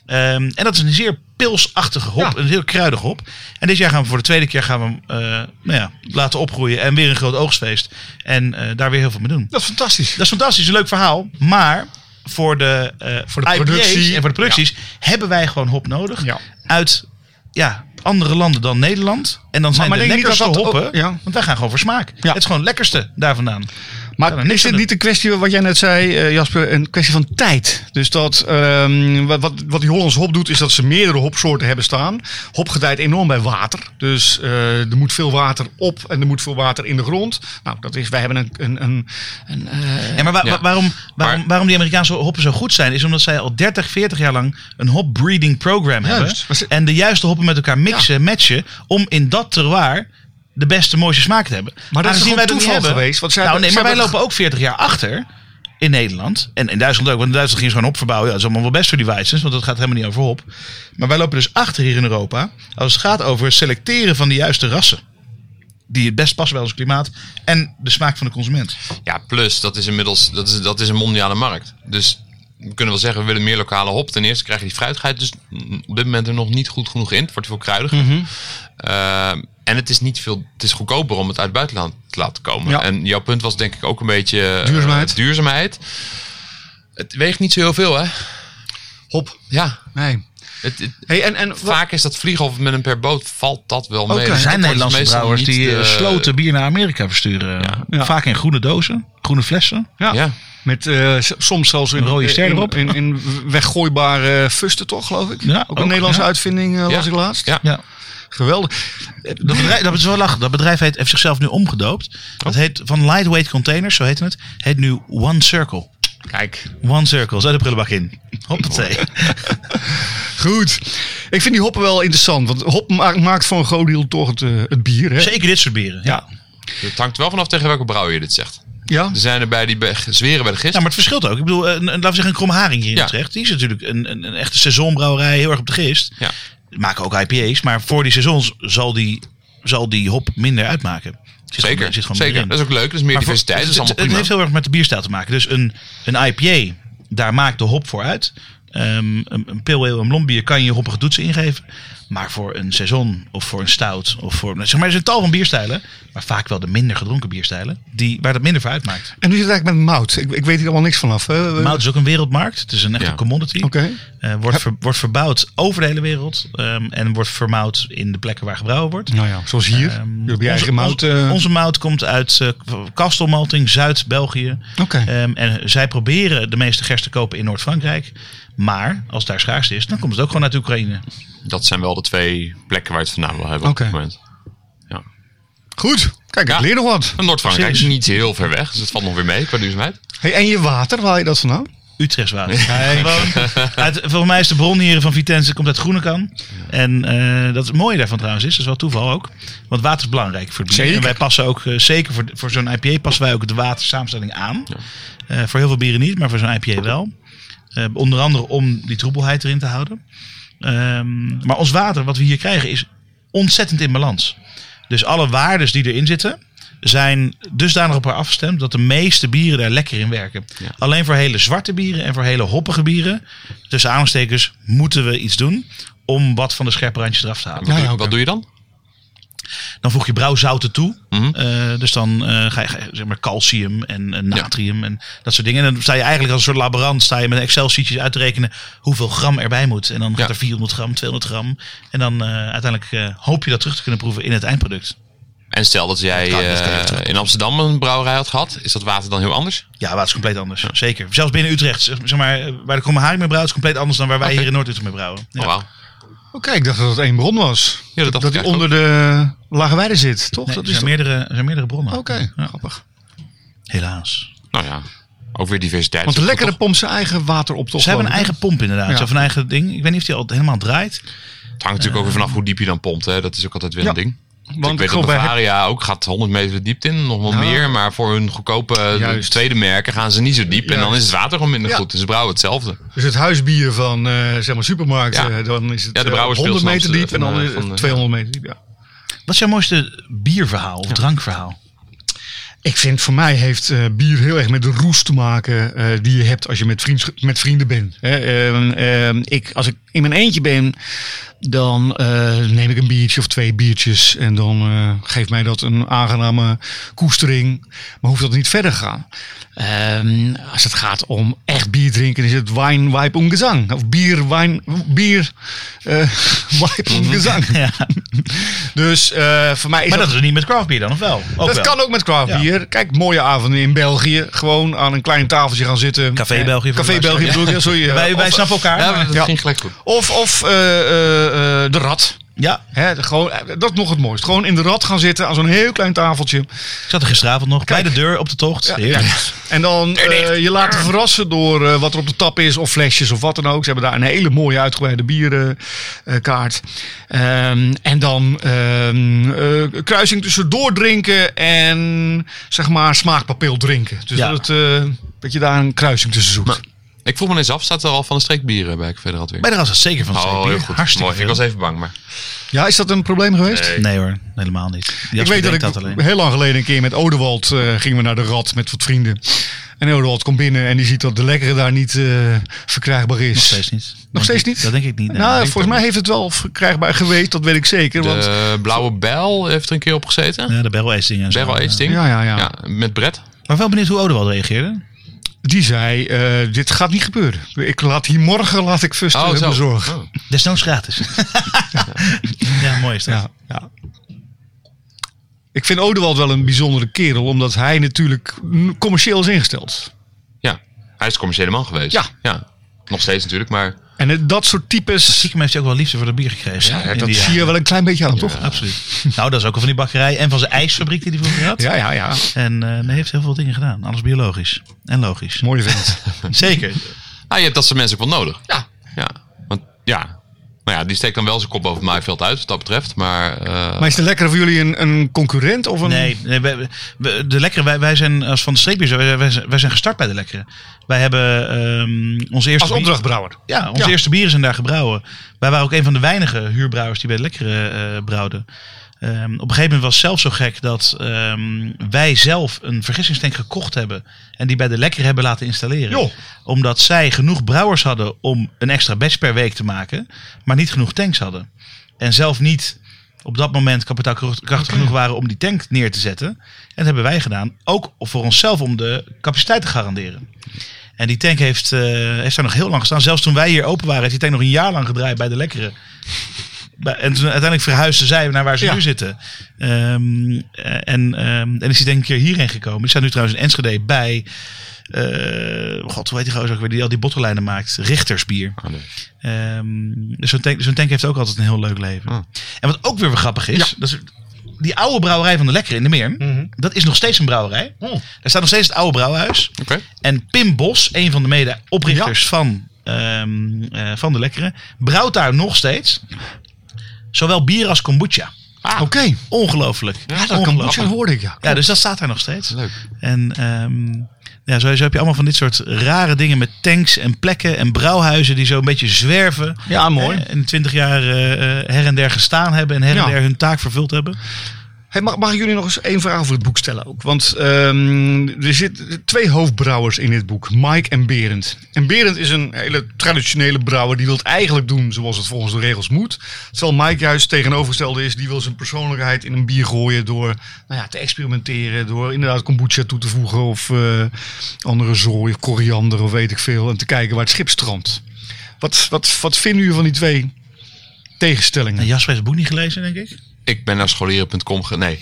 [SPEAKER 1] Ehm, en dat is een zeer pilsachtige hop. Een heel kruidige hop. En dit jaar gaan we voor de tweede keer gaan we hem eh, nou ja, laten opgroeien. En weer een groot oogstfeest. En eh, daar weer heel veel mee doen.
[SPEAKER 5] Dat is fantastisch.
[SPEAKER 1] Dat is fantastisch, een leuk verhaal. Maar voor de, eh, voor de productie
[SPEAKER 5] productie.
[SPEAKER 1] en voor de producties hebben wij gewoon hop nodig.
[SPEAKER 3] Ja.
[SPEAKER 1] Uit ja, andere landen dan Nederland. En dan zijn
[SPEAKER 3] maar
[SPEAKER 1] de
[SPEAKER 3] denk je niet
[SPEAKER 1] lekkerste
[SPEAKER 3] dat dat
[SPEAKER 1] hoppen.
[SPEAKER 3] ook- ja.
[SPEAKER 1] Want wij gaan gewoon voor smaak. Het is gewoon het lekkerste daar vandaan.
[SPEAKER 3] Maar
[SPEAKER 1] Kan er niks
[SPEAKER 3] is
[SPEAKER 1] aan
[SPEAKER 3] het
[SPEAKER 1] doen.
[SPEAKER 3] niet een kwestie wat jij net zei, eh, Jasper, een kwestie van tijd? Dus dat ehm, wat- wat, wat die Hollandse hop doet, is dat ze meerdere hopsoorten hebben staan. Hop gedijt enorm bij water. Dus eh, er moet veel water op en er moet veel water in de grond. Nou, dat is, wij hebben een. een, een, een eh,
[SPEAKER 1] Ja, maar wa-
[SPEAKER 2] Ja.
[SPEAKER 1] wa- waarom, waarom,
[SPEAKER 2] Maar-
[SPEAKER 1] waarom die Amerikaanse hoppen zo goed zijn, is omdat zij al 30, 40 jaar lang een hop breeding program hebben.
[SPEAKER 5] Juist. Maar ze-
[SPEAKER 1] En de juiste hoppen met elkaar mixen, matchen, om in dat terroir de beste, mooiste smaak te hebben.
[SPEAKER 3] Maar dat is
[SPEAKER 1] Aangezien
[SPEAKER 3] gewoon
[SPEAKER 1] dat niet
[SPEAKER 3] toeval geweest, want zij
[SPEAKER 1] nou,
[SPEAKER 3] hebben-
[SPEAKER 1] nee, maar
[SPEAKER 3] zij
[SPEAKER 1] wij
[SPEAKER 3] hebben-
[SPEAKER 1] lopen ook 40 jaar achter in Nederland. En in Duitsland ook, want in Duitsland gingen ze gewoon opverbouwen. Ja, dat is allemaal wel best voor die Weizens, want dat gaat helemaal niet over hop. Maar wij lopen dus achter hier in Europa als het gaat over het selecteren van de juiste rassen. Die het best passen bij ons klimaat en de smaak van de consument.
[SPEAKER 2] Ja, plus dat is inmiddels dat is, dat is een mondiale markt. Dus we kunnen wel zeggen, we willen meer lokale hop. Ten eerste krijg je die fruitigheid dus mm, op dit moment er nog niet goed genoeg in. Het wordt veel kruidiger.
[SPEAKER 1] Mhm.
[SPEAKER 2] Ehm, en het is, niet veel, het is goedkoper om het uit het buitenland te laten komen.
[SPEAKER 3] Ja.
[SPEAKER 2] En jouw punt was denk ik ook een beetje eh,
[SPEAKER 3] Duurzaamheid.
[SPEAKER 2] duurzaamheid. Het weegt niet zo heel veel, hè?
[SPEAKER 3] hop.
[SPEAKER 2] Ja.
[SPEAKER 3] Nee.
[SPEAKER 2] Het, het-
[SPEAKER 3] Hey, en, en wat-
[SPEAKER 2] vaak is dat vliegen of met een per boot valt dat wel mee. Dus
[SPEAKER 3] Oké.
[SPEAKER 1] Er
[SPEAKER 2] dat
[SPEAKER 1] zijn
[SPEAKER 2] wordt
[SPEAKER 1] Nederlandse
[SPEAKER 2] meestal
[SPEAKER 1] brouwers
[SPEAKER 2] niet
[SPEAKER 1] die
[SPEAKER 2] de-
[SPEAKER 1] eh, sloten bier naar Amerika versturen.
[SPEAKER 3] Ja.
[SPEAKER 1] Vaak in groene dozen, groene flessen.
[SPEAKER 3] ja.
[SPEAKER 2] Ja.
[SPEAKER 3] Met eh, s- soms zelfs in
[SPEAKER 1] Rode ster
[SPEAKER 3] in-
[SPEAKER 1] erop.
[SPEAKER 3] In, in weggooibare fusten, toch, geloof ik?
[SPEAKER 1] Ja,
[SPEAKER 3] ook
[SPEAKER 1] ook,
[SPEAKER 3] een Nederlandse
[SPEAKER 1] ja.
[SPEAKER 3] uitvinding, eh,
[SPEAKER 2] Ja.
[SPEAKER 3] las ik laatst.
[SPEAKER 2] Ja.
[SPEAKER 1] Ja.
[SPEAKER 3] Geweldig.
[SPEAKER 1] Dat, bedrijf, dat is wel lachen. Dat bedrijf heeft, heeft zichzelf nu omgedoopt. Dat heet van Lightweight Containers, zo heette het. Heet nu One Circle.
[SPEAKER 3] Kijk,
[SPEAKER 1] One Circle, zet de prullenbak in. Hoppatee.
[SPEAKER 3] Goed. Ik vind die hoppen wel interessant. Want hop ma- maakt voor een groot deel toch het, eh, het bier. Hè?
[SPEAKER 1] Zeker dit soort bieren. Ja.
[SPEAKER 3] Ja.
[SPEAKER 2] Het hangt wel vanaf tegen welke brouwer je dit zegt.
[SPEAKER 3] Ja?
[SPEAKER 2] Er zijn er bij die be- zweren bij de gist.
[SPEAKER 1] ja, maar het verschilt ook. Ik bedoel, eh, een, een- laten we zeggen een Krom Haring hier in
[SPEAKER 2] Ja.
[SPEAKER 1] Utrecht. Die is natuurlijk een, een, een echte seizoenbrouwerij, heel erg op de gist.
[SPEAKER 2] Ja.
[SPEAKER 1] Die Maken ook IPA's, maar voor die seizoens zal die, zal die hop minder uitmaken. Zit gewoon-
[SPEAKER 2] Zeker,
[SPEAKER 1] zit gewoon meer
[SPEAKER 2] zeker.
[SPEAKER 1] in.
[SPEAKER 2] Dat is ook leuk. Dat is meer
[SPEAKER 1] Maar voor-
[SPEAKER 2] diversiteit. Dat is
[SPEAKER 1] het-
[SPEAKER 2] allemaal
[SPEAKER 1] het, het
[SPEAKER 2] prima.
[SPEAKER 1] heeft heel erg met de bierstijl te maken. Dus een, een IPA, daar maakt de hop voor uit. Ehm, een, een pale ale, een blond bier kan je hoppige toetsen ingeven. Maar voor een saison of voor een stout of voor... nou, Zeg maar, er zijn tal van bierstijlen, maar vaak wel de minder gedronken bierstijlen, die, waar dat minder voor uitmaakt.
[SPEAKER 3] En nu zit het eigenlijk met mout. Ik, ik weet hier allemaal niks vanaf. Hè?
[SPEAKER 1] Mout is ook een wereldmarkt. Het is een echte
[SPEAKER 2] Ja.
[SPEAKER 1] commodity.
[SPEAKER 3] Eh. Oké.
[SPEAKER 1] Eh, wordt, ver- wordt verbouwd over de hele wereld. ehm, en wordt vermouwd in de plekken waar gebrouwen wordt.
[SPEAKER 3] Nou ja, zoals hier.
[SPEAKER 1] Ehm,
[SPEAKER 3] je hebt je
[SPEAKER 1] onze,
[SPEAKER 3] eigen mout.
[SPEAKER 1] onze,
[SPEAKER 3] eh,
[SPEAKER 1] onze mout komt uit eh, Kastelmalting, Zuid-België.
[SPEAKER 3] Oké.
[SPEAKER 1] Ehm, en zij proberen de meeste gerst te kopen in Noord-Frankrijk. Maar als daar schaarste is, dan komt het ook gewoon uit Oekraïne.
[SPEAKER 2] Dat zijn wel de twee plekken waar je het vandaan wil hebben
[SPEAKER 3] Oké.
[SPEAKER 2] op dit moment.
[SPEAKER 3] Goed. Kijk, ik
[SPEAKER 2] Ja.
[SPEAKER 3] leer nog wat.
[SPEAKER 2] En Nou, Noord-Frankrijk is
[SPEAKER 1] Precies.
[SPEAKER 2] niet heel ver weg. Dus het valt nog weer mee qua duurzaamheid.
[SPEAKER 3] Hey, en je water, waar haal je dat vandaan?
[SPEAKER 1] Utrechts water. Gewoon uit- Volgens mij is de bron hier van Vitesse komt uit Groenekan. En eh, dat is het mooie daarvan trouwens is, dat is wel toeval ook. Want water is belangrijk voor het bier.
[SPEAKER 3] Zeker.
[SPEAKER 1] En wij passen ook, eh, zeker voor, voor zo'n IPA, passen wij ook de watersamenstelling aan. Eh, voor heel veel bieren niet, maar voor zo'n IPA wel. Eh, onder andere om die troebelheid erin te houden. Ehm, maar ons water, wat we hier krijgen, is ontzettend in balans. Dus alle waardes die erin zitten, zijn dusdanig op haar afgestemd dat de meeste bieren daar lekker in werken. Alleen voor hele zwarte bieren en voor hele hoppige bieren, tussen aanstekers, moeten we iets doen om wat van de scherpe randjes eraf te halen.
[SPEAKER 2] Wat, doe,
[SPEAKER 3] ja, oké.
[SPEAKER 2] wat doe je dan?
[SPEAKER 1] Dan voeg je brouwzouten toe.
[SPEAKER 2] Mhm.
[SPEAKER 1] Eh, dus dan eh, ga je ga je, zeg maar calcium en, en natrium en dat soort dingen. En dan sta je eigenlijk als een soort laborant sta je met Excel-sheetjes uit te rekenen hoeveel gram erbij moet. En dan gaat
[SPEAKER 2] Ja.
[SPEAKER 1] er 400 gram, 200 gram. En dan eh, uiteindelijk eh, hoop je dat terug te kunnen proeven in het eindproduct.
[SPEAKER 2] En stel dat jij
[SPEAKER 1] kan- dat kan je
[SPEAKER 2] eh,
[SPEAKER 1] even terugkomen.
[SPEAKER 2] in Amsterdam een brouwerij had gehad. Is dat water dan heel anders?
[SPEAKER 1] Ja, water is compleet anders. Zeker. Zelfs binnen Utrecht, zeg zeg maar, eh, waar de Kommeharing mee brouwt, is compleet anders dan waar wij hier in Noord-Utrecht mee brouwen. Ja.
[SPEAKER 2] Oh, wauw.
[SPEAKER 3] Oké, ik dacht dat het één bron was.
[SPEAKER 2] Ja, dat dacht
[SPEAKER 3] dat
[SPEAKER 2] ik
[SPEAKER 3] die
[SPEAKER 2] eigenlijk
[SPEAKER 3] onder de lage weide zit, toch?
[SPEAKER 1] Nee,
[SPEAKER 3] dat
[SPEAKER 1] er,
[SPEAKER 3] is
[SPEAKER 1] zijn meerdere, er zijn meerdere bronnen.
[SPEAKER 3] Oké,
[SPEAKER 1] Ja.
[SPEAKER 3] grappig.
[SPEAKER 1] Helaas.
[SPEAKER 2] Nou ja, ook weer diversiteit.
[SPEAKER 3] Want de lekkere pompt zijn eigen water op toch?
[SPEAKER 1] Ze hebben een
[SPEAKER 3] geloof ik,
[SPEAKER 1] eigen pomp inderdaad.
[SPEAKER 3] Ja.
[SPEAKER 1] Ze hebben een eigen ding. Ik weet niet of die al helemaal draait.
[SPEAKER 2] Het hangt natuurlijk ook weer vanaf hoe diep je dan pompt. Hè. Dat is ook altijd weer
[SPEAKER 3] Ja.
[SPEAKER 2] een ding. Want ik weet dat
[SPEAKER 6] gewoon bij
[SPEAKER 2] Bavaria ook gaat 100 meter de diepte in, nog wel meer. Maar voor hun goedkope eh,
[SPEAKER 3] Juist.
[SPEAKER 2] tweede merken gaan ze niet zo diep. En dan
[SPEAKER 3] Juist.
[SPEAKER 2] is het water gewoon minder
[SPEAKER 3] Ja.
[SPEAKER 2] goed. Dus ze brouwen hetzelfde.
[SPEAKER 3] Dus het huisbier van eh, zeg maar supermarkten,
[SPEAKER 2] Ja.
[SPEAKER 3] eh, dan is het
[SPEAKER 2] Ja, de
[SPEAKER 3] eh,
[SPEAKER 2] brouwers
[SPEAKER 3] 100
[SPEAKER 2] speelt
[SPEAKER 3] meter
[SPEAKER 2] van
[SPEAKER 3] diep en dan
[SPEAKER 2] Amsterdam,
[SPEAKER 3] is
[SPEAKER 2] eh, van
[SPEAKER 3] het
[SPEAKER 2] de-
[SPEAKER 3] 200 meter diep. Ja.
[SPEAKER 1] Wat is jouw mooiste bierverhaal of drankverhaal?
[SPEAKER 3] Ik vind voor mij heeft eh, bier heel erg met de roes te maken eh, die je hebt als je met, vriendsch- met vrienden bent. Hè, ehm, ehm, ik, als ik in mijn eentje ben, dan eh, neem ik een biertje of twee biertjes. En dan eh, geeft mij dat een aangename koestering. Maar hoeft dat niet verder gaan. Ehm, als het gaat om echt bier drinken, is het wijn, wijp en gezang. Of bier, wijn, bier, eh wijp en gezang.
[SPEAKER 1] Ja.
[SPEAKER 3] Dus eh, voor mij is
[SPEAKER 1] Mm-hmm. Maar
[SPEAKER 3] dat
[SPEAKER 1] dat is dus niet met craft beer dan, of wel? Ook
[SPEAKER 3] dat
[SPEAKER 1] wel.
[SPEAKER 3] kan ook met craft
[SPEAKER 1] Ja.
[SPEAKER 3] bier. Kijk, mooie avonden in België. Gewoon aan een klein tafeltje gaan zitten.
[SPEAKER 1] Café
[SPEAKER 3] Eh,
[SPEAKER 1] België voor de
[SPEAKER 3] Café België bedoel ik, ja, sorry. Eh,
[SPEAKER 1] Wij,
[SPEAKER 3] of,
[SPEAKER 1] wij snappen elkaar.
[SPEAKER 2] Ja,
[SPEAKER 1] maar-
[SPEAKER 2] dat
[SPEAKER 3] Ja.
[SPEAKER 2] ging gelijk goed.
[SPEAKER 3] Of, of eh, eh, eh, de rat.
[SPEAKER 1] ja,
[SPEAKER 3] Hè, de- gewoon, eh, dat is nog het mooist. Gewoon in de rat gaan zitten aan zo'n heel klein tafeltje.
[SPEAKER 1] ik zat er gisteravond nog bij de deur op de tocht. Heerlijk.
[SPEAKER 3] En dan eh, je laten verrassen door eh, wat er op de tap is, of flesjes of wat dan ook. Ze hebben daar een hele mooie uitgebreide bierenkaart. en dan ehm, eh, kruising tussen doordrinken en zeg maar smaakpapeel drinken. Dus
[SPEAKER 1] Ja.
[SPEAKER 3] dat, het, eh, dat je daar een kruising tussen zoekt.
[SPEAKER 2] Ik vroeg me eens af, staat er al van de streekbieren bij ik verder had weer?
[SPEAKER 1] Bij de ras is zeker van
[SPEAKER 2] Oh,
[SPEAKER 1] zeebier.
[SPEAKER 2] heel goed.
[SPEAKER 1] Hartstikke
[SPEAKER 2] Mooi. Ik
[SPEAKER 1] veel.
[SPEAKER 2] was even bang, maar...
[SPEAKER 3] ja, is dat een probleem geweest?
[SPEAKER 1] Nee hoor, helemaal niet. Jasper
[SPEAKER 3] Ik weet dat ik
[SPEAKER 1] denkt dat alleen.
[SPEAKER 3] heel lang geleden een keer met Odewald eh, gingen we naar de Rad met wat vrienden. En Odewald komt binnen en die ziet dat de lekkere daar niet eh, verkrijgbaar is.
[SPEAKER 1] Nog steeds niet.
[SPEAKER 3] Nog
[SPEAKER 1] Denk
[SPEAKER 3] steeds
[SPEAKER 1] ik-
[SPEAKER 3] niet?
[SPEAKER 1] Dat denk ik niet. nee.
[SPEAKER 3] nou,
[SPEAKER 1] Ik denk
[SPEAKER 3] volgens mij heeft het wel verkrijgbaar geweest, dat weet ik zeker. Want,
[SPEAKER 2] De blauwe bijl heeft er een keer op gezeten.
[SPEAKER 1] dat- Ja, de barrel acing en zo.
[SPEAKER 2] Barrel Ace
[SPEAKER 1] Ja.
[SPEAKER 2] ding.
[SPEAKER 3] ja, ja, ja,
[SPEAKER 2] met Brett.
[SPEAKER 1] Maar wel benieuwd hoe Odewald reageerde.
[SPEAKER 3] Die zei, eh, dit gaat niet gebeuren. Ik laat hier morgen, laat ik Fuster
[SPEAKER 2] Oh, zo.
[SPEAKER 3] bezorgen.
[SPEAKER 2] Oh.
[SPEAKER 1] Desnoods gratis. ja, mooi is dat.
[SPEAKER 3] Ja, ja. Ik vind Odewald wel een bijzondere kerel, omdat hij natuurlijk mm, commercieel is ingesteld.
[SPEAKER 2] Ja, hij is commerciële man geweest.
[SPEAKER 3] Ja.
[SPEAKER 2] ja. Nog steeds natuurlijk, maar
[SPEAKER 3] En het- dat soort types, eh,
[SPEAKER 1] Stiekem heeft hij ook wel liefde voor de bier gekregen.
[SPEAKER 2] Ja,
[SPEAKER 1] in
[SPEAKER 3] dat
[SPEAKER 1] die
[SPEAKER 3] zie je
[SPEAKER 1] jaren.
[SPEAKER 3] wel een klein beetje aan, toch?
[SPEAKER 1] Absoluut. Nou, dat is ook al van die bakkerij en van zijn ijsfabriek die hij vroeger had.
[SPEAKER 3] Ja, ja, ja.
[SPEAKER 1] En eh, hij heeft heel veel dingen gedaan. Alles biologisch. En logisch.
[SPEAKER 3] Mooie vent.
[SPEAKER 1] Zeker.
[SPEAKER 2] nou, je hebt dat soort mensen ook wel nodig.
[SPEAKER 3] Ja.
[SPEAKER 2] ja. Want ja, nou ja, die steekt dan wel zijn kop boven het maaiveld uit wat dat betreft. Maar, eh,
[SPEAKER 3] Maar is de lekkere voor jullie een, een concurrent of een...
[SPEAKER 1] Nee, nee wij- wij- de lekkere, wij, wij zijn als van de streekbier, wij, wij, zijn- wij zijn gestart bij de lekkere. Wij hebben ehm onze eerste
[SPEAKER 3] Als opdrachtbrouwer.
[SPEAKER 1] bier- ja, onze
[SPEAKER 3] Ja.
[SPEAKER 1] eerste bieren zijn daar gebrouwen. Wij waren ook een van de weinige huurbrouwers die bij de lekkere eh brouwden. Ehm, op een gegeven moment was het zelfs zo gek dat ehm, wij zelf een vergissingstank gekocht hebben. En die bij de lekkere hebben laten installeren.
[SPEAKER 3] Joh.
[SPEAKER 1] Omdat zij genoeg brouwers hadden om een extra batch per week te maken. Maar niet genoeg tanks hadden. En zelf niet op dat moment kapitaalkrachtig genoeg waren om die tank neer te zetten. En dat hebben wij gedaan. Ook voor onszelf om de capaciteit te garanderen. En die tank heeft, eh, heeft daar nog heel lang gestaan. Zelfs toen wij hier open waren, heeft die tank nog een jaar lang gedraaid bij de lekkere. Bij- En toen uiteindelijk verhuisden zij naar waar ze
[SPEAKER 3] Ja.
[SPEAKER 1] nu zitten. Ehm, eh, en, ehm, en is die denk ik een keer hierheen gekomen. Die staat nu trouwens in Enschede bij... eh, God, hoe heet die gozer ook weer? Die al die bottellijnen maakt. Richtersbier.
[SPEAKER 2] ah, nee.
[SPEAKER 1] Ehm, dus zo'n tank, zo'n tank heeft ook altijd een heel leuk leven. En wat ook weer wel grappig is, dat is die oude brouwerij van de Lekker in de Meer, dat is nog steeds een brouwerij. Daar staat nog steeds het oude brouwhuis.
[SPEAKER 2] Oké.
[SPEAKER 1] En Pim Bos, een van de medeoprichters van, ehm, eh, van de Lekkere, brouwt daar nog steeds zowel bier als kombucha.
[SPEAKER 3] Oké.
[SPEAKER 1] Ongelooflijk.
[SPEAKER 3] Ja, dat kan
[SPEAKER 1] Ongelooflijk.
[SPEAKER 3] Dat hoorde ik, ja.
[SPEAKER 1] Ja, dus dat staat daar nog steeds.
[SPEAKER 2] Leuk.
[SPEAKER 1] En ehm, ja, sowieso heb je allemaal van dit soort rare dingen met tanks en plekken en brouwhuizen die zo een beetje zwerven.
[SPEAKER 3] Ja, mooi.
[SPEAKER 1] Hè, En twintig jaar eh, eh, her en der gestaan hebben en her en
[SPEAKER 3] Ja.
[SPEAKER 1] der hun taak vervuld hebben.
[SPEAKER 3] Hey, mag, mag ik jullie nog eens één vraag over het boek stellen ook? Want ehm, er zitten twee hoofdbrouwers in dit boek, Mike en Berend. En Berend is een hele traditionele brouwer, die wil het eigenlijk doen zoals het volgens de regels moet. Terwijl Mike juist tegenovergestelde is, die wil zijn persoonlijkheid in een bier gooien door nou ja, te experimenteren, door inderdaad kombucha toe te voegen of eh, andere zooi, of koriander of weet ik veel, en te kijken waar het schip strandt. Wat, wat, wat vinden jullie van die twee
[SPEAKER 1] En
[SPEAKER 3] tegenstellingen?
[SPEAKER 1] Jasper heeft het boek niet gelezen, denk ik.
[SPEAKER 2] Ik ben naar scholieren.com ge... Nee.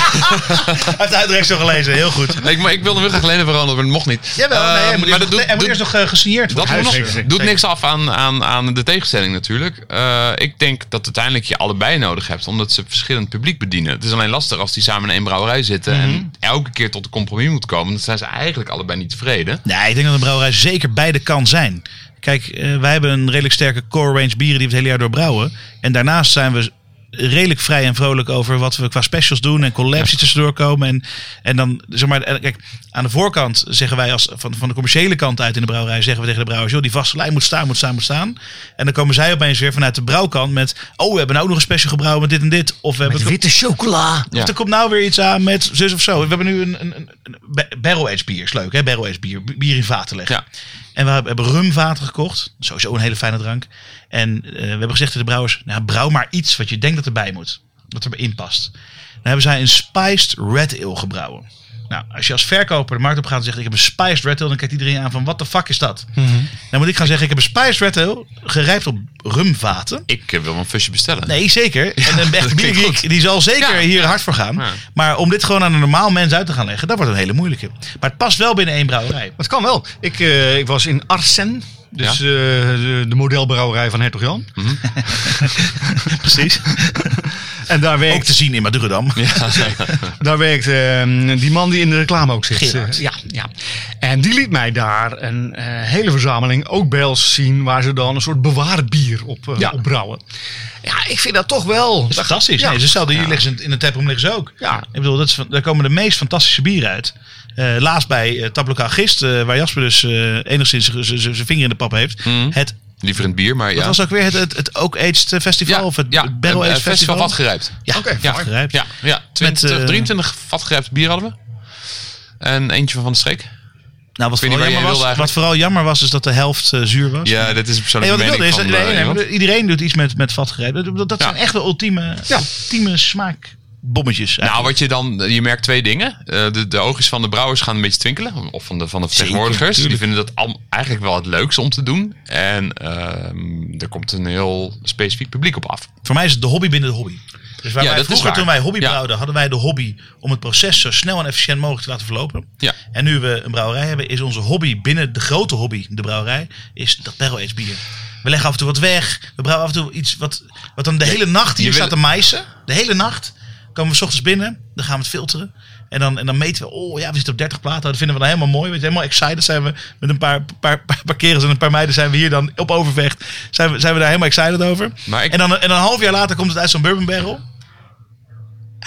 [SPEAKER 1] Hij heeft uitrecht zo gelezen, heel goed.
[SPEAKER 2] ik, maar ik wilde hem heel graag lenen veranderen, maar dat mocht niet.
[SPEAKER 1] Jawel, nee, hij
[SPEAKER 2] Eh,
[SPEAKER 1] moet,
[SPEAKER 2] maar dat
[SPEAKER 1] eerst, nog,
[SPEAKER 2] doet,
[SPEAKER 1] hij moet
[SPEAKER 2] doet-
[SPEAKER 1] eerst nog eh, gesigneerd
[SPEAKER 2] Dat
[SPEAKER 1] worden.
[SPEAKER 2] doet, nog-
[SPEAKER 3] zeker, zeker.
[SPEAKER 2] doet niks af aan, aan, aan de tegenstelling natuurlijk. Eh, ik denk dat uiteindelijk je allebei nodig hebt, omdat ze verschillend publiek bedienen. Het is alleen lastig als die samen in één brouwerij zitten
[SPEAKER 1] Mhm.
[SPEAKER 2] en elke keer tot een compromis moet komen. Dan zijn ze eigenlijk allebei niet tevreden.
[SPEAKER 1] Nee, ik denk dat een brouwerij zeker beide kan zijn. Kijk, eh, wij hebben een redelijk sterke core range bieren die we het hele jaar door brouwen. En daarnaast zijn we redelijk vrij en vrolijk over wat we qua specials doen en collabs die tussendoor komen. En, en dan, zeg maar, en kijk, aan de voorkant zeggen wij als van, van de commerciële kant uit in de brouwerij, zeggen we tegen de brouwers, joh, die vaste lijn moet staan, moet staan, moet staan. En dan komen zij opeens weer vanuit de brouwkant met, oh, we hebben nou ook nog een special gebrouwen met dit en dit. Of we hebben
[SPEAKER 7] Met witte chocola.
[SPEAKER 2] Ja.
[SPEAKER 1] of er komt nou weer iets aan met zus of zo. We hebben nu een, een, een- een barrel-aged bier. Is leuk, hè? Barrel-aged bier. B- Bier in vaten leggen.
[SPEAKER 2] Ja.
[SPEAKER 1] En we hebben rumvaten gekocht. Sowieso een hele fijne drank. En eh, we hebben gezegd tegen de brouwers... Nou, brouw maar iets wat je denkt dat erbij moet. Wat erbij past. Dan hebben zij een spiced red ale gebrouwen. Nou, als je als verkoper de markt op gaat en zegt... ik heb een spiced red ale... dan kijkt iedereen aan van... wat de fuck is dat?
[SPEAKER 2] Mhm.
[SPEAKER 1] Dan moet ik gaan zeggen... ik heb een spiced red ale... gerijpt op rumvaten.
[SPEAKER 2] Ik eh, wil een fusje bestellen.
[SPEAKER 1] Nee, zeker. En een echt
[SPEAKER 2] dat klinkt
[SPEAKER 1] biergeek,
[SPEAKER 2] goed.
[SPEAKER 1] die zal zeker
[SPEAKER 2] Ja,
[SPEAKER 1] hier hard voor gaan.
[SPEAKER 2] Ja.
[SPEAKER 1] Maar om dit gewoon aan een normaal mens uit te gaan leggen, dat wordt een hele moeilijke. Maar het past wel binnen één brouwerij.
[SPEAKER 3] Maar het kan wel. Ik, eh, ik was in Arsen. Dus eh, de, de modelbrouwerij van Hertog Jan.
[SPEAKER 1] Mhm. Precies.
[SPEAKER 3] En daar
[SPEAKER 1] Ook
[SPEAKER 3] werkt,
[SPEAKER 1] te zien in Madurodam.
[SPEAKER 3] daar werkt eh, die man die in de reclame ook zit.
[SPEAKER 1] Gerard.
[SPEAKER 3] Eh, ja, ja. En die liet mij daar een eh, hele verzameling ook bels zien... waar ze dan een soort bewaarbier op, eh,
[SPEAKER 1] Ja.
[SPEAKER 3] op brouwen. Ja, ik vind dat toch wel...
[SPEAKER 1] Dat is fantastisch. Nee, het is hetzelfde. Hier liggen ze in de taproom liggen ze ook.
[SPEAKER 3] Ja.
[SPEAKER 1] Ik bedoel, dat is, van- daar komen de meest fantastische bieren uit. Eh, laatst bij eh, Taplokaal Gist, eh, waar Jasper dus eh, enigszins z- z- z- zijn vinger in de pap heeft.
[SPEAKER 2] Mhm.
[SPEAKER 1] Het
[SPEAKER 2] Liever een bier, maar ja.
[SPEAKER 1] dat was ook weer het, het, het Oak Aged Festival of het Barrel
[SPEAKER 2] eh,
[SPEAKER 1] Aged Festival.
[SPEAKER 2] vat gerijpt.
[SPEAKER 1] Ja,
[SPEAKER 2] Ja,
[SPEAKER 1] vat gerijpt.
[SPEAKER 2] Ja, ja. 20,
[SPEAKER 1] eh,
[SPEAKER 2] 23 vat gerijpt bier hadden we. En eentje van Van de Streek.
[SPEAKER 1] Nou,
[SPEAKER 2] weet
[SPEAKER 1] wat vooral,
[SPEAKER 2] niet waar jij
[SPEAKER 1] jammer
[SPEAKER 2] wilde
[SPEAKER 1] was, wat
[SPEAKER 2] eigenlijk.
[SPEAKER 1] vooral jammer was, is dat de helft eh, zuur was.
[SPEAKER 2] Ja, dit is een
[SPEAKER 1] Nee,
[SPEAKER 2] persoonlijke
[SPEAKER 1] wat ik
[SPEAKER 2] mening
[SPEAKER 1] wilde is,
[SPEAKER 2] van,
[SPEAKER 1] nee,
[SPEAKER 2] eh,
[SPEAKER 1] nee,
[SPEAKER 2] iemand.
[SPEAKER 1] maar iedereen doet iets met, met vatgrepen. Dat- Dat, dat
[SPEAKER 2] Ja.
[SPEAKER 1] zijn echt de ultieme, ultieme smaakbommetjes.
[SPEAKER 2] Nou, wat je dan, je merkt twee dingen. Eh, de, de oogjes van de brouwers gaan een beetje twinkelen. Of van de, van de vertegenwoordigers. die vinden dat al, eigenlijk wel het leukste om te doen. En ehm, er komt een heel specifiek publiek op af.
[SPEAKER 1] Voor mij is het de hobby binnen de hobby. Dus waar
[SPEAKER 2] Ja,
[SPEAKER 1] wij
[SPEAKER 2] dat is
[SPEAKER 1] vroeger
[SPEAKER 2] waar.
[SPEAKER 1] toen wij hobby
[SPEAKER 2] Ja.
[SPEAKER 1] brouwden, hadden wij de hobby om het proces zo snel en efficiënt mogelijk te laten verlopen.
[SPEAKER 2] Ja.
[SPEAKER 1] En nu we een brouwerij hebben, is onze hobby binnen de grote hobby, de brouwerij, is dat barrel aged bier. We leggen af en toe wat weg. We brouwen af en toe iets wat, wat dan de hele nacht hier
[SPEAKER 2] je
[SPEAKER 1] staat te
[SPEAKER 2] wil-
[SPEAKER 1] meissen. De hele nacht komen we 's ochtends binnen, dan gaan we het filteren. En dan, en dan meten we, oh ja, we zitten op 30 platen. Dat vinden we dan helemaal mooi. We zijn helemaal excited. Zijn we met een paar, paar, paar, paar kerels en een paar meiden zijn we hier dan op overvecht. Zijn we, zijn we daar helemaal excited over.
[SPEAKER 2] Maar ik-
[SPEAKER 1] En, dan, en dan een half jaar later komt het uit zo'n bourbon barrel.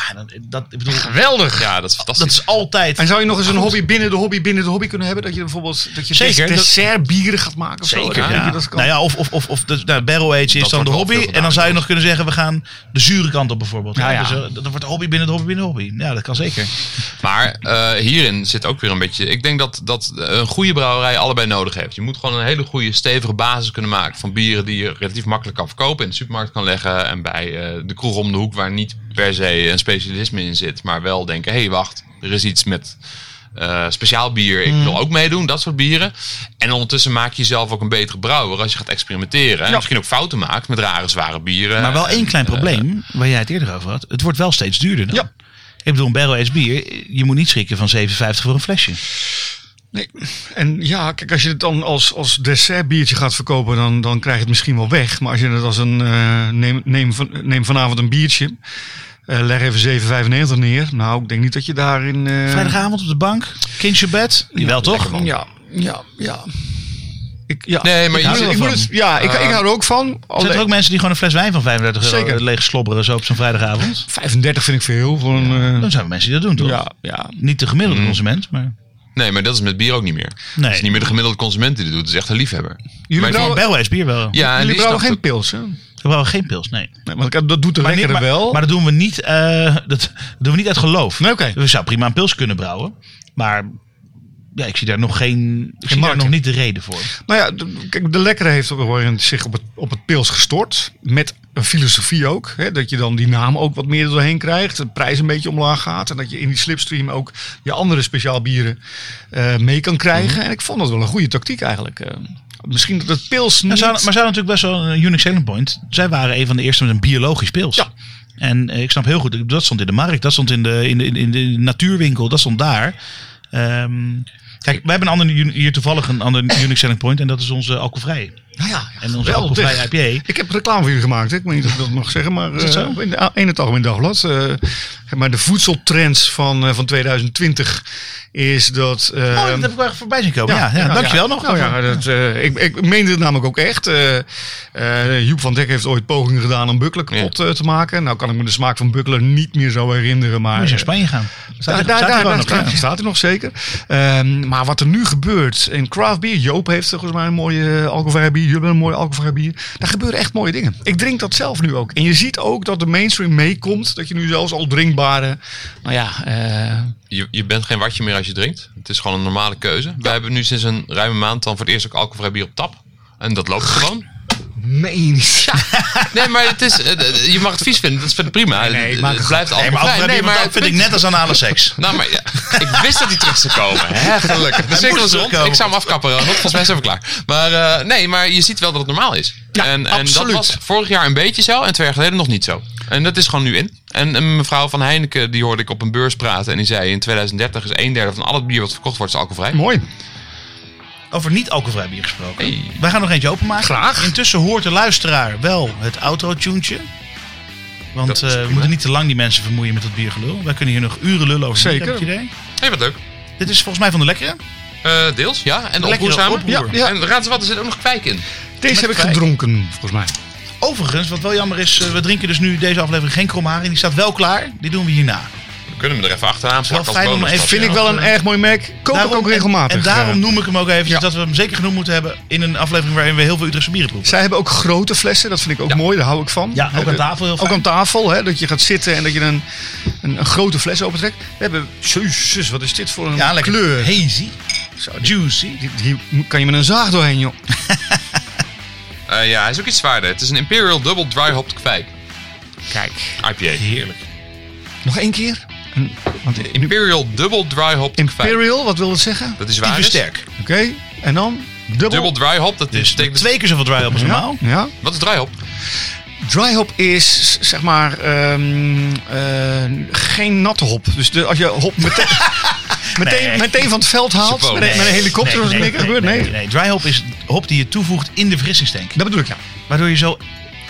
[SPEAKER 1] Ja, dan, dat, ik bedoel,
[SPEAKER 3] Geweldig.
[SPEAKER 2] Ja, dat is
[SPEAKER 1] dat
[SPEAKER 2] fantastisch.
[SPEAKER 1] is altijd.
[SPEAKER 3] En zou je nog eens een hobby binnen de hobby binnen de hobby kunnen hebben? Dat je bijvoorbeeld dat je
[SPEAKER 1] Zeker, dat-
[SPEAKER 3] dessertbieren gaat maken of zo?
[SPEAKER 1] Zeker,
[SPEAKER 3] Ik denk
[SPEAKER 1] ja.
[SPEAKER 3] dat dat kan.
[SPEAKER 1] Nou ja, of, of, of, of de, nou, barrel age is
[SPEAKER 2] Dat
[SPEAKER 1] dan
[SPEAKER 2] wordt
[SPEAKER 1] de
[SPEAKER 2] wel
[SPEAKER 1] hobby.
[SPEAKER 2] veel gedaan,
[SPEAKER 1] En dan zou je
[SPEAKER 2] dus.
[SPEAKER 1] nog kunnen zeggen, we gaan de zure kant op bijvoorbeeld.
[SPEAKER 3] Ja, ja.
[SPEAKER 1] Dus, eh, dat dat wordt de hobby binnen de hobby binnen de hobby. Ja, dat kan zeker.
[SPEAKER 2] Maar eh, hierin zit ook weer een beetje. Ik denk dat, dat een goede brouwerij allebei nodig heeft. Je moet gewoon een hele goede, stevige basis kunnen maken van bieren die je relatief makkelijk kan verkopen. In de supermarkt kan leggen. En bij eh, de kroeg om de hoek, waar niet per se een specialisme in zit. Maar wel denken: hé, hey, wacht, er is iets met. eh, speciaal bier,
[SPEAKER 1] Hmm.
[SPEAKER 2] ik wil ook meedoen, dat soort bieren. En ondertussen maak je jezelf ook een betere brouwer als je gaat experimenteren. En misschien ook fouten maakt met rare, zware bieren.
[SPEAKER 1] Maar wel
[SPEAKER 3] Eh,
[SPEAKER 2] En,
[SPEAKER 1] één klein probleem, waar jij het eerder over had. Het wordt wel steeds duurder dan.
[SPEAKER 3] Ja.
[SPEAKER 1] Ik bedoel, een barrel aged bier, je moet niet schrikken van 7,50 voor een flesje.
[SPEAKER 3] Eh. Nee. En ja, kijk, als je het dan als, als dessertbiertje gaat verkopen, dan, dan krijg je het misschien wel weg. Maar als je het als een eh, neem, neem, van, neem vanavond een biertje, eh, leg even 7,95 neer. Nou, ik denk niet dat je daarin. eh,
[SPEAKER 1] Vrijdagavond op de bank, kindje bed. Jawel toch?
[SPEAKER 3] Ja, ja, ja. Ik, ja.
[SPEAKER 2] Nee, maar
[SPEAKER 3] ik,
[SPEAKER 2] je
[SPEAKER 3] moet-
[SPEAKER 2] houdt
[SPEAKER 3] ik
[SPEAKER 2] ervan.
[SPEAKER 3] moet het- ja, ik, ik hou er ook van.
[SPEAKER 1] Zijn
[SPEAKER 3] Alleen,
[SPEAKER 1] er ook mensen die gewoon een fles wijn van 35 euro
[SPEAKER 3] Zeker.
[SPEAKER 1] leeg slobberen zo op zo'n vrijdagavond?
[SPEAKER 3] 35 vind ik veel. Voor een, eh,
[SPEAKER 1] Dan zijn er mensen die dat doen toch?
[SPEAKER 3] ja, Mm. ja.
[SPEAKER 1] Niet de gemiddelde consument, maar...
[SPEAKER 2] Nee, maar dat is met bier ook niet meer.
[SPEAKER 1] Nee.
[SPEAKER 2] Het is niet meer de gemiddelde consument die dit doet. Het is echt een liefhebber.
[SPEAKER 3] Jullie
[SPEAKER 2] Maar-
[SPEAKER 3] brouwen-
[SPEAKER 1] Barrel aged bier wel.
[SPEAKER 2] Ja, en
[SPEAKER 3] Jullie
[SPEAKER 2] die
[SPEAKER 3] brouwen
[SPEAKER 2] snapt
[SPEAKER 3] geen pils, hè? Nee,
[SPEAKER 1] We brouwen geen pils, nee.
[SPEAKER 3] want ik- dat doet de
[SPEAKER 1] Maar, niet,
[SPEAKER 3] lekkere
[SPEAKER 1] maar,
[SPEAKER 3] wel.
[SPEAKER 1] maar dat doen we niet, eh, dat doen we niet uit geloof.
[SPEAKER 3] Nee, oké.
[SPEAKER 1] We zouden prima een pils kunnen brouwen. Maar ja, ik zie daar nog geen. Ik zie daar
[SPEAKER 3] markt
[SPEAKER 1] nog
[SPEAKER 3] in.
[SPEAKER 1] niet de reden voor.
[SPEAKER 3] Nou ja, de, kijk, de lekkere heeft op een gegeven moment zich op het, op het pils gestort. Met een filosofie ook. Hè, dat je dan die naam ook wat meer er doorheen krijgt. De prijs een beetje omlaag gaat. En dat je in die slipstream ook je andere speciaal bieren eh, mee kan krijgen.
[SPEAKER 1] Mhm.
[SPEAKER 3] En ik vond dat wel een goede tactiek eigenlijk. Eh, misschien dat het pils
[SPEAKER 1] Maar
[SPEAKER 3] niet...
[SPEAKER 1] ze hadden, maar ze hadden natuurlijk best wel een eh, unique selling point. Zij waren een van de eerste met een biologisch pils.
[SPEAKER 3] Ja.
[SPEAKER 1] En eh, ik snap heel goed, dat stond in de markt, dat stond in de, in de, in de natuurwinkel, dat stond daar. Ehm, kijk, wij hebben een ander, hier toevallig een ander unique selling point en dat is onze alcoholvrij
[SPEAKER 3] Nou ja,
[SPEAKER 1] En onze
[SPEAKER 3] wel
[SPEAKER 1] alcoholvrije
[SPEAKER 3] dicht.
[SPEAKER 1] IPA.
[SPEAKER 3] Ik heb reclame voor jullie gemaakt. hè. Ik weet niet of ik dat mag zeggen, maar
[SPEAKER 1] dat
[SPEAKER 3] eh,
[SPEAKER 1] zo?
[SPEAKER 3] in, de, in het Algemeen Dagblad. eh, maar de voedseltrends van, eh, van 2020 is dat... eh,
[SPEAKER 1] Oh, dat heb ik wel echt voorbij zien komen. Ah, Ja, ja, dankjewel nog.
[SPEAKER 3] Nou ja, dat, eh, ik, ik meende het namelijk ook echt. Eh, eh, Joep van Dek heeft ooit pogingen gedaan om Bukkelen
[SPEAKER 2] Ja.
[SPEAKER 3] kapot eh, te maken. Nou kan ik me de smaak van Bukkelen niet meer zo herinneren. Maar eh,
[SPEAKER 1] Moet je naar Spanje gaan. Staat
[SPEAKER 3] daar,
[SPEAKER 1] er-
[SPEAKER 3] daar,
[SPEAKER 1] staat er
[SPEAKER 3] daar,
[SPEAKER 1] gewoon
[SPEAKER 3] daar
[SPEAKER 1] op,
[SPEAKER 3] staat,
[SPEAKER 1] ja.
[SPEAKER 3] staat hij nog zeker. Ehm, maar wat er nu gebeurt in craft beer, Joop heeft volgens mij een mooie eh, alcoholvrij bier, jullie hebben een mooie alcoholvrij bier. Daar gebeuren echt mooie dingen. Ik drink dat zelf nu ook. En je ziet ook dat de mainstream meekomt, dat je nu zelfs al drinkbare, nou ja, eh,
[SPEAKER 2] Je, je bent geen watje meer als je drinkt. Het is gewoon een normale keuze. Wij hebben nu sinds een ruime maand dan voor het eerst ook alcoholvrij bier op tap. En dat loopt gewoon.
[SPEAKER 3] meen je niet.
[SPEAKER 2] Nee, maar het is, eh, eh, je mag het vies vinden. Dat is verder prima.
[SPEAKER 3] nee, ik
[SPEAKER 2] Het-
[SPEAKER 3] maak
[SPEAKER 2] het
[SPEAKER 3] een
[SPEAKER 2] blijft
[SPEAKER 1] Nee, maar
[SPEAKER 2] alcoholvrij.
[SPEAKER 1] alcoholvrij bier, want dat
[SPEAKER 2] het
[SPEAKER 1] vind ik
[SPEAKER 2] punt-
[SPEAKER 1] net als anale seks.
[SPEAKER 2] Nou, maar ja, ik wist dat hij terug zou komen. Hè, gelukkig. De cirkel is
[SPEAKER 1] moest
[SPEAKER 2] rond.
[SPEAKER 1] terugkomen.
[SPEAKER 2] Ik zou hem afkappen. Want volgens mij zijn we klaar. Maar eh, nee, maar je ziet wel dat het normaal is.
[SPEAKER 3] Ja,
[SPEAKER 2] en, en dat
[SPEAKER 3] absoluut.
[SPEAKER 2] was vorig jaar een beetje zo. En twee jaar geleden nog niet zo. En dat is gewoon nu in. En een mevrouw van Heineken, die hoorde ik op een beurs praten. En die zei in 2030 is een derde van al het bier wat verkocht wordt is alcoholvrij.
[SPEAKER 3] Mooi.
[SPEAKER 1] Over niet alcoholvrij bier gesproken.
[SPEAKER 2] Hey.
[SPEAKER 1] Wij gaan nog eentje openmaken.
[SPEAKER 3] Graag.
[SPEAKER 1] Intussen hoort de luisteraar wel het outro-tuntje. Want
[SPEAKER 2] Dat is
[SPEAKER 1] eh, we
[SPEAKER 2] prima.
[SPEAKER 1] moeten niet te lang die mensen vermoeien met dat biergelul. Wij kunnen hier nog uren lullen over. bier,
[SPEAKER 3] Zeker.
[SPEAKER 1] heb je het idee?
[SPEAKER 2] hey, wat leuk.
[SPEAKER 1] Dit is volgens mij van de lekkere.
[SPEAKER 2] Eh, deels, ja. En
[SPEAKER 1] Lekker
[SPEAKER 2] oproerzaam.
[SPEAKER 1] oproer.
[SPEAKER 3] Ja, ja.
[SPEAKER 2] En raad eens wat, er zit ook nog kwijk in.
[SPEAKER 3] Deze heb ik
[SPEAKER 1] kwijk.
[SPEAKER 3] gedronken, volgens mij.
[SPEAKER 1] Overigens, wat wel jammer is, eh, we drinken dus nu deze aflevering geen kromharing. Die staat wel klaar. Die doen we hierna.
[SPEAKER 2] We kunnen hem er even achteraan plakken
[SPEAKER 1] fijn om
[SPEAKER 2] bonus.
[SPEAKER 1] even-
[SPEAKER 3] Vind
[SPEAKER 1] Ja,
[SPEAKER 3] ik wel
[SPEAKER 1] of,
[SPEAKER 3] een
[SPEAKER 1] eh,
[SPEAKER 3] erg mooi merk. Koop ik ook
[SPEAKER 1] en-
[SPEAKER 3] regelmatig.
[SPEAKER 1] En daarom
[SPEAKER 3] Eh,
[SPEAKER 1] noem ik hem ook even,
[SPEAKER 3] ja.
[SPEAKER 1] dat we hem zeker genoemd moeten hebben in een aflevering waarin we heel veel Utrechtse bieren proeven.
[SPEAKER 3] zij hebben ook grote flessen, dat vind ik ook
[SPEAKER 2] Ja.
[SPEAKER 3] mooi, daar hou ik van.
[SPEAKER 1] Ja, ook
[SPEAKER 3] Eh,
[SPEAKER 1] aan
[SPEAKER 3] de-
[SPEAKER 1] tafel heel
[SPEAKER 3] Ook
[SPEAKER 1] fijn.
[SPEAKER 3] aan tafel, hè, dat je gaat zitten en dat je een, een, een grote fles opentrekt. We hebben, jezus, wat is dit voor een
[SPEAKER 1] ja, lekker
[SPEAKER 3] kleur?
[SPEAKER 1] hazy, juicy.
[SPEAKER 3] Dit- Hier kan je met een zaag doorheen, joh.
[SPEAKER 2] Eh, ja, hij is ook iets zwaarder. Het is een Imperial Double Dry Hopped kwijk.
[SPEAKER 3] Kijk.
[SPEAKER 2] IPA.
[SPEAKER 1] Heerlijk.
[SPEAKER 3] Nog één keer. Een- want i-
[SPEAKER 2] Imperial Double Dry Hopped kwijk.
[SPEAKER 3] Imperial, wat wil dat zeggen?
[SPEAKER 2] Dat is waar.
[SPEAKER 1] Typisch
[SPEAKER 2] is.
[SPEAKER 1] sterk.
[SPEAKER 3] Oké, en dan dubbel.
[SPEAKER 2] Dubbel dry hop, dat
[SPEAKER 1] Dus
[SPEAKER 2] is.
[SPEAKER 1] betekent
[SPEAKER 2] betekent-
[SPEAKER 1] twee keer zoveel dry op als normaal.
[SPEAKER 3] ja, ja.
[SPEAKER 2] Wat is dry hop?
[SPEAKER 3] Dry hop is zeg maar ehm, eh, geen natte hop. Dus de, als je hop meteen, meteen,
[SPEAKER 1] Nee.
[SPEAKER 3] meteen van het veld haalt
[SPEAKER 2] Chapeau.
[SPEAKER 3] met, een- met een helikopter
[SPEAKER 1] Nee,
[SPEAKER 3] of
[SPEAKER 1] nee,
[SPEAKER 3] nee,
[SPEAKER 1] nee,
[SPEAKER 3] gebeurt, nee,
[SPEAKER 1] nee, nee. Dry hop is hop die je toevoegt in de verfrissingstank.
[SPEAKER 3] Dat bedoel ik ja.
[SPEAKER 1] Waardoor je zo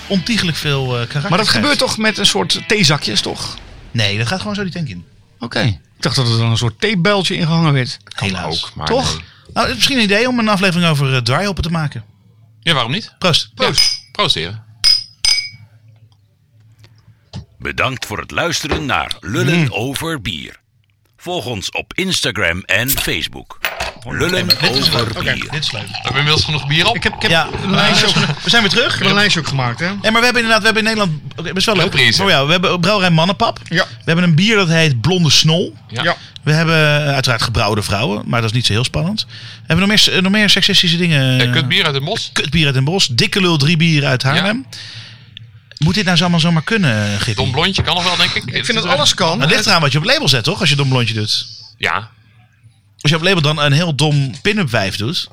[SPEAKER 1] ontiegelijk veel eh, karakter
[SPEAKER 3] Maar dat
[SPEAKER 1] krijgt.
[SPEAKER 3] gebeurt toch met een soort theezakjes, toch?
[SPEAKER 1] Nee, dat gaat gewoon zo die tank in.
[SPEAKER 3] Oké. Ik dacht dat er dan een soort theebuiltje in gehangen werd.
[SPEAKER 1] Helaas.
[SPEAKER 2] Ook, maar
[SPEAKER 3] toch?
[SPEAKER 2] nee.
[SPEAKER 1] Nou, het is misschien een idee om een aflevering over eh dry hoppen te maken.
[SPEAKER 2] Ja, waarom niet?
[SPEAKER 1] Proost.
[SPEAKER 2] Proost. Proost, heren.
[SPEAKER 8] Bedankt voor het luisteren naar Lullen
[SPEAKER 1] Mm.
[SPEAKER 8] over Bier. Volg ons op Instagram en Facebook. Lullen
[SPEAKER 1] Dit is leuk.
[SPEAKER 8] over
[SPEAKER 1] Oké,
[SPEAKER 8] Bier.
[SPEAKER 1] dit is leuk.
[SPEAKER 2] We hebben inmiddels genoeg bier op.
[SPEAKER 3] Ik heb, ik heb
[SPEAKER 1] Ja,
[SPEAKER 3] een lijstje ook, ik
[SPEAKER 1] we zijn weer terug.
[SPEAKER 3] heb een lijstje ook gemaakt, hè?
[SPEAKER 1] Ja, maar we hebben inderdaad, we hebben in Nederland, oké, best wel leuk.
[SPEAKER 2] Reprise.
[SPEAKER 1] Oh ja, we hebben brouwerij Mannenpap.
[SPEAKER 3] Ja.
[SPEAKER 1] We hebben een bier dat heet Blonde Snol.
[SPEAKER 2] Ja.
[SPEAKER 3] Ja.
[SPEAKER 1] We hebben eh, uiteraard gebrouwde vrouwen, maar dat is niet zo heel spannend. Hebben we nog meer, eh, nog meer seksistische dingen?
[SPEAKER 2] Eh, kut bier uit het bos.
[SPEAKER 1] Kutbier uit Den Bosch. Dikke lul drie bieren uit Haarlem. Moet dit nou zo allemaal zomaar kunnen, Gippie?
[SPEAKER 2] Dom blondje kan nog wel, denk ik. Eh,
[SPEAKER 3] Ik vind dat alles kan.
[SPEAKER 1] Het ligt eraan wat je op het label zet, toch? Als je dom blondje doet.
[SPEAKER 2] Ja.
[SPEAKER 1] Als je op het label dan een heel dom pin-up wijf doet.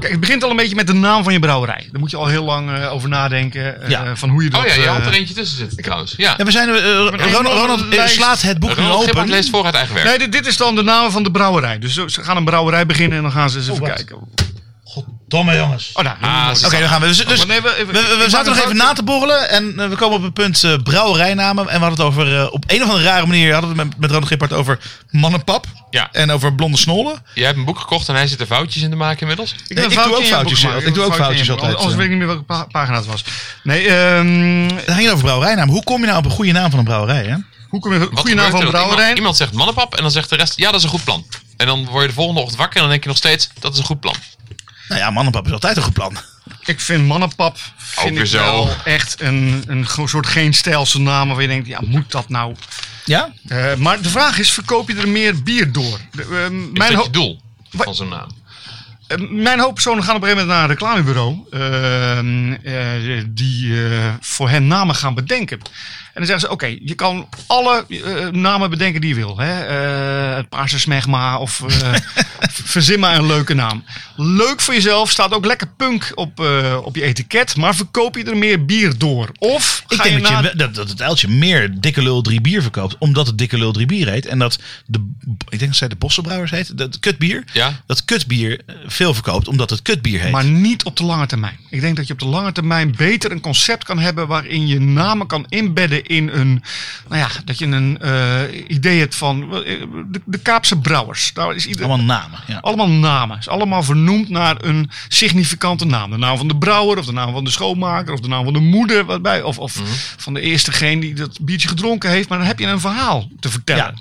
[SPEAKER 3] Kijk, het begint al een beetje met de naam van je brouwerij. Daar moet je al heel lang eh, over nadenken. eh,
[SPEAKER 1] Ja.
[SPEAKER 3] Van hoe je dat...
[SPEAKER 2] Oh ja, je
[SPEAKER 3] eh,
[SPEAKER 2] had er eentje tussen zitten trouwens. Ja.
[SPEAKER 1] En we zijn... eh, Ronald, Ronald eh,
[SPEAKER 3] lijst.
[SPEAKER 1] slaat het boek nu
[SPEAKER 2] Ronald Gippert
[SPEAKER 1] open.
[SPEAKER 2] leest voor uit eigen werk.
[SPEAKER 3] Nee, dit, dit is dan de naam van de brouwerij. Dus zo- ze gaan een brouwerij beginnen en dan gaan ze eens even
[SPEAKER 1] wat?
[SPEAKER 3] kijken. Oh,
[SPEAKER 1] Goddomme jongens.
[SPEAKER 3] nou, dat
[SPEAKER 2] Ah,
[SPEAKER 3] moet
[SPEAKER 2] ze-
[SPEAKER 1] Oké, dan gaan we. Dus, dus
[SPEAKER 3] Oh, Maar nee, we-
[SPEAKER 1] we,
[SPEAKER 3] even-
[SPEAKER 1] we,
[SPEAKER 3] ik
[SPEAKER 1] we
[SPEAKER 3] maak
[SPEAKER 1] zaten
[SPEAKER 3] een
[SPEAKER 1] nog even
[SPEAKER 3] fout.
[SPEAKER 1] na te borrelen. En eh, we komen op het punt eh, brouwerijnamen. En we hadden het over, eh, op een of andere rare manier, hadden we het met, met Ronald Gippard over mannenpap.
[SPEAKER 2] Ja.
[SPEAKER 1] En over blonde snollen.
[SPEAKER 2] Jij hebt een boek gekocht en hij zit er foutjes in te maken inmiddels.
[SPEAKER 3] Ik,
[SPEAKER 1] Nee,
[SPEAKER 3] ben
[SPEAKER 1] ik
[SPEAKER 3] foutje
[SPEAKER 1] doe ook
[SPEAKER 3] in je
[SPEAKER 1] foutjes,
[SPEAKER 3] boek gemaakt.
[SPEAKER 1] ik doe ook
[SPEAKER 3] Een foutje in je
[SPEAKER 1] foutjes
[SPEAKER 3] boek.
[SPEAKER 1] altijd,
[SPEAKER 3] Anders
[SPEAKER 1] eh.
[SPEAKER 3] weet ik niet meer welke pa- pagina het was. Nee, ehm,
[SPEAKER 1] Dan ging het over brouwerijnaam. Hoe kom je nou op een goede naam van een brouwerij? Hè?
[SPEAKER 3] hoe kom je een
[SPEAKER 2] Wat
[SPEAKER 3] goede
[SPEAKER 2] gebeurt
[SPEAKER 3] naam
[SPEAKER 2] er?
[SPEAKER 3] van
[SPEAKER 2] Dat
[SPEAKER 3] brouwerij?
[SPEAKER 2] Iemand, iemand zegt mannenpap en dan zegt de rest, ja, dat is een goed plan. En dan word je de volgende ochtend wakker en dan denk je nog steeds, dat is een goed plan.
[SPEAKER 1] Nou ja, mannenpap is altijd een goed plan.
[SPEAKER 3] Ik vind mannenpap
[SPEAKER 2] Ook
[SPEAKER 3] vind
[SPEAKER 2] weer
[SPEAKER 3] ik
[SPEAKER 2] zo.
[SPEAKER 3] wel echt een, een gro- soort geen stijlse naam waarvan je denkt, ja, moet dat nou?
[SPEAKER 1] Ja?
[SPEAKER 3] Eh, maar de vraag is, verkoop je er meer bier door? De- ehm,
[SPEAKER 2] Is
[SPEAKER 3] mijn,
[SPEAKER 2] dat
[SPEAKER 3] ho-
[SPEAKER 2] je doel
[SPEAKER 3] Wa-
[SPEAKER 2] van zo'n naam?
[SPEAKER 3] eh, mijn hoop personen gaan op een gegeven moment naar een reclamebureau ehm, eh, die eh, voor hen namen gaan bedenken. En dan zeggen ze, oké, je kan alle eh, namen bedenken die je wil. Hè? Eh, het Paarse Smegma of eh, verzin maar een leuke naam. Leuk voor jezelf, staat ook lekker punk op, eh, op je etiket, maar verkoop je er meer bier door? Of
[SPEAKER 1] Ik
[SPEAKER 3] ga
[SPEAKER 1] denk
[SPEAKER 3] je
[SPEAKER 1] dat,
[SPEAKER 3] naar...
[SPEAKER 1] je, wel- dat, dat het uiltje meer dikke lul drie bier verkoopt. Omdat het dikke lul drie bier heet. En dat de, ik denk dat zij de Bosselbrouwers heet. Dat kutbier.
[SPEAKER 2] Ja.
[SPEAKER 1] Dat kutbier eh, veel verkoopt omdat het kutbier heet.
[SPEAKER 3] Maar niet op de lange termijn. Ik denk dat je op de lange termijn beter een concept kan hebben waarin je namen kan inbedden in een. Nou ja, dat je een eh, idee hebt van eh, de, de Kaapse brouwers. Daar is ieder,
[SPEAKER 1] Allemaal namen. Ja.
[SPEAKER 3] allemaal namen. Is allemaal vernoemd naar een significante naam. De naam van de brouwer, of de naam van de schoonmaker, of de naam van de moeder. Wat bij, of
[SPEAKER 1] Mhm.
[SPEAKER 3] of van de eerstegene die dat biertje gedronken heeft. Maar dan heb je een verhaal te vertellen.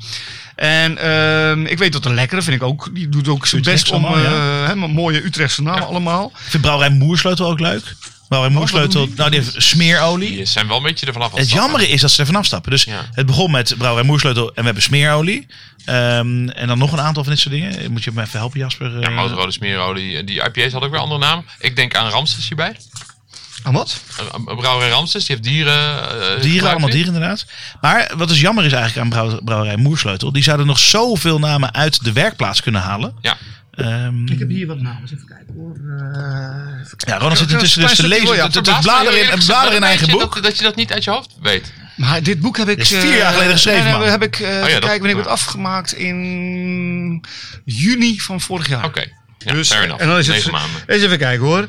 [SPEAKER 3] En ehm, ik weet dat een lekkere vind ik ook. Die doet ook zijn
[SPEAKER 1] Utrechtse
[SPEAKER 3] best om
[SPEAKER 1] allemaal,
[SPEAKER 3] eh, hè, maar mooie Utrechtse namen allemaal.
[SPEAKER 1] Ik vind Brouwerij Moersleutel ook leuk.
[SPEAKER 3] Oh,
[SPEAKER 1] Brouwerij Moersleutel, nou die heeft smeerolie.
[SPEAKER 2] Die zijn wel een beetje ervan af. aan
[SPEAKER 1] Het
[SPEAKER 2] stappen.
[SPEAKER 1] jammere is dat ze er vanaf stappen. Dus
[SPEAKER 2] Ja.
[SPEAKER 1] het begon met brouwerij moersleutel en we hebben smeerolie. Ehm, en dan nog een aantal van dit soort dingen. Moet je me even helpen, Jasper?
[SPEAKER 2] Ja,
[SPEAKER 1] Eh,
[SPEAKER 2] Roodrode smeerolie. Die IPA's had ook weer andere namen. Ik denk aan Ramses hierbij.
[SPEAKER 3] Aan wat?
[SPEAKER 2] Eh, Brouwerij Ramses, die heeft dieren. eh, gebruikt
[SPEAKER 1] Dieren, allemaal
[SPEAKER 2] weer.
[SPEAKER 1] dieren inderdaad. Maar wat is jammer is eigenlijk aan brouw- brouwerij Moersleutel. Die zouden nog zoveel namen uit de werkplaats kunnen halen.
[SPEAKER 2] Ja.
[SPEAKER 1] Ehm,
[SPEAKER 3] Ik heb hier wat namen. Even kijken hoor. Eh,
[SPEAKER 1] ja, Ronald zit intussen
[SPEAKER 3] Ja, een
[SPEAKER 1] dus te
[SPEAKER 3] klein stukje wil je
[SPEAKER 1] lezen. Het- Het het
[SPEAKER 2] Oh Verbaast me
[SPEAKER 1] bladeren
[SPEAKER 2] eerlijk
[SPEAKER 1] in, het
[SPEAKER 2] gezegd
[SPEAKER 1] bladeren
[SPEAKER 2] wel
[SPEAKER 1] in
[SPEAKER 2] een
[SPEAKER 1] eigen
[SPEAKER 2] beetje
[SPEAKER 1] boek.
[SPEAKER 2] Dat, dat je dat niet uit je hoofd weet.
[SPEAKER 3] Maar dit boek heb ik.
[SPEAKER 1] is
[SPEAKER 3] eh,
[SPEAKER 1] vier jaar geleden geschreven,
[SPEAKER 3] nee, nee,
[SPEAKER 1] man. Oh
[SPEAKER 3] Heb ik, eh even
[SPEAKER 2] dat-
[SPEAKER 3] kijken wanneer ik het
[SPEAKER 2] ja.
[SPEAKER 3] afgemaakt in juni van vorig jaar.
[SPEAKER 2] Oké. Ja,
[SPEAKER 3] Dus,
[SPEAKER 2] fair enough.
[SPEAKER 3] en dan is
[SPEAKER 2] Negen
[SPEAKER 3] het.
[SPEAKER 2] maanden.
[SPEAKER 3] Eens even kijken hoor.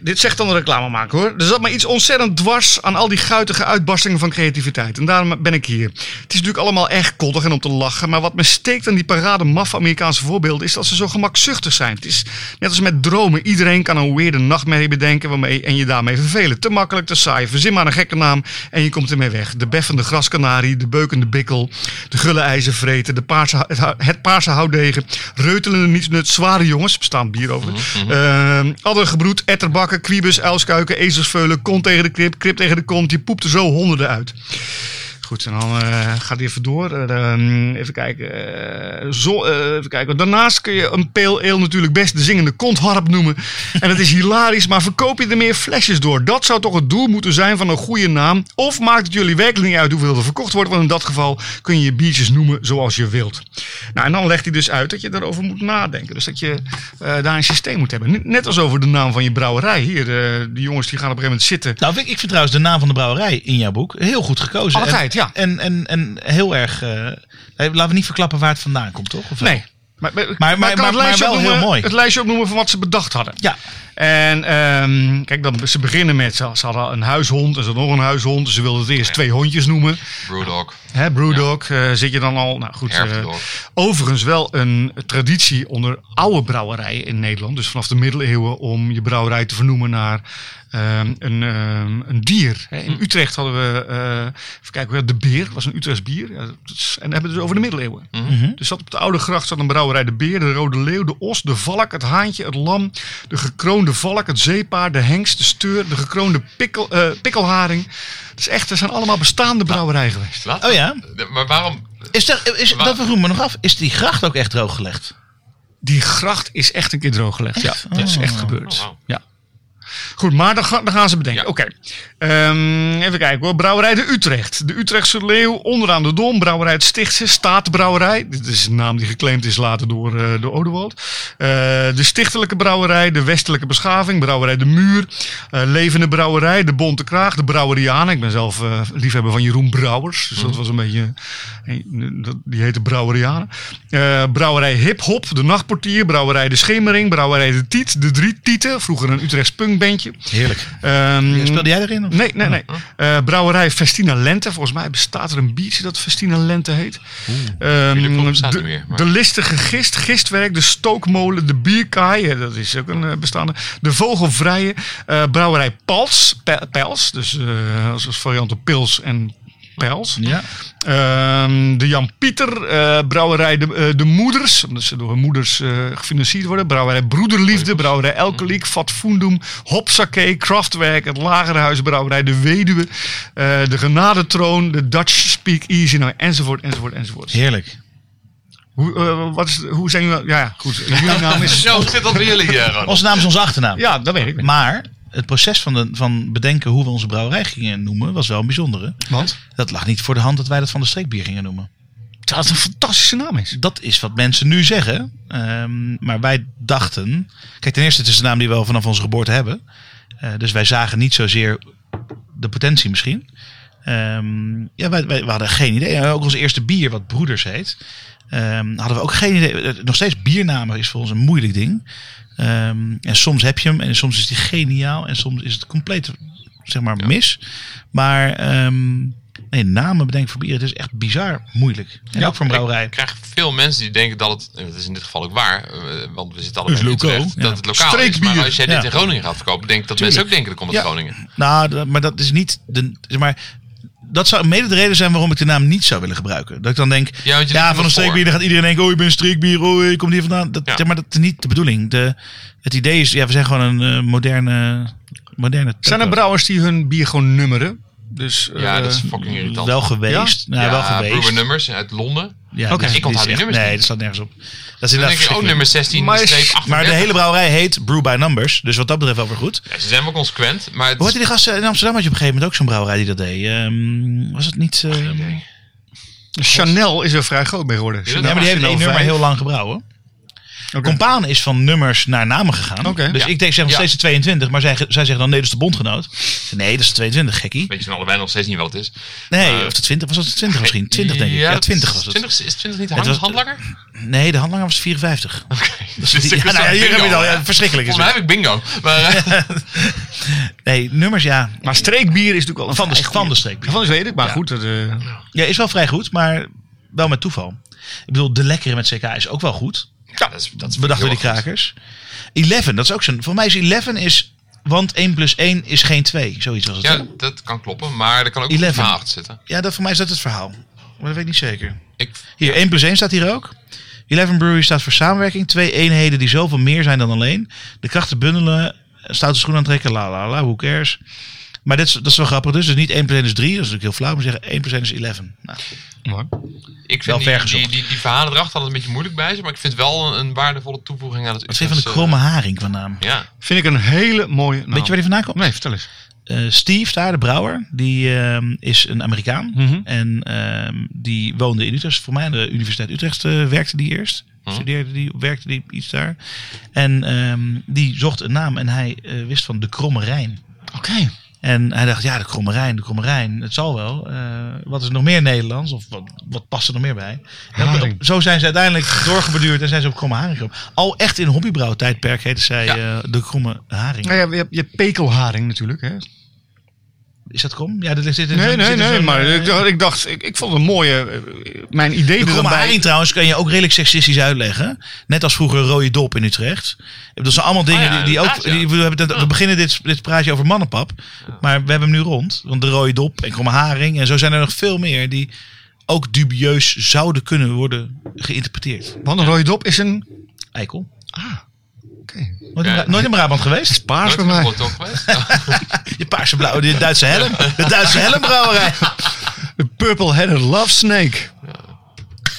[SPEAKER 3] Dit zegt dan de reclame maken hoor. Er zat maar iets ontzettend dwars aan al die guitige uitbarstingen van creativiteit. En daarom ben ik hier. Het is natuurlijk allemaal echt koddig en om te lachen. Maar wat me steekt aan die parade maf Amerikaanse voorbeelden is dat ze zo gemakzuchtig zijn. Het is net als met dromen. Iedereen kan een weirde nachtmerrie bedenken waarmee, en je daarmee vervelen. Te makkelijk, te saai. Verzin maar een gekke naam en je komt ermee weg. De beffende graskanarie, de beukende bikkel, de gulle ijzervreten, de paarse, hou- het, hou- het paarse houtdegen, reutelende nietsnut, zware jongens, bestaand bier over. Ehm, addergebroed, etterbakken, kwiebus, uilskuiken, ezelsveulen, kont tegen de krip, krip tegen de kont. Je poept er zo honderden uit. Goed, en dan eh, gaat hij even door. Eh, ehm, even, kijken, eh, zo, eh, even kijken. Daarnaast kun je een pale ale natuurlijk best de zingende kontharp noemen. En dat is hilarisch, maar verkoop je er meer flesjes door? Dat zou toch het doel moeten zijn van een goede naam? Of maakt het jullie werkelijk niet uit hoeveel er verkocht wordt? Want in dat geval kun je je biertjes noemen zoals je wilt. Nou, en dan legt hij dus uit dat je daarover moet nadenken. Dus dat je eh, daar een systeem moet hebben. Net als over de naam van je brouwerij. Hier, eh die jongens die gaan op een gegeven moment zitten.
[SPEAKER 1] Nou, vind ik, ik vind trouwens de naam van de brouwerij in jouw boek heel goed gekozen. en,
[SPEAKER 3] Altijd, ja.
[SPEAKER 1] En, en, en heel erg... eh, laten we niet verklappen waar het vandaan komt, toch? Of wel?
[SPEAKER 3] Nee. Maar, maar, maar,
[SPEAKER 1] maar-
[SPEAKER 3] ik kan het
[SPEAKER 1] maar
[SPEAKER 3] lijstje
[SPEAKER 1] wel heel
[SPEAKER 3] opnoemen-
[SPEAKER 1] mooi.
[SPEAKER 3] Het lijstje opnoemen van wat ze bedacht hadden.
[SPEAKER 1] Ja,
[SPEAKER 3] En ehm, kijk, dan, ze beginnen met, ze, ze hadden een huishond en ze hadden nog een huishond. Ze wilden het eerst twee hondjes noemen.
[SPEAKER 2] Brewdog.
[SPEAKER 3] Hè, Brewdog, eh, zit je dan al... Nou goed, eh,
[SPEAKER 2] Herfdog.
[SPEAKER 3] overigens wel een traditie onder oude brouwerijen in Nederland. Dus vanaf de middeleeuwen om je brouwerij te vernoemen naar ehm, een, ehm, een dier. Hè, in Utrecht hadden we, eh, even kijken, hoe heet het? de beer. Dat was een Utrechts bier. Ja, dat is- en dan hebben we het dus over de middeleeuwen. Dus zat op de Oude Gracht zat een brouwerij de beer, de rode leeuw, de os, de valk, het haantje, het lam, de gekroonde valk, het zeepaard, de hengst, de steur, de gekroonde pikkel, eh, pikkelharing. Dat is echt, er zijn allemaal bestaande brouwerijen geweest.
[SPEAKER 2] Laat-
[SPEAKER 1] oh ja.
[SPEAKER 2] De- Maar waarom?
[SPEAKER 1] Is er, is,
[SPEAKER 2] Waar-
[SPEAKER 1] dat vroeg ik me nog af. Is die gracht ook echt drooggelegd?
[SPEAKER 3] Die gracht is echt een keer drooggelegd.
[SPEAKER 1] Echt?
[SPEAKER 3] Ja, dat is
[SPEAKER 1] Oh.
[SPEAKER 3] echt gebeurd.
[SPEAKER 2] Oh, wauw.
[SPEAKER 3] ja. Goed, maar dan, ga- dan gaan ze bedenken.
[SPEAKER 2] Ja.
[SPEAKER 3] Oké. Ehm, even kijken hoor. Brouwerij de Utrecht. De Utrechtse Leeuw, onderaan de Dom. Brouwerij het Stichtse. Staatbrouwerij. Dit is een naam die geclaimd is later door, eh door Odewald. Eh, de Stichtelijke Brouwerij. De Westelijke Beschaving. Brouwerij de Muur. eh, Levende Brouwerij. De Bonte Kraag. De Brouwerianen. Ik ben zelf eh, liefhebber van Jeroen Brouwers. Dus dat was een beetje... eh, dat- Die heette Brouwerianen. Eh, brouwerij Hip Hop. De Nachtportier. Brouwerij de Schemering. Brouwerij de Tiet. De Drie Tieten. Vroeger een Utrechts punkbandje.
[SPEAKER 1] Heerlijk.
[SPEAKER 3] Ehm,
[SPEAKER 1] Speelde jij erin? Of?
[SPEAKER 3] Nee, nee, nee.
[SPEAKER 2] Oh.
[SPEAKER 3] Eh, brouwerij Festina Lente. Volgens mij bestaat er een biertje dat Festina Lente heet. Ehm,
[SPEAKER 2] Jullie bestaat
[SPEAKER 3] de,
[SPEAKER 2] niet meer, maar-
[SPEAKER 3] de listige gist, gistwerk, de stookmolen, de bierkaai. eh, Dat is ook een eh, bestaande. De vogelvrije. eh, brouwerij Pals. Pe- Pels. Dus eh als als variant op pils en pels.
[SPEAKER 1] Ja.
[SPEAKER 3] Ehm, de Jan Pieter, eh, brouwerij de, eh, de Moeders, omdat ze door hun moeders eh, gefinancierd worden. Brouwerij Broederliefde, brouwerij Elkeliek, Fatfoendum, Hopsake, Kraftwerk, het Lagerhuis, brouwerij De Weduwe, eh, de Genadetroon, de Dutch Speak Easy, nou, enzovoort, enzovoort, enzovoort.
[SPEAKER 1] Heerlijk.
[SPEAKER 3] Hoe, eh, wat is, hoe zijn jullie, ja goed, jullie naam is...
[SPEAKER 2] Zo zit dat bij jullie eh, hier, Ron.
[SPEAKER 1] Onze naam is onze achternaam.
[SPEAKER 3] Ja, dat weet ik.
[SPEAKER 1] Maar het proces van, de, van bedenken hoe we onze brouwerij gingen noemen was wel een bijzondere.
[SPEAKER 3] Want
[SPEAKER 1] Dat lag niet voor de hand dat wij dat van de streekbier gingen noemen.
[SPEAKER 3] dat het een fantastische naam is.
[SPEAKER 1] Dat is wat mensen nu zeggen. Ehm, maar wij dachten. Kijk, ten eerste, het is de naam die we al vanaf onze geboorte hebben. Eh, dus wij zagen niet zozeer de potentie misschien. Ehm, ja, wij, wij, we hadden geen idee. En Ook ons eerste bier, wat Broeders heet, ehm, hadden we ook geen idee. Eh, Nog steeds biernamen is voor ons een moeilijk ding. Ehm, en soms heb je hem en soms is die geniaal en soms is het compleet zeg maar mis. Maar ehm, nee, namen bedenken voor bieren, het is echt bizar moeilijk. En ook voor een brouwerij.
[SPEAKER 2] Ik krijg veel mensen die denken dat het, en dat is in dit geval ook waar, eh, want we zitten
[SPEAKER 1] Is
[SPEAKER 2] allemaal in
[SPEAKER 1] lokaal,
[SPEAKER 2] Utrecht,
[SPEAKER 1] ja.
[SPEAKER 2] dat het lokaal is.
[SPEAKER 1] Streekbier,
[SPEAKER 2] Maar als jij
[SPEAKER 1] ja.
[SPEAKER 2] dit in Groningen gaat verkopen, denk ik dat mensen ook denken dat komt uit
[SPEAKER 1] Ja.
[SPEAKER 2] Groningen.
[SPEAKER 1] Nou, dat- maar dat is niet de. Zeg maar, dat zou mede de reden zijn waarom ik de naam niet zou willen gebruiken. Dat ik dan denk,
[SPEAKER 2] Ja,
[SPEAKER 1] ja,
[SPEAKER 2] want je doet het
[SPEAKER 1] van
[SPEAKER 2] voor.
[SPEAKER 1] een streekbier, dan gaat iedereen denken, oh, je bent een streekbier, oh, je komt hier vandaan. Dat,
[SPEAKER 2] Ja.
[SPEAKER 1] zeg maar dat is niet de bedoeling. De, het idee is, ja, we zijn gewoon een eh, moderne, moderne...
[SPEAKER 5] Zijn er
[SPEAKER 1] taproom.
[SPEAKER 5] brouwers die hun bier gewoon nummeren? Dus,
[SPEAKER 2] ja,
[SPEAKER 5] eh,
[SPEAKER 2] dat is fucking irritant.
[SPEAKER 1] Wel geweest. Nou,
[SPEAKER 2] ja,
[SPEAKER 1] wel geweest.
[SPEAKER 2] Brewer nummers uit Londen.
[SPEAKER 1] Ja,
[SPEAKER 2] Oké.
[SPEAKER 1] dit-
[SPEAKER 2] Ik onthoud
[SPEAKER 1] dit is
[SPEAKER 2] die
[SPEAKER 1] echt-
[SPEAKER 2] nummers
[SPEAKER 1] Nee,
[SPEAKER 2] niet.
[SPEAKER 1] dat staat nergens op. Dat is
[SPEAKER 2] Dan
[SPEAKER 1] inderdaad
[SPEAKER 2] denk ik, oh,
[SPEAKER 1] verschrikkelijk.
[SPEAKER 2] nummer 16,
[SPEAKER 5] Maar
[SPEAKER 2] maar
[SPEAKER 5] is-
[SPEAKER 1] Maar de hele brouwerij heet Brew by Numbers. Dus wat dat betreft wel weer goed.
[SPEAKER 2] ze zijn wel consequent, maar het
[SPEAKER 1] Hoe heette die gasten in Amsterdam? Had je op een gegeven moment ook zo'n brouwerij die dat deed? Ehm, was het niet... eh,
[SPEAKER 5] Chanel is er vrij groot mee geworden.
[SPEAKER 2] Ja,
[SPEAKER 1] Ja, maar die heeft
[SPEAKER 5] Chanel
[SPEAKER 1] één nummer
[SPEAKER 5] vijf.
[SPEAKER 1] heel lang gebrouwen.
[SPEAKER 5] Oké.
[SPEAKER 1] Compaan is van nummers naar namen gegaan.
[SPEAKER 5] Oké.
[SPEAKER 1] Dus
[SPEAKER 2] Ja.
[SPEAKER 1] ik denk, zeg nog
[SPEAKER 2] Ja.
[SPEAKER 1] steeds de 22, maar zij, zij zeggen dan nee, dat is de bondgenoot. Nee, dat is de 22, gekkie.
[SPEAKER 2] weet je van allebei nog steeds niet wat het is.
[SPEAKER 1] Nee,
[SPEAKER 2] Eh,
[SPEAKER 1] of de 20, was dat de 20 misschien? 20 denk ik. Ja,
[SPEAKER 2] dat
[SPEAKER 1] 20
[SPEAKER 2] is-
[SPEAKER 1] was het.
[SPEAKER 2] 20, is- is 20 niet
[SPEAKER 1] Het
[SPEAKER 2] hand,
[SPEAKER 1] was-
[SPEAKER 2] handlanger?
[SPEAKER 1] Nee, de handlanger was 54.
[SPEAKER 2] Dus dit is
[SPEAKER 1] ja,
[SPEAKER 2] een
[SPEAKER 1] nou ja, hier
[SPEAKER 2] bingo,
[SPEAKER 1] heb je het al.
[SPEAKER 2] hè?
[SPEAKER 1] Ja, verschrikkelijk is
[SPEAKER 2] Volgens mij
[SPEAKER 1] het.
[SPEAKER 2] heb ik bingo. Maar, eh,
[SPEAKER 1] Nee, nummers ja.
[SPEAKER 5] Maar streekbier is natuurlijk wel een
[SPEAKER 1] Van de,
[SPEAKER 5] vrij
[SPEAKER 1] van de
[SPEAKER 5] goeie.
[SPEAKER 1] streek.
[SPEAKER 5] Van de weet ik, maar goed. Dat, eh,
[SPEAKER 1] Ja, is wel vrij goed, maar wel met toeval. Ik bedoel, de lekkere met CK is ook wel goed.
[SPEAKER 2] ja, dat is, dat is
[SPEAKER 1] bedacht door
[SPEAKER 2] heel
[SPEAKER 1] die
[SPEAKER 2] goed.
[SPEAKER 1] krakers. 11, dat is ook zo'n... Voor mij is 11 is... Want 1 plus 1 is geen 2. Zoiets was het. hè?
[SPEAKER 2] Ja, dat kan kloppen, maar er kan ook
[SPEAKER 1] 11.
[SPEAKER 2] een verhaal achter zitten.
[SPEAKER 1] Ja, dat, voor mij is dat het verhaal. Maar dat weet ik niet zeker.
[SPEAKER 2] Ik,
[SPEAKER 1] Hier, 1 plus 1 staat hier ook. 11 Brewery staat voor samenwerking. Twee eenheden die zoveel meer zijn dan alleen. De krachten bundelen, stoute schoenen aantrekken, la la la, who cares. Maar dit is, dat is wel grappig dus. Dus niet 1 plus 1 is 3, dat is natuurlijk heel flauw. Maar zeggen 1 plus 1 is 11. Nou,
[SPEAKER 2] ik vind die,
[SPEAKER 1] Wel
[SPEAKER 2] die,
[SPEAKER 1] vergezocht.
[SPEAKER 2] die, die verhalen erachter altijd een beetje moeilijk bij ze, maar ik vind wel een, een waardevolle toevoeging aan het
[SPEAKER 1] wat vind je van de
[SPEAKER 2] Utrechtse-
[SPEAKER 1] kromme haring van naam?
[SPEAKER 2] Ja,
[SPEAKER 5] vind ik een hele mooie naam.
[SPEAKER 1] Weet je waar die vandaan komt?
[SPEAKER 5] Nee, vertel eens.
[SPEAKER 1] Eh, Steve daar, de brouwer, die ehm, is een Amerikaan.
[SPEAKER 5] Mhm.
[SPEAKER 1] En ehm, die woonde in Utrecht. Voor mij aan de Universiteit Utrecht eh, werkte die eerst.
[SPEAKER 5] Mhm.
[SPEAKER 1] Studeerde die, werkte die iets daar. En ehm, die zocht een naam en hij eh, wist van de Kromme Rijn.
[SPEAKER 5] Oké.
[SPEAKER 1] En hij dacht, ja, de Kromme Rijn, de Kromme Rijn, het zal wel. Eh, wat is er nog meer Nederlands? Of wat, wat past er nog meer bij? En op-
[SPEAKER 5] Haring.
[SPEAKER 1] op- zo zijn ze uiteindelijk doorgebeduurd en zijn ze op Kromme Haring gekomen. Al echt in hobbybrouwtijdperk heette zij eh, de Kromme Haring.
[SPEAKER 5] Nou ja, je, hebt, je hebt pekelharing natuurlijk. Hè?
[SPEAKER 1] Dus Is dat krom? Ja, dat ligt dit in
[SPEAKER 5] Nee,
[SPEAKER 1] zo'n-
[SPEAKER 5] nee,
[SPEAKER 1] zit in
[SPEAKER 5] nee.
[SPEAKER 1] zo'n,
[SPEAKER 5] Maar
[SPEAKER 1] eh,
[SPEAKER 5] ik dacht, ik, dacht, ik, ik vond het een mooie. eh, Mijn idee
[SPEAKER 1] De
[SPEAKER 5] er dan
[SPEAKER 1] kromme
[SPEAKER 5] bij.
[SPEAKER 1] haring trouwens kan je ook redelijk seksistisch uitleggen. Net als vroeger rode dop in Utrecht. Dat zijn allemaal dingen
[SPEAKER 2] Ah ja,
[SPEAKER 1] die, die ook...
[SPEAKER 2] inderdaad, ja.
[SPEAKER 1] die- we, hebben het- we beginnen dit, dit praatje over mannenpap. Maar we hebben hem nu rond. Want de rode dop en kromme haring. En zo zijn er nog veel meer die ook dubieus zouden kunnen worden geïnterpreteerd.
[SPEAKER 5] Want een rode dop is een.
[SPEAKER 1] Eikel.
[SPEAKER 5] Oké.
[SPEAKER 1] Nooit in,
[SPEAKER 2] Ja.
[SPEAKER 1] Bra- nooit in Brabant geweest?
[SPEAKER 5] Paars bij
[SPEAKER 2] nooit
[SPEAKER 5] mij.
[SPEAKER 2] een top geweest. Ja.
[SPEAKER 1] Je paarse blauw, de Duitse helm. De Duitse helmbrouwerij.
[SPEAKER 5] De purple-headed love snake.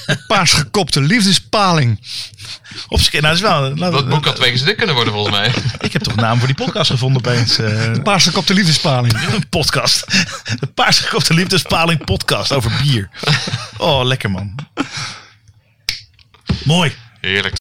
[SPEAKER 5] Een Paars gekopte liefdespaling.
[SPEAKER 1] Op z'n- nou, dat is wel... laat-
[SPEAKER 2] Dat boek had twee keer zo dik kunnen worden volgens mij.
[SPEAKER 1] Ik heb toch een naam voor die podcast gevonden opeens. eh.
[SPEAKER 5] Paars gekopte liefdespaling.
[SPEAKER 1] Een podcast. De paars gekopte liefdespaling podcast over bier. Oh, lekker man. Mooi.
[SPEAKER 2] Heerlijk.